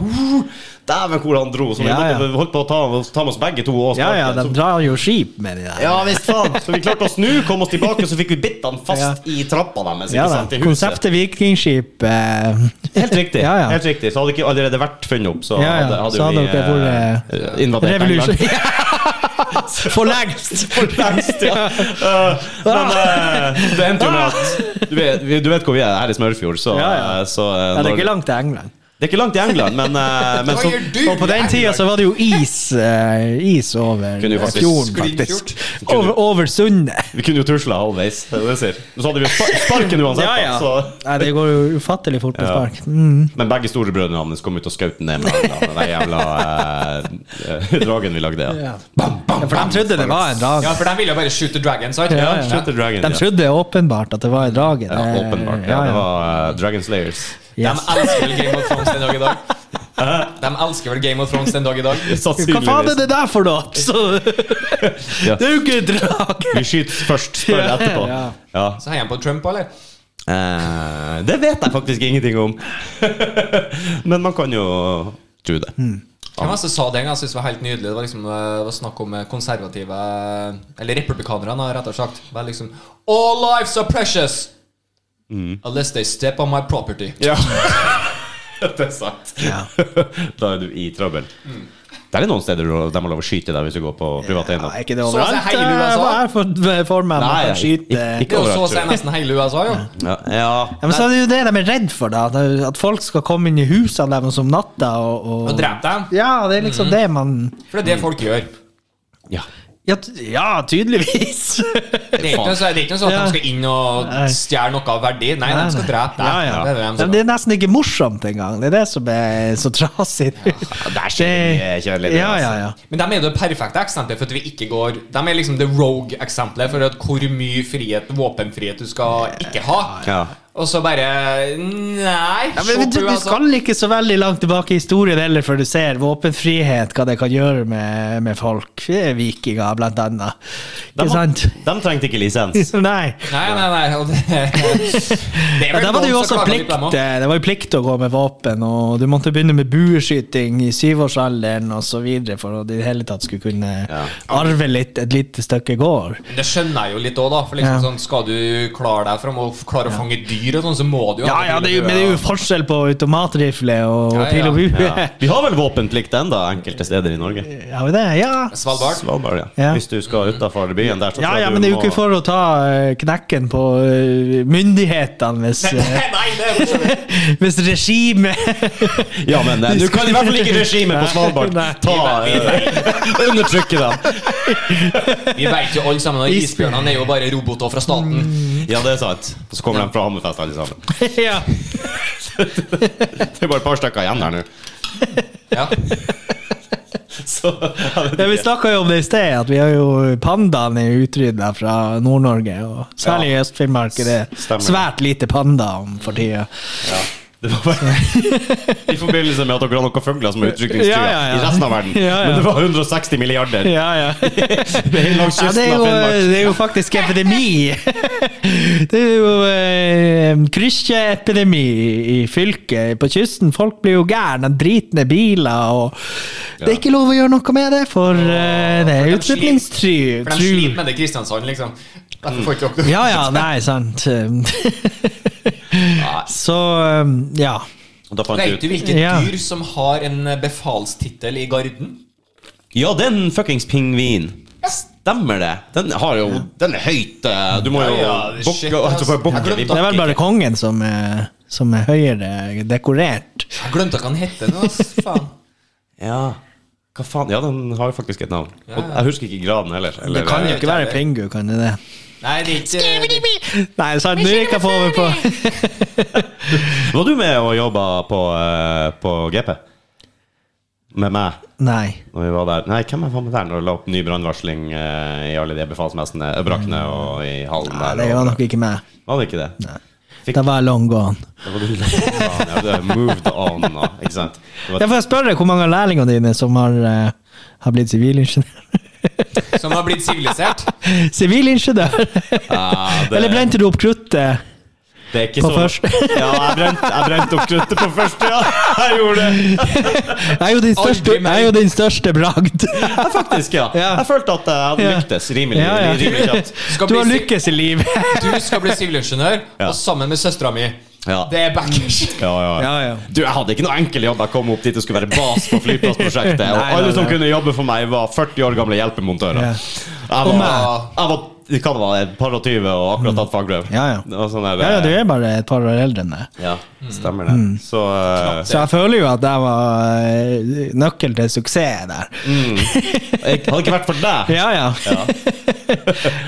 A: Dæven, hvor han dro! Så vi
C: Ja, ja.
A: måtte, holdt på å ta, ta med oss begge to og
C: Ja, ja,
A: sparken.
C: de
A: Så-
C: drar jo skip med de der.
A: altså, ja visst faen! Så vi klarte å snu, kom oss tilbake, så fikk vi bitt han fast i trappa deres.
C: Ja
A: ikke
C: da.
A: sant, i huset.
C: Konseptet vikingskip eh,
A: Helt riktig.
C: (laughs) Ja, ja.
A: Helt riktig. Så hadde ikke allerede vært funnet opp, så
C: Ja, ja.
A: hadde, hadde
C: Så hadde
A: vi
C: dere
A: eh, invadert (laughs)
C: Revolution.
A: England.
C: (laughs) For lengst!
A: (laughs) For lengst,
C: (laughs)
A: ja. Eh, men
C: Ah!
A: eh, det endte jo med at du vet, vi- du vet hvor vi er her i Smørfjord, så,
C: Ja, ja.
A: eh, så eh,
C: Ja, det er
A: når-
C: ikke langt til England.
A: det er ikke langt til England, men,
C: (laughs)
A: eh, men
B: Hva
A: så
B: gjør du?
C: Og på den tida så var det jo is, eh, is over
A: Kunne jo faktisk-
C: fjorden,
B: Sklinfjord.
C: faktisk. Over, over sundet.
A: vi kunne jo tusla halvveis. det er det jeg sier. Så hadde vi jo spa- sparken uansett.
C: Ja,
A: da,
C: ja.
A: Så.
C: Nei, det går jo ufattelig fort med
A: Ja.
C: spark. Mm.
A: Men begge storebrødrene hans kom ut og skjøt den ned med England, den der jævla eh, dragen vi lagde. Ja.
C: Ja. Ja, for de trodde det var en drage.
B: Ja, for de ville jo bare shoot the dragon, sant?
C: Ja, ja.
A: Shoot the dragon,
C: De
A: ja.
C: trodde åpenbart at det var en drage.
A: Ja,
C: Det-
A: åpenbart. Ja, det var eh, Dragon Slayers.
B: De
C: Yes.
B: elsker vel Game of Thrones den dag i
C: (laughs)
B: dag. De elsker vel Game of Thrones den dag i dag.
C: Hva faen er
A: Sannsynligvis.
C: det der for noe?! Så,
A: (laughs) Ja.
C: det er jo ikke en drage!
A: Vi skyter først, spør
C: Ja.
A: etterpå.
C: Ja.
A: Ja.
B: Så heier han på Trump, eller?
A: Eh, det vet jeg faktisk ingenting om. Men man kan jo tro det.
C: Mm.
B: Hvem var det som sa det en gang? Jeg synes det var helt nydelig. Det var liksom eh, det var snakk om eh, konservative eh, Eller republikanere, da, rett og slett. Det var liksom All lives are precious! Unless they step on my property.
A: Mm. Ja. (laughs) det er sant. da er du i trøbbel. Det er noen steder hvor de har lov å skyte deg hvis du går på privat eiendom.
C: Nei, ikke det
B: Så
C: overalt.
B: seg hele USA?
C: eh, Hva er for, for meg? Man
A: Nei,
C: kan skyte
A: ikke- ikke
B: Det er jo så å si
A: overraskende.
B: nesten hele USA, jo.
A: Ja, ja.
C: ja, men så er det jo det de er redd for, da. at- At folk skal komme inn i husene deres om natta og, og
B: Og drep dem.
C: Ja, det er
A: Mm.
C: liksom det man
B: For det er det folk gjør.
A: ja.
C: Ja, ty- ja
A: (laughs)
C: tydeligvis!
B: Det er ikke noe så- det er ikke noe sånn at
C: Ja.
B: de skal inn og
C: Nei.
B: stjele noe av verdi. Nei, de skal drepe deg.
C: Ja, ja.
B: Det er det de
C: Men
B: skal.
C: det er nesten ikke morsomt engang. Det er det som er så trasig.
A: Det er kjedelig. kjedelig, det,
C: Ja, ja,
A: altså.
C: ja.
B: Men de er jo det perfekte eksempelet for at vi ikke går De er liksom det rogue-eksempelet for at hvor mye frihet, våpenfrihet du skal ikke ha.
A: Ja.
B: Og så bare Nei.
C: Ja, men
B: se altså.
C: du,
B: på
C: du
B: USA.
C: skal ikke så veldig langt tilbake i historien heller før du ser våpenfrihet, hva det kan gjøre med, med folk. Vikinger, blant annet.
A: De,
C: Ikke sant?
A: de trengte ikke
C: (laughs)
A: lisens.
C: Nei.
B: (laughs) Nei, nei, nei. Og det,
C: (laughs)
B: det er
C: Ja,
B: vel
C: der var det jo
B: noen som
C: også
B: klager litt
C: plikt, eh,
B: på dem også.
C: det var jo plikt å gå med våpen, og du måtte begynne med bueskyting i syvårsalderen og så videre for at du i det hele tatt skulle kunne
A: Ja.
C: arve litt, et lite stykke gård.
B: Men Det skjønner jeg jo litt òg, da. For liksom
C: Ja.
B: sånn, skal du klare deg fram og klare å fange dyr, og sånn, så må du jo
C: Ja,
B: ha
C: ja, det er jo, men det er jo forskjell på automatrifle og
B: Ja, ja.
C: pil og bue.
A: Ja. Vi har vel våpenplikt enda enkelte steder i Norge.
C: (laughs) Ja, men det, ja.
B: Svalbard.
A: Svalbard, ja.
C: Ja.
A: Hvis du skal utafor byen der, så
C: ja,
A: tror jeg
C: ja,
A: du
C: men det er jo
A: må-
C: ikke for å ta eh, knekken på eh, myndighetene hvis, eh,
B: (laughs)
C: (laughs)
B: Nei, det er jo ikke
C: hvis regimet
A: Ja, men eh, du kan i hvert fall ikke regimet på Svalbard
C: Nei.
A: ta eh, undertrykke dem.
B: Vi vet jo alle sammen at isbjørnene er jo bare roboter fra staten.
C: Mm.
A: Ja, det er sant. Og så kommer de fra Hammerfest, alle sammen.
C: ja.
A: Det er bare et par stykker igjen her nå.
B: Ja.
A: Så jeg
C: Ja,
A: vet
C: Vi
A: ikke.
C: snakka jo om det i sted, at vi har jo pandaene er utrydda fra Nord-Norge. Og særlig i Øst-Finnmark er det
A: Stemmer.
C: svært lite panda om for tida.
A: Det var bare I forbindelse med at dere har noen fugler som er utrykningstrua
C: Ja, ja, ja.
A: i resten av verden.
C: Ja, ja.
A: Men det var 160 milliarder
C: Ja, ja. (laughs)
A: Helt langs
C: Ja, det,
A: kysten
C: er
A: av
C: jo, eh,
A: Finnmark.
C: det er jo faktisk epidemi. (laughs) Det er jo eh, krykkjeepidemi i fylket, på kysten. Folk blir jo gærne, de driter ned biler. og Det er ikke lov å gjøre noe med det, for eh, det er
B: For de sliter- For de sliter
C: utrydningstruet.
B: med det i Kristiansand, liksom. Derfor får ikke dere
C: Ja, ja, nei, sant. (laughs) Så eh, ja.
A: Da fant
B: Vet du
A: jeg ut
B: hvilket
C: Ja.
B: dyr som har en befalstittel i garden?
A: Ja, den fuckings pingvin. Stemmer det. Den har jo Den er høyt. eh, Du må jo
B: Ja, ja, shit,
A: bukke altså,
B: ass.
A: bare bukke.
B: Jeg
A: Vi
B: glemte
C: Det er
A: bukker
C: vel bare
A: ikke.
C: kongen som er, som er høyere dekorert.
B: Jeg glemte hva den hette nå, ass. Faen.
A: Ja. Hva faen? Ja, den har jo faktisk et navn. Og
B: ja.
A: jeg husker ikke graden heller. eller-
C: Det kan jo
B: jeg
C: ikke
B: vet
C: være
B: ikke.
C: Pingu, kan det det?
B: Nei, det er ikke
C: Nei, sant, nå gikk jeg på meg på
A: eh, Var du med og jobba på, eh, på GP? Med meg?
C: Nei.
A: Når vi var der Nei, hvem var med der når det la opp ny brannvarsling eh, i alle de befalsmessene? Øbrakene og i hallen
C: Mm. Nei,
A: der?
C: det
A: og-
C: var nok ikke meg.
A: Var det ikke det? Nei.
C: Da var jeg long gone.
A: Det var du (laughs) ja, det er moved on nå, ikke sant? Det var,
C: Jeg får spørre hvor mange av lærlingene dine som har, eh, har blitt sivilingeniør.
B: Som har blitt sivilisert?
C: (laughs) sivilingeniør!
A: Ja, det-
C: Eller brente du opp kruttet?
A: det er ikke
C: på
A: så- (laughs)
C: først.
A: Ja, jeg brente jeg brent opp kruttet på første, ja! Jeg gjorde det!
C: Jeg er jo din største,
B: Aldri mer.
C: jeg er jo din største bragd.
A: Ja, faktisk, ja.
C: Ja.
A: Jeg følte at jeg hadde
C: Ja.
A: lyktes rimelig,
C: Ja, ja.
A: rimelig kjapt.
C: (laughs)
B: Skal
C: Du
B: bli
C: har
B: si-
C: lykkes i livet.
B: Du skal bli sivilingeniør,
A: Ja.
B: og sammen med søstera mi.
A: Ja.
B: Det er backers.
A: (laughs) Ja, ja.
C: Ja, ja.
A: Du, Jeg hadde ikke noe enkel jobb. Jeg kom opp dit og skulle være bas på
C: (laughs)
A: flyplassprosjektet.
C: Nei,
A: Og
C: nei,
A: alle som
C: nei.
A: kunne jobbe for meg, var 40 år gamle hjelpemontører.
C: Ja.
A: Jeg
C: Og
A: var,
C: Mm.
B: meg.
A: jeg var hva det var, et par og tyve og akkurat tatt fagbrev.
C: Ja, ja.
A: Det var sånn der,
C: Ja, ja, du er bare et par år eldre enn meg.
A: Ja, stemmer det. Så eh,
C: Så jeg føler jo at jeg var eh, nøkkel til suksess der.
A: jeg Hadde ikke vært for deg
C: Ja, ja. (laughs)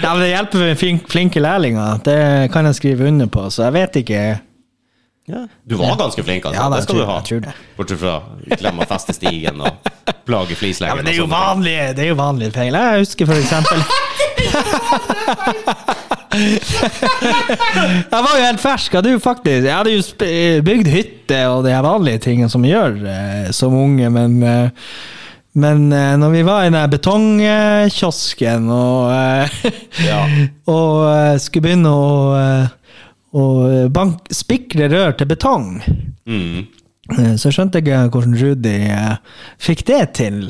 C: Nei, men det hjelper med fin- flinke lærlinger. Det kan jeg skrive under på, så jeg vet ikke.
A: Du var ganske flink, altså.
C: Ja, da,
A: det skal du
C: jeg
A: ha.
C: tror- jeg tror det.
A: Bortsett fra klemme og feste stigen og plage
C: Ja,
A: flisleggeren.
C: men det er jo
A: og sånne ting.
C: vanlige, det er jo vanlige feil. Jeg husker for eksempel (laughs) Jeg var jo helt fersk. Jeg hadde jo faktisk Jeg hadde jo sp- bygd hytte og de her vanlige tingene som vi gjør eh, som unge, men eh, men eh, når vi var i den her betongkiosken og, eh,
A: Ja.
C: (laughs) og eh, skulle begynne å, eh, å bank, spikre rør til betong,
A: Mm.
C: eh, så skjønte jeg ikke hvordan Rudi eh, fikk det til.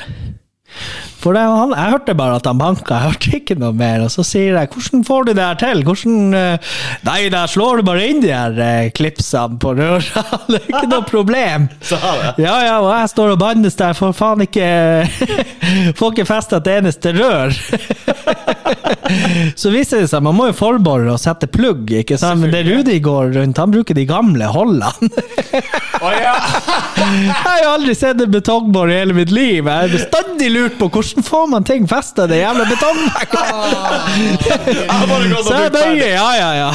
C: For det, han, jeg hørte bare at han banka, jeg hørte ikke noe mer. Og så sier jeg 'hvordan får du det her til'? Hvordan, eh, nei, der slår du bare inn de her eh, klipsene på røra, (laughs) det er ikke noe problem.
A: Så har jeg det.
C: Ja, ja, og jeg står og bannes der, får faen ikke (laughs) Får ikke festa et eneste rør. (laughs) Så viser det seg, man må jo forbore og sette plugg, ikke sant? Men det Rudi går rundt, han bruker de gamle holdene.
B: Å ja.
C: Jeg har jo aldri sett en betongbor i hele mitt liv. Jeg har bestandig lurt på hvordan får man ting festa i det jævla betongverket.
A: Jeg har bare gått og
C: Så jeg
A: brukt ferdig.
C: bøyer, ja, ja, ja.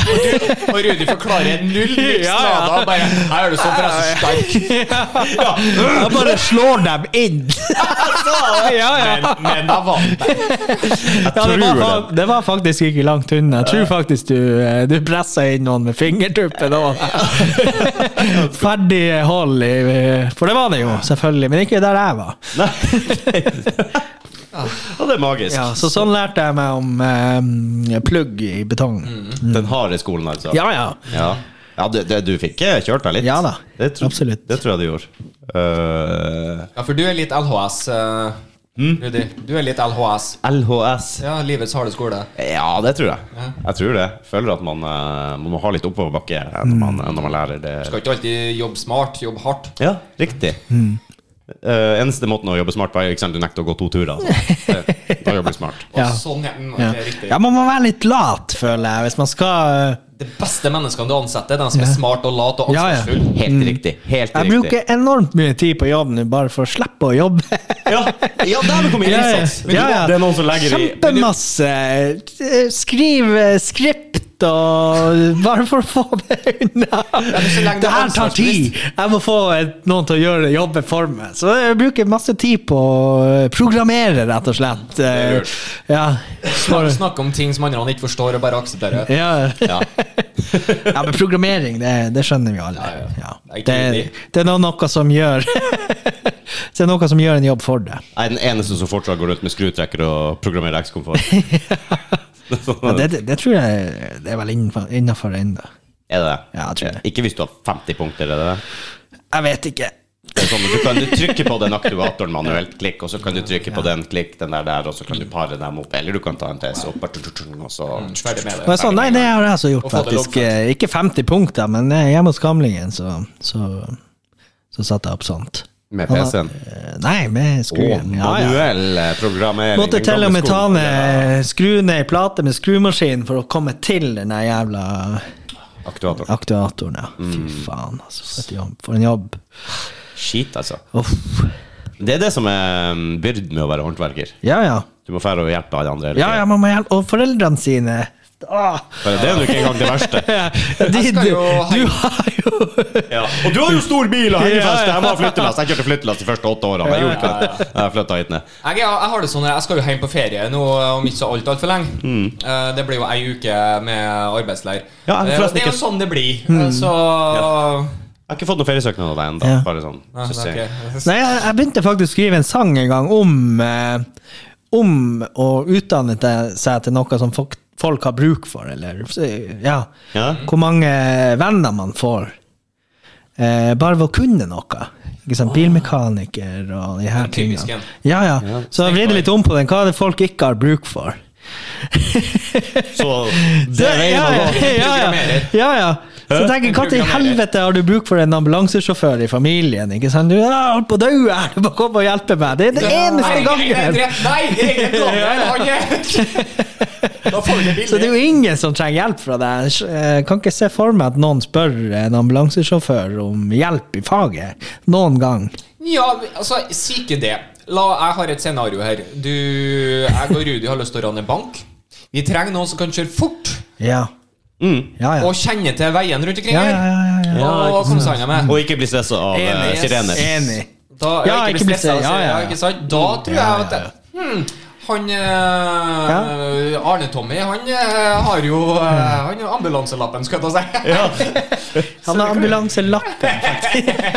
B: Og Rudi forklarer null
C: Ja,
B: liksom.
C: ja.
B: Da bare Jeg gjør det sånn, for jeg er så sterk.
C: (laughs) Jeg bare slår dem inn. Ja, ja.
B: Men, men jeg
C: (laughs)
A: (laughs)
B: vant.
C: Ja, det,
A: Tror
C: var, fa- det var faktisk ikke langt unna. Jeg tror faktisk du, eh, du pressa inn noen med fingertuppen òg. Ferdig hold i For det var det jo, selvfølgelig, men ikke der jeg var.
A: Og det er magisk.
C: Ja, så sånn lærte jeg meg om eh, plugg i betong.
A: Den harde skolen, altså.
C: Ja, ja.
A: Ja, ja det, det, du fikk eh, kjørt deg litt.
C: Ja da,
A: det tror,
C: absolutt.
A: Det tror jeg du gjorde. Eh,
B: Ja, for du er litt LHS, eh,
A: Mm.
B: Rudi. Du er litt LHS.
A: LHS.
B: Ja, livets harde skole.
A: Ja, det tror jeg. Jeg tror det. Føler at man, eh, man må ha litt oppoverbakke når
C: Mm.
A: man, eh, når man lærer det.
B: Skal ikke alltid jobbe smart, jobbe hardt.
A: Ja, riktig.
C: Mm.
A: Eh, eneste måten å jobbe smart på er ikke sant, du nekter å gå to turer.
C: (laughs)
A: Altså. Det- Da jobber du smart.
B: Og
C: Ja.
B: sånn ja, mm,
C: Ja.
B: det er riktig.
C: ja, man må være litt lat, føler jeg, hvis man skal eh,
B: De beste menneskene du ansetter, de som er
C: Ja.
B: smart og lat og
C: Ja, ja.
B: ansvarsfull.
A: Helt riktig. Helt
C: Mm. Jeg
A: riktig.
C: bruker enormt mye tid på jobb nå, bare for å slippe å
A: (laughs)
C: jobbe.
A: Ja, ja der kommer
C: Ja, ja.
A: innsats! Men
C: Ja, ja.
A: Det er noen som legger i
C: Kjempemasse. eh, Skriv eh, skript og (laughs) Bare for å få det unna.
B: men så lenge du
C: Det
B: er
C: her tar tid. Jeg må få eh, noen til å gjøre jobben for meg. Så jeg bruker masse tid på å eh, programmere, rett og slett. Eh, Ja. For,
B: Snakke om ting som andre ikke forstår, og bare akseptere.
C: ja.
A: Ja.
C: ja, men programmering, det, det skjønner vi alle.
B: Ja, ja.
C: Ja.
B: Jeg
C: Det,
B: er ikke
C: det er nå noe som gjør (laughs) Det er noe som gjør en jobb for deg.
A: Jeg er den eneste som fortsatt går rundt med skrutrekker og programmerer
C: (laughs)
A: X-komfort.
C: Ja, det, det, det tror jeg det er vel innafor ennå.
A: Er det det?
C: Ja, jeg tror det.
A: Ikke hvis du har 50 punkter, er det det?
C: Jeg vet ikke.
A: Det er sånn, at du kan du trykke på den aktivatoren manuelt, klikk, og så kan du trykke på den, klikk, den der der, og så kan du pare dem opp, eller du kan ta en test opp, og så
C: Mm.
B: Ferdig med
C: Og
B: det.
C: jeg sa, sånn, nei, det har jeg så gjort,
B: Og fått det
C: faktisk. Eh, Ikke 50 punkter, men eh, hjemme hos gamlingen så, så, så satte jeg opp sånt.
A: Med
C: Han har-
A: PC-en?
C: Eh, Nei, med
A: Og
C: skruen. Ja, ja.
A: manuell eh, programmering.
C: Måtte til og med ta
A: gamleskolen, det
C: ned skru ned ei plate med skrumaskin for å komme til den der jævla
A: der Aktivatoren.
C: aktuatoren. Ja. Fy faen, altså. For, et jobb. for en jobb.
A: Skit, altså.
C: Uff.
A: Det er det som er mm, byrden med å være håndverker.
C: Ja, ja.
A: Du må fære og hjelpe alle andre. hele
C: Ja,
A: tiden.
C: ja, man må hjelpe. Og foreldrene sine Ah.
A: Bare det er jo ikke engang det
C: (laughs)
A: verste.
C: De,
B: skal
C: du,
B: jo ha-
C: du har jo
A: Ja. Og du har jo stor bil og hengefest!
C: Ja, ja.
A: Jeg må ha flyttelass. Jeg kjørte flyttelass de første åtte årene. Jeg gjorde ikke det. Jeg flytta hit ned.
B: Jeg, er- jeg har det sånn, her, jeg skal jo hjem på ferie nå om ikke så alt altfor lenge.
C: Mm.
B: Eh, Det blir jo ei uke med arbeidsleir.
A: Ja,
B: Eh,
A: forresten
B: og det er jo
A: ikke-
B: sånn det blir.
C: Mm.
B: Eh, Så
A: Jeg har ikke fått noen feriesøknad av deg ennå.
C: Ja.
A: Bare sånn.
B: Nei,
A: Så
B: det
A: ser
B: er
A: jeg.
B: ikke-
C: Nei, jeg, jeg begynte faktisk å skrive en sang en gang om eh, Om å utdanne te- seg til noe som folk, folk har bruk for, eller Ja.
A: Ja.
C: Hvor mange venner man får. Eh, bare ved å kunne noe. Ikke
A: Ah.
C: sant? Bilmekaniker og de her
B: Den typiske
C: tingene.
B: en.
C: Ja, ja. Så jeg vridde litt om på den. Hva er det folk ikke har bruk for?
A: Så det er veien
C: ja,
A: å
C: ja,
A: gå.
C: ja, ja. ja, ja. Så
A: Hæ?
C: tenker jeg, hva til
B: Programmerer.
C: helvete har du bruk for en ambulansesjåfør i familien? ikke sant? Du har holdt på å dø her, du må komme og hjelpe meg! Det er den eneste
B: Nei, Nei,
C: gangen!
B: nei, nei, det er ingen
C: (laughs)
B: planer, han er- Da får vi det
C: Så
B: billig.
C: det er jo ingen som trenger hjelp fra deg. Jeg kan ikke se for meg at noen spør en ambulansesjåfør om hjelp i faget. Noen gang.
B: Ja, altså, si ikke det. La, jeg har et scenario her. Du, jeg og Rudi har lyst til å rane bank. Vi trenger noen som kan kjøre fort
C: Ja.
A: Mm.
C: Ja, ja.
B: og kjenne til veien rundt omkring
C: Ja,
B: her.
C: ja, ja, ja, ja.
A: Ja,
B: Og
A: ikke
B: komme seg unna med.
A: Og ikke bli stressa av eh,
B: Enig, yes.
A: sirener.
C: Enig.
B: Da, ja, ikke bli stressa. Ja, ja, Ikke sant? Da tror
C: Mm. Ja,
B: jeg
C: ja,
B: at hmm, han eh, Arne Tommy, han eh, har jo eh,
C: Mm.
B: Han har ambulanselappen, skal jeg ta si.
C: Han har ambulanselappen.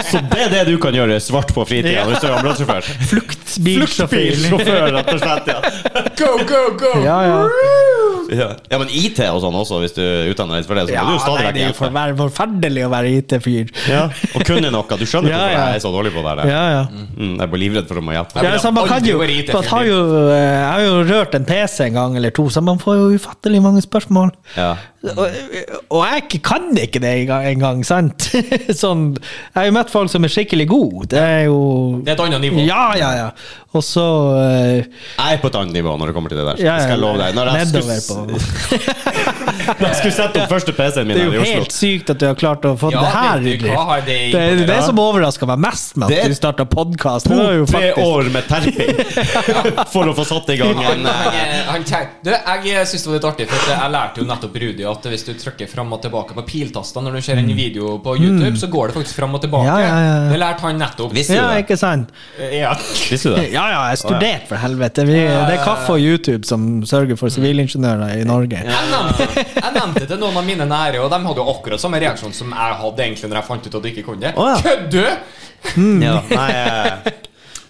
A: Så det er det du kan gjøre svart på fritida hvis du er ambulansesjåfør?
C: (laughs) Fluktbilsjåfør.
A: Fluktbilsjåfør, rett og slett. Ja.
B: (laughs) Go, go, go!
C: Ja, ja.
A: Ja. ja, men IT og sånn også, hvis du utdanner deg for det, så
C: Ja,
A: må du jo stadig
C: nei, det er jo
A: hjelpe.
C: forver- forferdelig å være IT-fyr.
A: Ja. Og kunne noe. Du skjønner
C: Ja,
A: hvorfor
C: ja.
A: jeg er så dårlig på det. der.
C: Ja, ja.
A: Mm, jeg blir livredd for å må hjelpe.
C: Ja, så man kan
B: aldri
C: jo,
B: vært IT-fyr.
C: for jeg, har jo, eh, jeg har jo rørt en PC en gang eller to, så man får jo ufattelig mange spørsmål.
A: Ja.
C: Og, og jeg ikke- kan ikke det engang, engang sant? (laughs) Sånn, jeg har jo møtt folk som er skikkelig gode. Det er jo
B: Det er et annet nivå.
C: Ja, ja, ja. Og så eh,
A: Jeg er på et annet nivå når det kommer til det der.
C: ja, ja,
A: Det skal jeg love deg. Når jeg
C: Nedover
A: skulle,
C: på
A: (laughs) når jeg skulle sette opp første PC-en min
C: Det er
A: her i
C: jo
A: Oslo
C: helt sykt at du har klart å få
B: Ja,
C: det her i
B: vet du hva,
C: drift.
B: har det
C: Det er det som overrasker meg mest med
A: Det
C: at
A: er
C: du starta podkast.
A: To-tre år med terping
C: (laughs)
A: for å få satt i gang
B: Han,
A: en eh,
B: han, han, tenk- du, jeg syns det var litt artig, for at jeg lærte jo nettopp Rudi at hvis du trykker fram og tilbake på piltaster når du ser en video på YouTube, så går det faktisk fram og tilbake.
C: Mm. Ja, ja, ja, ja.
B: Det lærte han nettopp. Eh,
A: Visste du
C: Ja,
A: det?
C: ikke sant?
B: Ja.
A: Visste du det?
C: Ja, ja, jeg studerte, for helvete. Vi, det er kaffe og YouTube som sørger for sivilingeniører i Norge.
B: Jeg nevnte, jeg nevnte det til noen av mine nære, og de hadde jo akkurat samme reaksjon som jeg hadde egentlig når jeg fant ut at du ikke kunne det.
A: Å, ja.
B: Kødder!
A: Ja, (laughs) nei, eh,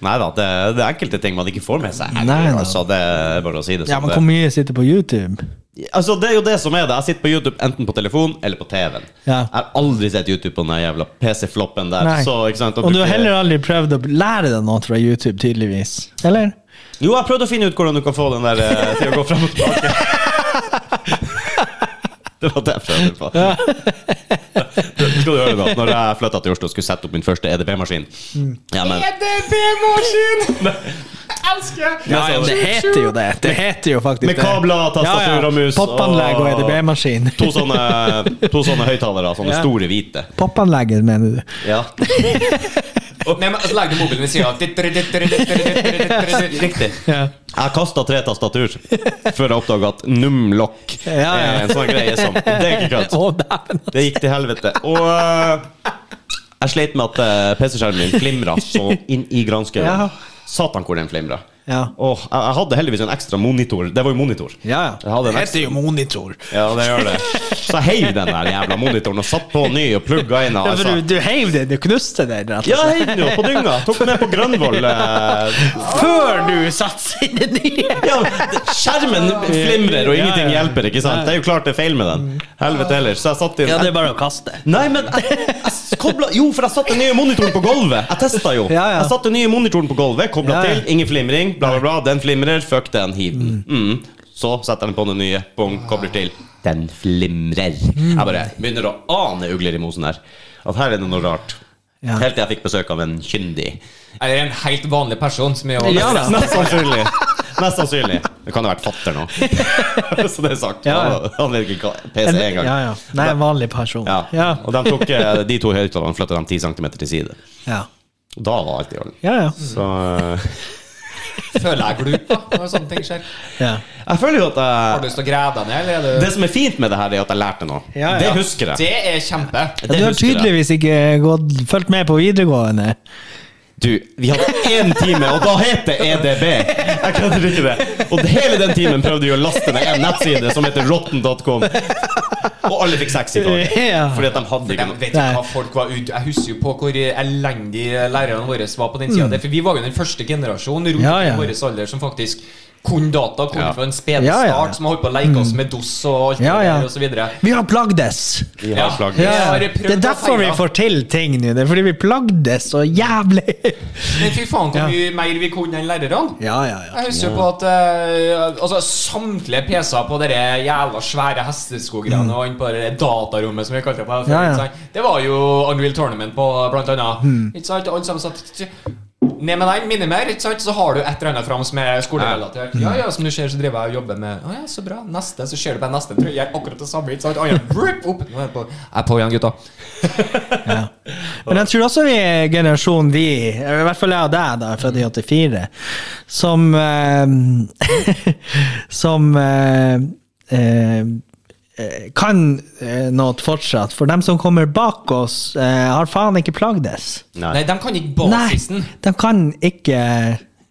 A: nei da, det, det er enkelte ting man ikke får med seg.
C: Nei da.
A: altså, det er bare å si det
C: Ja,
A: som
C: men hvor mye sitter på YouTube?
A: det. Altså, det er jo det som er det. Jeg sitter på YouTube enten på telefon eller på TV-en.
C: Ja.
A: Jeg har aldri sett YouTube på den jævla PC-floppen der.
C: Nei.
A: Så, ikke sant, å
C: Og du
A: bruke-
C: har heller aldri prøvd å lære deg noe fra YouTube, tydeligvis. Eller?
A: Jo, jeg prøvde å finne ut hvordan du kan få den der eh, til å gå fram og tilbake. (laughs) Det var det jeg prøvde på. Du skal du høre da, når jeg flytta til Oslo og skulle sette opp min første EDB-maskin
C: Mm.
A: ja, men,
B: E EDB-maskin! Elsker!
C: Ja, ja, det heter jo det. Det heter jo faktisk
A: altså, Med kabler, tastatur og mus.
C: Popanlegg og E EDB-maskin.
A: To sånne, to sånne høyttalere, sånne
C: Ja.
A: store hvite.
C: Popanlegget, mener du?
A: Ja.
B: Nei, men så legger du mobilen ved siden av. Dittere, dittere, dittere, dittere, dittere, dittere.
A: Riktig.
C: (laughs) Ja.
A: Jeg kasta tre tastatur før jeg oppdaga at numlock
C: Ja, ja.
A: er en sånn greie som Det er ikke kødd.
C: (laughs) Å, dæven.
A: Det gikk til helvete. Og eh, jeg sleit med at eh, PC-skjermen min flimra så inn i granskauen.
C: Ja.
A: Satan, hvor den flimra.
C: Ja.
A: Åh, jeg, jeg hadde heldigvis en ekstra monitor. Det var jo monitor.
C: Ja,
A: Jeg hadde
C: Det
A: en
C: heter jo monitor.
A: Ja, det gjør det. Så jeg heiv den der jævla monitoren og satt på ny og plugga inn. Og,
C: Ja, for
A: altså.
C: du, du heiv det, du knuste det, rett og
A: Ja,
C: slett.
A: heiv den jo på dynga. Tok den med på Grønvoll. eh.
C: Før du satser i det nye!
A: Ja, skjermen flimrer, og ingenting
C: Ja, ja.
A: hjelper. ikke sant? Det er jo klart det er feil med den. Helvete heller. Så jeg satt i
C: Ja, det er bare å kaste.
A: Nei, men jeg, jeg s- kobla Jo, for jeg satte den nye monitoren på gulvet. Jeg testa jo.
C: Ja, ja.
A: Jeg satte den nye monitoren på gulvet, kobla
C: Ja, ja.
A: til, ingen flimring, bla, bla, bla. Den flimrer, fuck den, hiv den. Mm. Så setter den på den nye, bong, kobler til. Den flimrer. Jeg bare begynner å ane ugler i mosen her. At her er det noe rart.
C: Ja.
A: Helt til jeg fikk besøk av en kyndig.
B: Eller en helt vanlig person som er
C: Ja, da.
A: (laughs) Mest sannsynlig. Mest sannsynlig. Det kan ha vært fatter nå. (laughs) Så det er sagt.
C: Ja, ja.
A: Han- Han vet ikke hva PC er engang.
C: Ja, ja. Nei, en vanlig person.
A: Ja.
C: Ja.
A: Og de, tok, eh, de to høyttalerne flytta dem 10 cm til side.
C: Ja,
A: Og Da var alt i orden.
C: ja. ja.
A: Så eh,
B: Føler jeg glupa når sånne ting skjer?
C: Ja.
A: Jeg føler jo at
B: Har du
A: jeg,
B: lyst til å grave deg ned, eller er
A: Det som er fint med det her, er at jeg lærte noe.
C: Ja, ja.
A: Det husker
B: du
A: jeg.
B: Det er kjempe.
A: Det
C: Du har
A: husker jeg.
C: tydeligvis ikke gått, fulgt med på videregående.
A: Du, vi hadde én time, og da het det EDB! Jeg kødder ikke det. Og hele den timen prøvde vi å laste ned en nettside som heter rotten.com. Og alle fikk seks i dag.
C: (laughs) Ja.
A: Fordi at de hadde ikke
B: Jeg
A: noe.
B: vet ikke
C: Nei.
B: hva folk var ute Jeg husker jo på hvor elendig lærerne våre var på den tida. For vi var jo den første generasjonen rundt
C: Mm. Ja, ja.
B: i vår alder som faktisk kunne data, kunne
A: Ja.
B: fra en spede
C: Ja, ja.
B: start, som har holdt på å leke oss med DOS og alt
C: Ja, ja.
B: det der, og så videre.
C: Vi har plagdes!
A: Vi har
B: Ja.
A: flagg.
B: Ja. har prøvd
C: Det er derfor
B: å
C: vi
B: feile.
C: får til ting nå. Det er fordi vi plagdes så jævlig! (laughs)
B: Men fy faen,
C: Ja.
B: hvor mye mer vi kunne enn lærerne.
C: Ja, ja, ja.
B: Jeg husker jo på at eh, altså, samtlige PC-er på dere jævla svære hesteskogreiene og inn på det der datarommet som vi kalte det på før,
C: Mm. Ja, ja.
B: ikke sant? Det var jo Unreal Tournament på, blant annet.
C: Mm.
B: Ikke sant? Alle sammen satt t- Ned med den, minimer, ikke sant? så har du et eller annet fram som er skolerelatert. Ja,
C: Mm.
B: ja, som du ser, så driver jeg og jobber med Å ja, så bra. Neste, så ser du på neste trøye. Gjør akkurat det samme. Ikke sant? Å, ja, rip, opp. Nå er jeg på. Jeg er på igjen, gutta.
C: Men jeg tror også vi er generasjonen vi, i hvert fall jeg og deg, da, født i 84, som eh, (laughs) Som eh, eh, eh, kan eh, noe fortsatt. For dem som kommer bak oss, eh, har faen ikke plagdes.
A: Nei.
B: Nei, de kan ikke basisen.
C: Nei, de kan ikke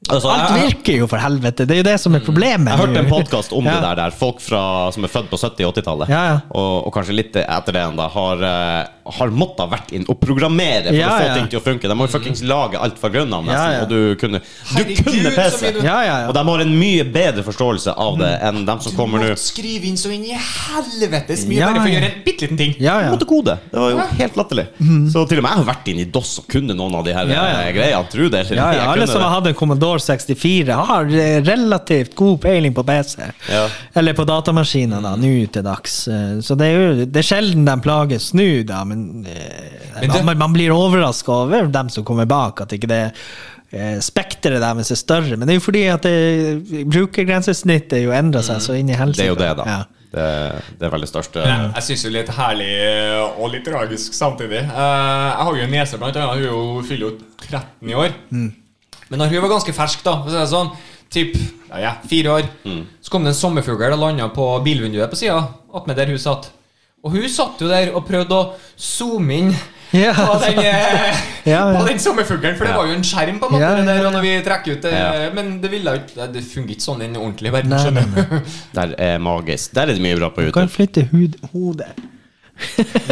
A: Altså,
C: Alt
A: jeg- Mm.
C: virker jo, for helvete! Det er jo det som er problemet.
A: Jeg hørte en
C: nå.
A: podkast om
C: Ja.
A: det der, der folk fra, som er født på 70- og 80-tallet,
C: Ja, ja.
A: og, og kanskje litt etter det igjen, da, har, eh, har måttet vært inn og programmere for
C: Ja,
A: å få
C: ja.
A: ting til å funke. De må jo fuckings lage alt fra grunnen av, nesten.
C: Ja, ja.
A: Og du kunne, du
B: Herregud,
A: kunne
B: så mye
A: PC!
B: du-
C: Ja, ja, Mm. ja.
A: Og de har en mye bedre forståelse av det enn dem som kommer nå.
B: Måtte skrive inn så inn i helvetes mye
C: Ja,
B: bare for å
C: ja.
B: gjøre en bitte liten ting.
C: Ja,
A: Du
C: ja. Mm.
A: måtte kode. Det var jo helt latterlig. Så til og med jeg har vært inn i DOS og kunne noen av de her
C: Ja, ja.
A: eh, greiene. Tro det. eller
C: Ja,
A: ikke,
C: ja,
A: jeg
C: alle
A: kunne
C: som
A: det.
C: har hatt en Commodore 64, har eh, relativt god peiling på PC.
A: Ja.
C: Eller på datamaskiner, da, nå til dags. Eh, Så det er jo det er sjelden de plages nå, da, men, eh,
B: Men det-
C: man, man blir overraska over dem som kommer bak, at ikke det eh, spekteret deres er større. Men det er jo fordi at det, brukergrensesnittet jo endrer seg så inn i
A: Mm. Det
C: helsike.
A: er jo det, da.
C: Ja.
A: Det, det er veldig størst. eh,
B: Jeg syns jo litt herlig eh, og litt tragisk samtidig. Eh, Jeg har jo en niese, blant annet. Hun er jo- fyller jo 13 i år.
C: Mm.
B: Men når hun var ganske fersk, da, for å si det sånn, typ ja, ja, fire år, så kom det en sommerfugl og landa på bilvinduet på sida attmed der hun satt. Og hun satt jo der og prøvde å zoome inn
C: Ja.
B: på, den, eh,
C: (laughs) Ja, ja.
B: på den sommerfuglen, for det var jo en skjerm, på en måte,
C: Ja,
B: det
C: ja,
B: der,
C: ja.
B: og når vi trekker ut det
A: Ja.
B: Men det ville jo ikke Det fungerer ikke sånn i den ordentlige verden,
C: Nei, nei,
B: skjønner du.
A: Der er magisk. Der er det mye bra på
C: Du kan
A: YouTube.
C: flytte hud, hodet.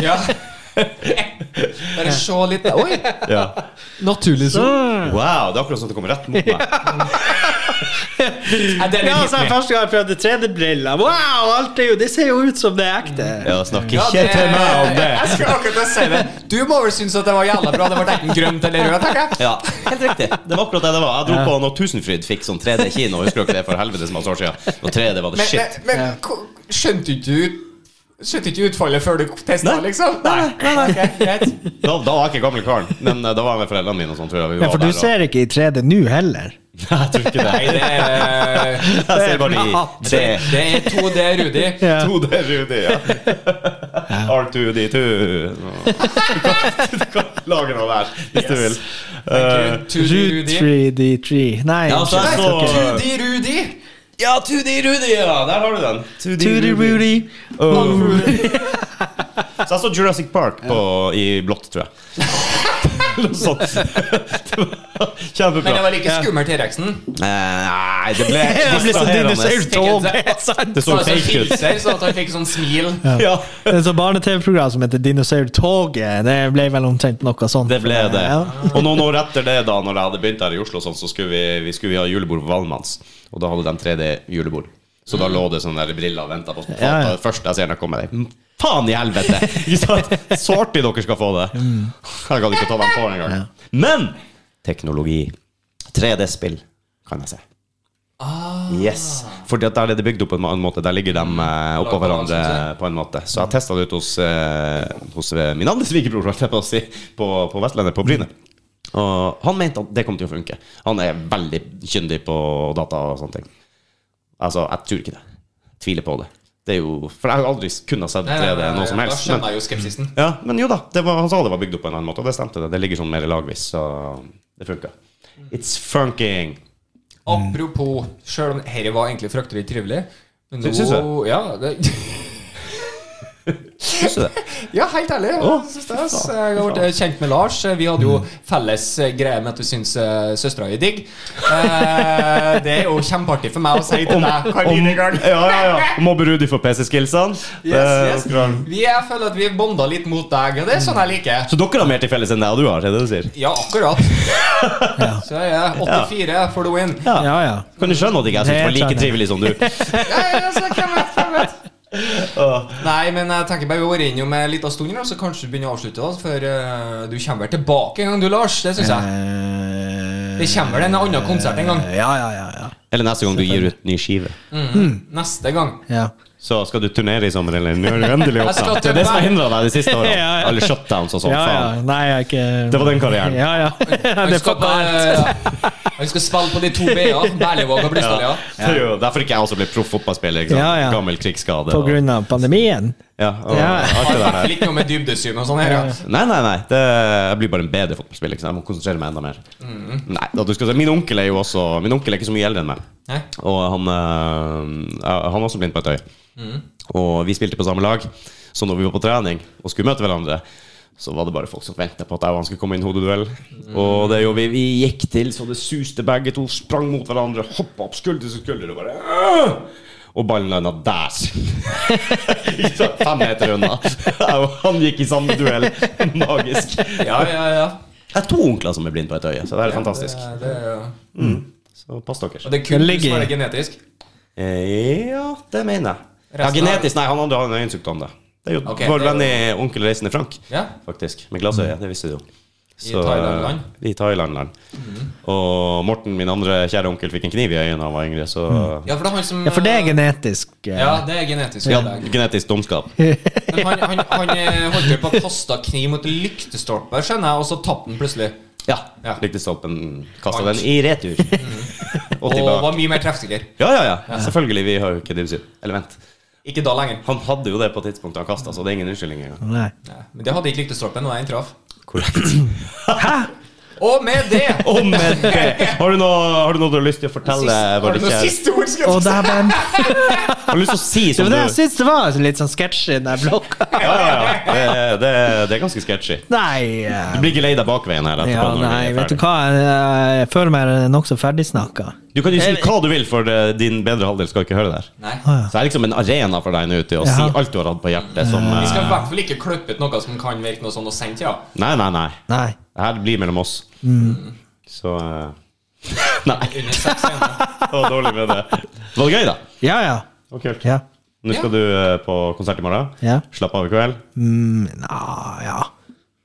B: Ja. Bare se litt Oi!
A: Ja.
B: Naturlig
A: Wow, det er akkurat som det kommer rett mot meg.
B: Ja, den
C: Ja,
B: er litt
C: så er det
B: med.
C: første gang jeg prøvde 3D-briller. Wow, alt er jo, det ser jo ut som det er ekte.
A: (laughs) Ja, snakk
B: Ja,
A: ikke til meg om
B: Jeg
A: det!
B: skulle akkurat til å si det. Du må vel synes at det var jævla bra. Det var enten grønt eller rødt, tenker jeg.
A: Ja, helt riktig. Det var akkurat det det var. Jeg dro på når Tusenfryd fikk sånn 3D-kino. Husker dere det for helvetes mange år siden? Når 3D var det
B: Men,
A: shit.
B: men, men ko- skjønte ikke du Skjønte ikke utfallet før du testa,
A: Nei.
B: liksom? Nei. Ok, greit.
A: Da, da var jeg ikke gamle karen, men eh, da var jeg med foreldrene mine og sånn, tror jeg. Vi
C: Ja,
A: var
C: for du
A: der, og-
C: ser ikke i 3D nå heller.
A: Nei, (laughs) jeg tror ikke
B: Nei,
A: det.
B: det er
A: Jeg ser bare i
B: Det,
A: 3
B: det er 2D, Rudi.
C: Ja.
A: 2D Rudi, ja. R2D2. (laughs) Du kan- Du kan lage noe der, hvis du vil. Eh,
B: 2D,
C: Root
B: Rudi.
C: 3D3. Nei,
A: Ja, altså, jeg
C: unnskyld.
A: så-
B: 2D, Rudi.
A: Ja, 2D Rudi, ja! Der har du den. 2D
C: 2D
A: Rudi.
C: Rudy. Oh.
A: Så jeg så Jurassic Park på, i blått, tror jeg. (laughs) Noe sånt. Det var
B: Men det
A: Kjempebra. Eh,
B: var like skummelt, T-rexen.
A: Nei, (laughs) det ble
C: Det ble sånn dinosaur
A: distraherende.
C: tog, det er sant.
A: Det så
B: sånn
A: fake ut.
B: filser, sånn at han fikk sånn smil.
A: Ja.
C: Det er et sånt barne-TV-program som heter Dinosaurtoget. Det ble vel omtrent noe sånt.
A: Det ble det.
C: Ja.
A: Og noen år etter det, da Når jeg hadde begynt her i Oslo, og sånn, så skulle vi, vi skulle ha julebord på Valmanns. Og da hadde de 3D-julebord. Så da lå det sånne der briller og venta på oss.
C: Mm. Ja, ja.
A: Først jeg ser når jeg kommer der. Faen i helvete!
C: (laughs)
A: Ikke sant? (laughs) Så artig dere skal få det. Jeg gadd ikke å ta dem på en gang. Men teknologi. 3D-spill kan jeg se.
B: Ah.
A: Yes. Fordi at der er det bygd opp på en annen måte. Der ligger de eh, oppå hverandre på en måte. Så jeg testa det ut hos, eh, hos eh, min andre svigerbror, holdt jeg på å si, på, på Vestlandet, på Bryne. Og han mente at det kom til å funke. Han er veldig kyndig på data og sånne ting. Altså, jeg tror ikke det. Tviler på det. Det er jo For jeg har aldri kunnet sett 3D noe som helst.
B: Da
A: Men,
B: skjønner jeg jo skepsisen.
A: ja, men jo da, det var, han sa det var bygd opp på en annen måte, og det stemte. Det Det ligger sånn mer lagvis, så det funka. It's funking.
B: Apropos, sjøl om dette var egentlig fryktelig trivelig men
A: Sy- syns
B: nå- Ja, det, (laughs)
A: Syns du (laughs) det?
B: ja, helt ærlig. Jeg
A: Å,
B: syns
A: fy
B: det, ass.
A: faen, Mm.
B: Jeg har
A: fy
B: vært kjent med Lars. Vi hadde jo felles eh, greie med at du syns eh, søstera er digg. Eh, Det er jo kjempeartig for meg å si til deg. Kan vi i gang?
A: ja, ja, ja. Mobber Rudi for PC-skillsene.
B: Yes, yes. Vi, jeg føler at vi bonda litt mot deg, og det er sånn jeg liker.
A: Så dere har mer til felles enn deg og du har? er det du sier?
B: Ja,
A: (laughs)
B: akkurat. Så jeg er 84 for the win.
A: Ja.
C: Ja, ja.
A: Kan du skjønne at ikke jeg syns det var like trivelig som du?
B: Ja, ja, så hvem vet, hvem vet. Nei, men jeg tenker bare vi går inn om en liten stund, da, så kanskje du begynner å avslutte. Da, for eh, du kommer vel tilbake en gang, du, Lars. Det syns jeg.
C: Eh,
B: Det kommer vel en annen konsert en gang.
C: Ja, ja, ja. ja.
A: (laughs) Eller neste gang du gir ut ny skive.
C: Mm.
B: Neste gang.
C: ja.
A: Så skal du turnere i sommer, eller nå er du endelig
B: Jeg skal
A: opptatt. Det
B: til
A: er det som har
B: Bergen.
A: hindra deg de siste årene.
C: Ja, ja.
A: Alle shutdowns og sånn.
C: ja, ja.
A: Faen.
C: Nei, jeg er ikke
A: Det var den karrieren.
C: (laughs) Ja, ja.
B: Han
C: Det er
B: skal,
C: for kaldt.
B: på- han skal spille på de to
A: (laughs)
B: B-ene. Berlevåg og Bristol, ja.
A: Det er jo derfor ikke jeg også ble proff fotballspiller. Ikke sant?
C: Ja, ja.
A: Gammel krigsskade.
C: På
A: og-
C: grunn av pandemien.
A: Ja, og
C: Ja.
A: alt det
B: Han
A: der.
B: fikk ikke noe med dybdesyn og sånn her. Ja.
A: Nei, nei, nei. Det, jeg blir bare en bedre fotballspiller. Ikke sant? Jeg må konsentrere meg enda mer. Nei, da, du skal se. Min onkel er jo også Min onkel er ikke så mye eldre enn meg.
B: Nei.
A: Og han, eh, han er også blind på et øye. Og vi spilte på samme lag, så når vi var på trening og skulle møte hverandre, så var det bare folk som venta på at jeg og han skulle komme inn i hodeduell. Og det gjorde vi. Vi gikk til så det suste, begge to sprang mot hverandre, hoppa opp skulder til skulder og bare «Åh!» Og ballen landa der. Ikke sant? Fem meter unna. Jeg og (laughs) Han gikk i sånn- samme duell. Magisk. Jeg
B: Ja, ja, ja.
A: har to onkler som er blind på et øye, så det er fantastisk. Mm.
B: Det, det, er jo-
A: Så pass dere.
B: og det er kult
C: ligger-
B: hvis man er genetisk.
A: Eh, Ja, det mener jeg. Ja,
B: Resten av-
A: genetisk, nei, han hadde en øyensykdom, da. Det er jo
B: Ok,
A: vår
B: det er
A: venn
B: jo-
A: i Onkel Reisende Frank,
B: Ja.
A: faktisk. Med glassøye, det visste du jo. Så,
B: Thailand-land. Mm.
A: eh, I Thailand-land. Og Morten, min andre kjære onkel, fikk en kniv i øyet da han var yngre, så
B: ja, for det er han som
C: Ja, for det er genetisk. eh,
B: Ja, det er genetisk.
A: ja,
B: i dag.
A: Genetisk dumskap.
B: Men han, han, han eh, holdt jo på å kaste kniv mot lyktestolper, skjønner jeg, og så tapte han plutselig.
A: Ja.
B: Ja.
A: Lyktestolpen kasta
B: Vant.
A: den i
B: (laughs)
A: retur. Og
B: Og
A: tilbake.
B: var mye mer treffsikker.
A: Ja, ja, ja. Selvfølgelig. Vi har jo ikke divsyn. Eller vent.
B: Ikke da lenger.
A: Han hadde jo det på tidspunktet han kasta, så det er ingen unnskyldning engang.
C: Nei.
B: Ja, Men det hadde ikke lyktestolpen da jeg traff.
A: Korrekt.
B: Og med det
A: Og med det Har du noe, har du, noe du har lyst til å fortelle?
B: Har
A: våre
B: du noe
A: kjære-
B: siste ord? skal jeg
C: Og
B: si?
A: (laughs)
C: dæven.
A: Har du lyst til å si
C: Det
A: som
C: var
A: du
C: det jeg syntes det var litt sånn sketsjy i den der blokka.
A: Ja, ja, ja. Det, det, det er ganske sketchy.
C: (laughs) Nei.
A: Du
C: eh,
A: blir ikke lei deg bakveien her etterpå.
C: Ja,
A: når vi er
C: nei, vet du
A: ferdig.
C: hva, eh, jeg, jeg føler meg nokså ferdigsnakka.
A: Du kan jo si hva du vil, for eh, din bedre halvdel skal ikke høre det her.
B: Nei.
A: Så det er liksom en arena for deg nå til å si
C: Ja.
A: alt du har hatt på hjertet som
B: Vi skal i
A: eh,
B: hvert fall ikke klippe ut noe som kan virke noe sånn og sendt, ja.
A: Nei, nei, nei.
C: Nei.
A: Det her blir mellom oss.
C: Mm.
A: Så eh, (laughs) Nei,
B: Under seks scener.
A: det var dårlig med det. Var det gøy, da?
C: Ja, ja.
A: Det var kult.
C: Ja.
A: Nå skal du eh, på konsert i morgen.
C: Ja.
A: Slapp av i kveld.
C: Mm, Nja, ja.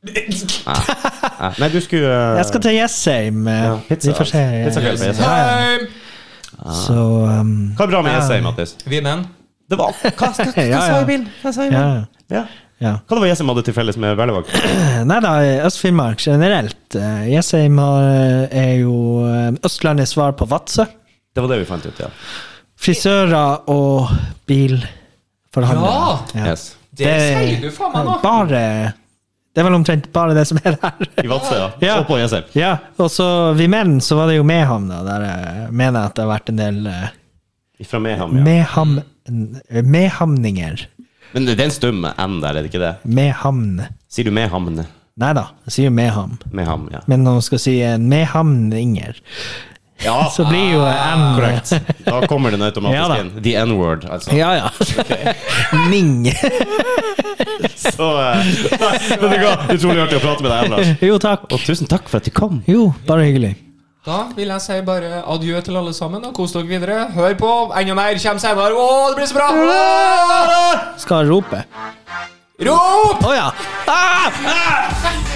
A: Nei, Nei, du skulle eh,
C: Jeg skal til Jessheim. eh,
A: Ja, pizza,
C: Vi får se. eh,
A: pizza kveld på Jessheim.
C: Ja, ja.
B: Time!
C: Så um,
A: Hva er bra med Jessheim, Mattis?
B: Vi er menn.
A: Det var Hva, hva, hva, hva
C: (laughs) Ja,
A: sa
C: ja.
A: jeg i bilen? Hva sa jeg i
C: ja.
A: bilen? Ja.
C: ja.
A: Hva det var Jessheim hadde til felles med Berlevåg?
C: Eh, Nei da, Øst-Finnmark generelt. eh, Jessheim har- er jo eh, Østlandets svar på Vadsø.
A: Det var det vi fant ut, ja.
C: Frisører og bilforhandlere.
B: Ja!
A: Yes.
B: Det, sier du faen meg nå.
C: Bare Det er vel omtrent bare det som er der.
A: I Vadsø, ja.
C: Ja.
A: Og på Jessheim.
C: (laughs) ja, og så vi menn, så var det jo Mehamn, da. Der eh, mener jeg at det har vært en del eh,
A: Fra Mehamn, ja.
C: Meham, Mehamninger.
A: Men det det er en stum N der, er det ikke det?
C: Mehamn.
A: Sier du Mehamn?
C: Nei da, jeg sier Meham.
A: Meham, ja.
C: Men når man skal si en Mehamninger,
A: ja.
C: så blir jo
B: Ah,
C: M
A: Korrekt.
C: (laughs)
A: Da kommer den automatisk
C: Ja da.
A: inn. The N-word, altså.
C: Ja, ja. (laughs) Ning.
A: Så eh, (laughs) nei, vet du hva? Utrolig artig å prate med deg,
C: (laughs)
A: Anders.
C: Jo, takk.
A: Og tusen takk for at du kom.
C: Jo, bare hyggelig.
B: Da vil jeg si bare adjø til alle sammen, og kos dere videre. Hør på. Enda mer kommer senere. Å, det blir så bra! Åh!
C: Skal jeg rope?
B: Rop!
C: Å ja! Ah! Ah!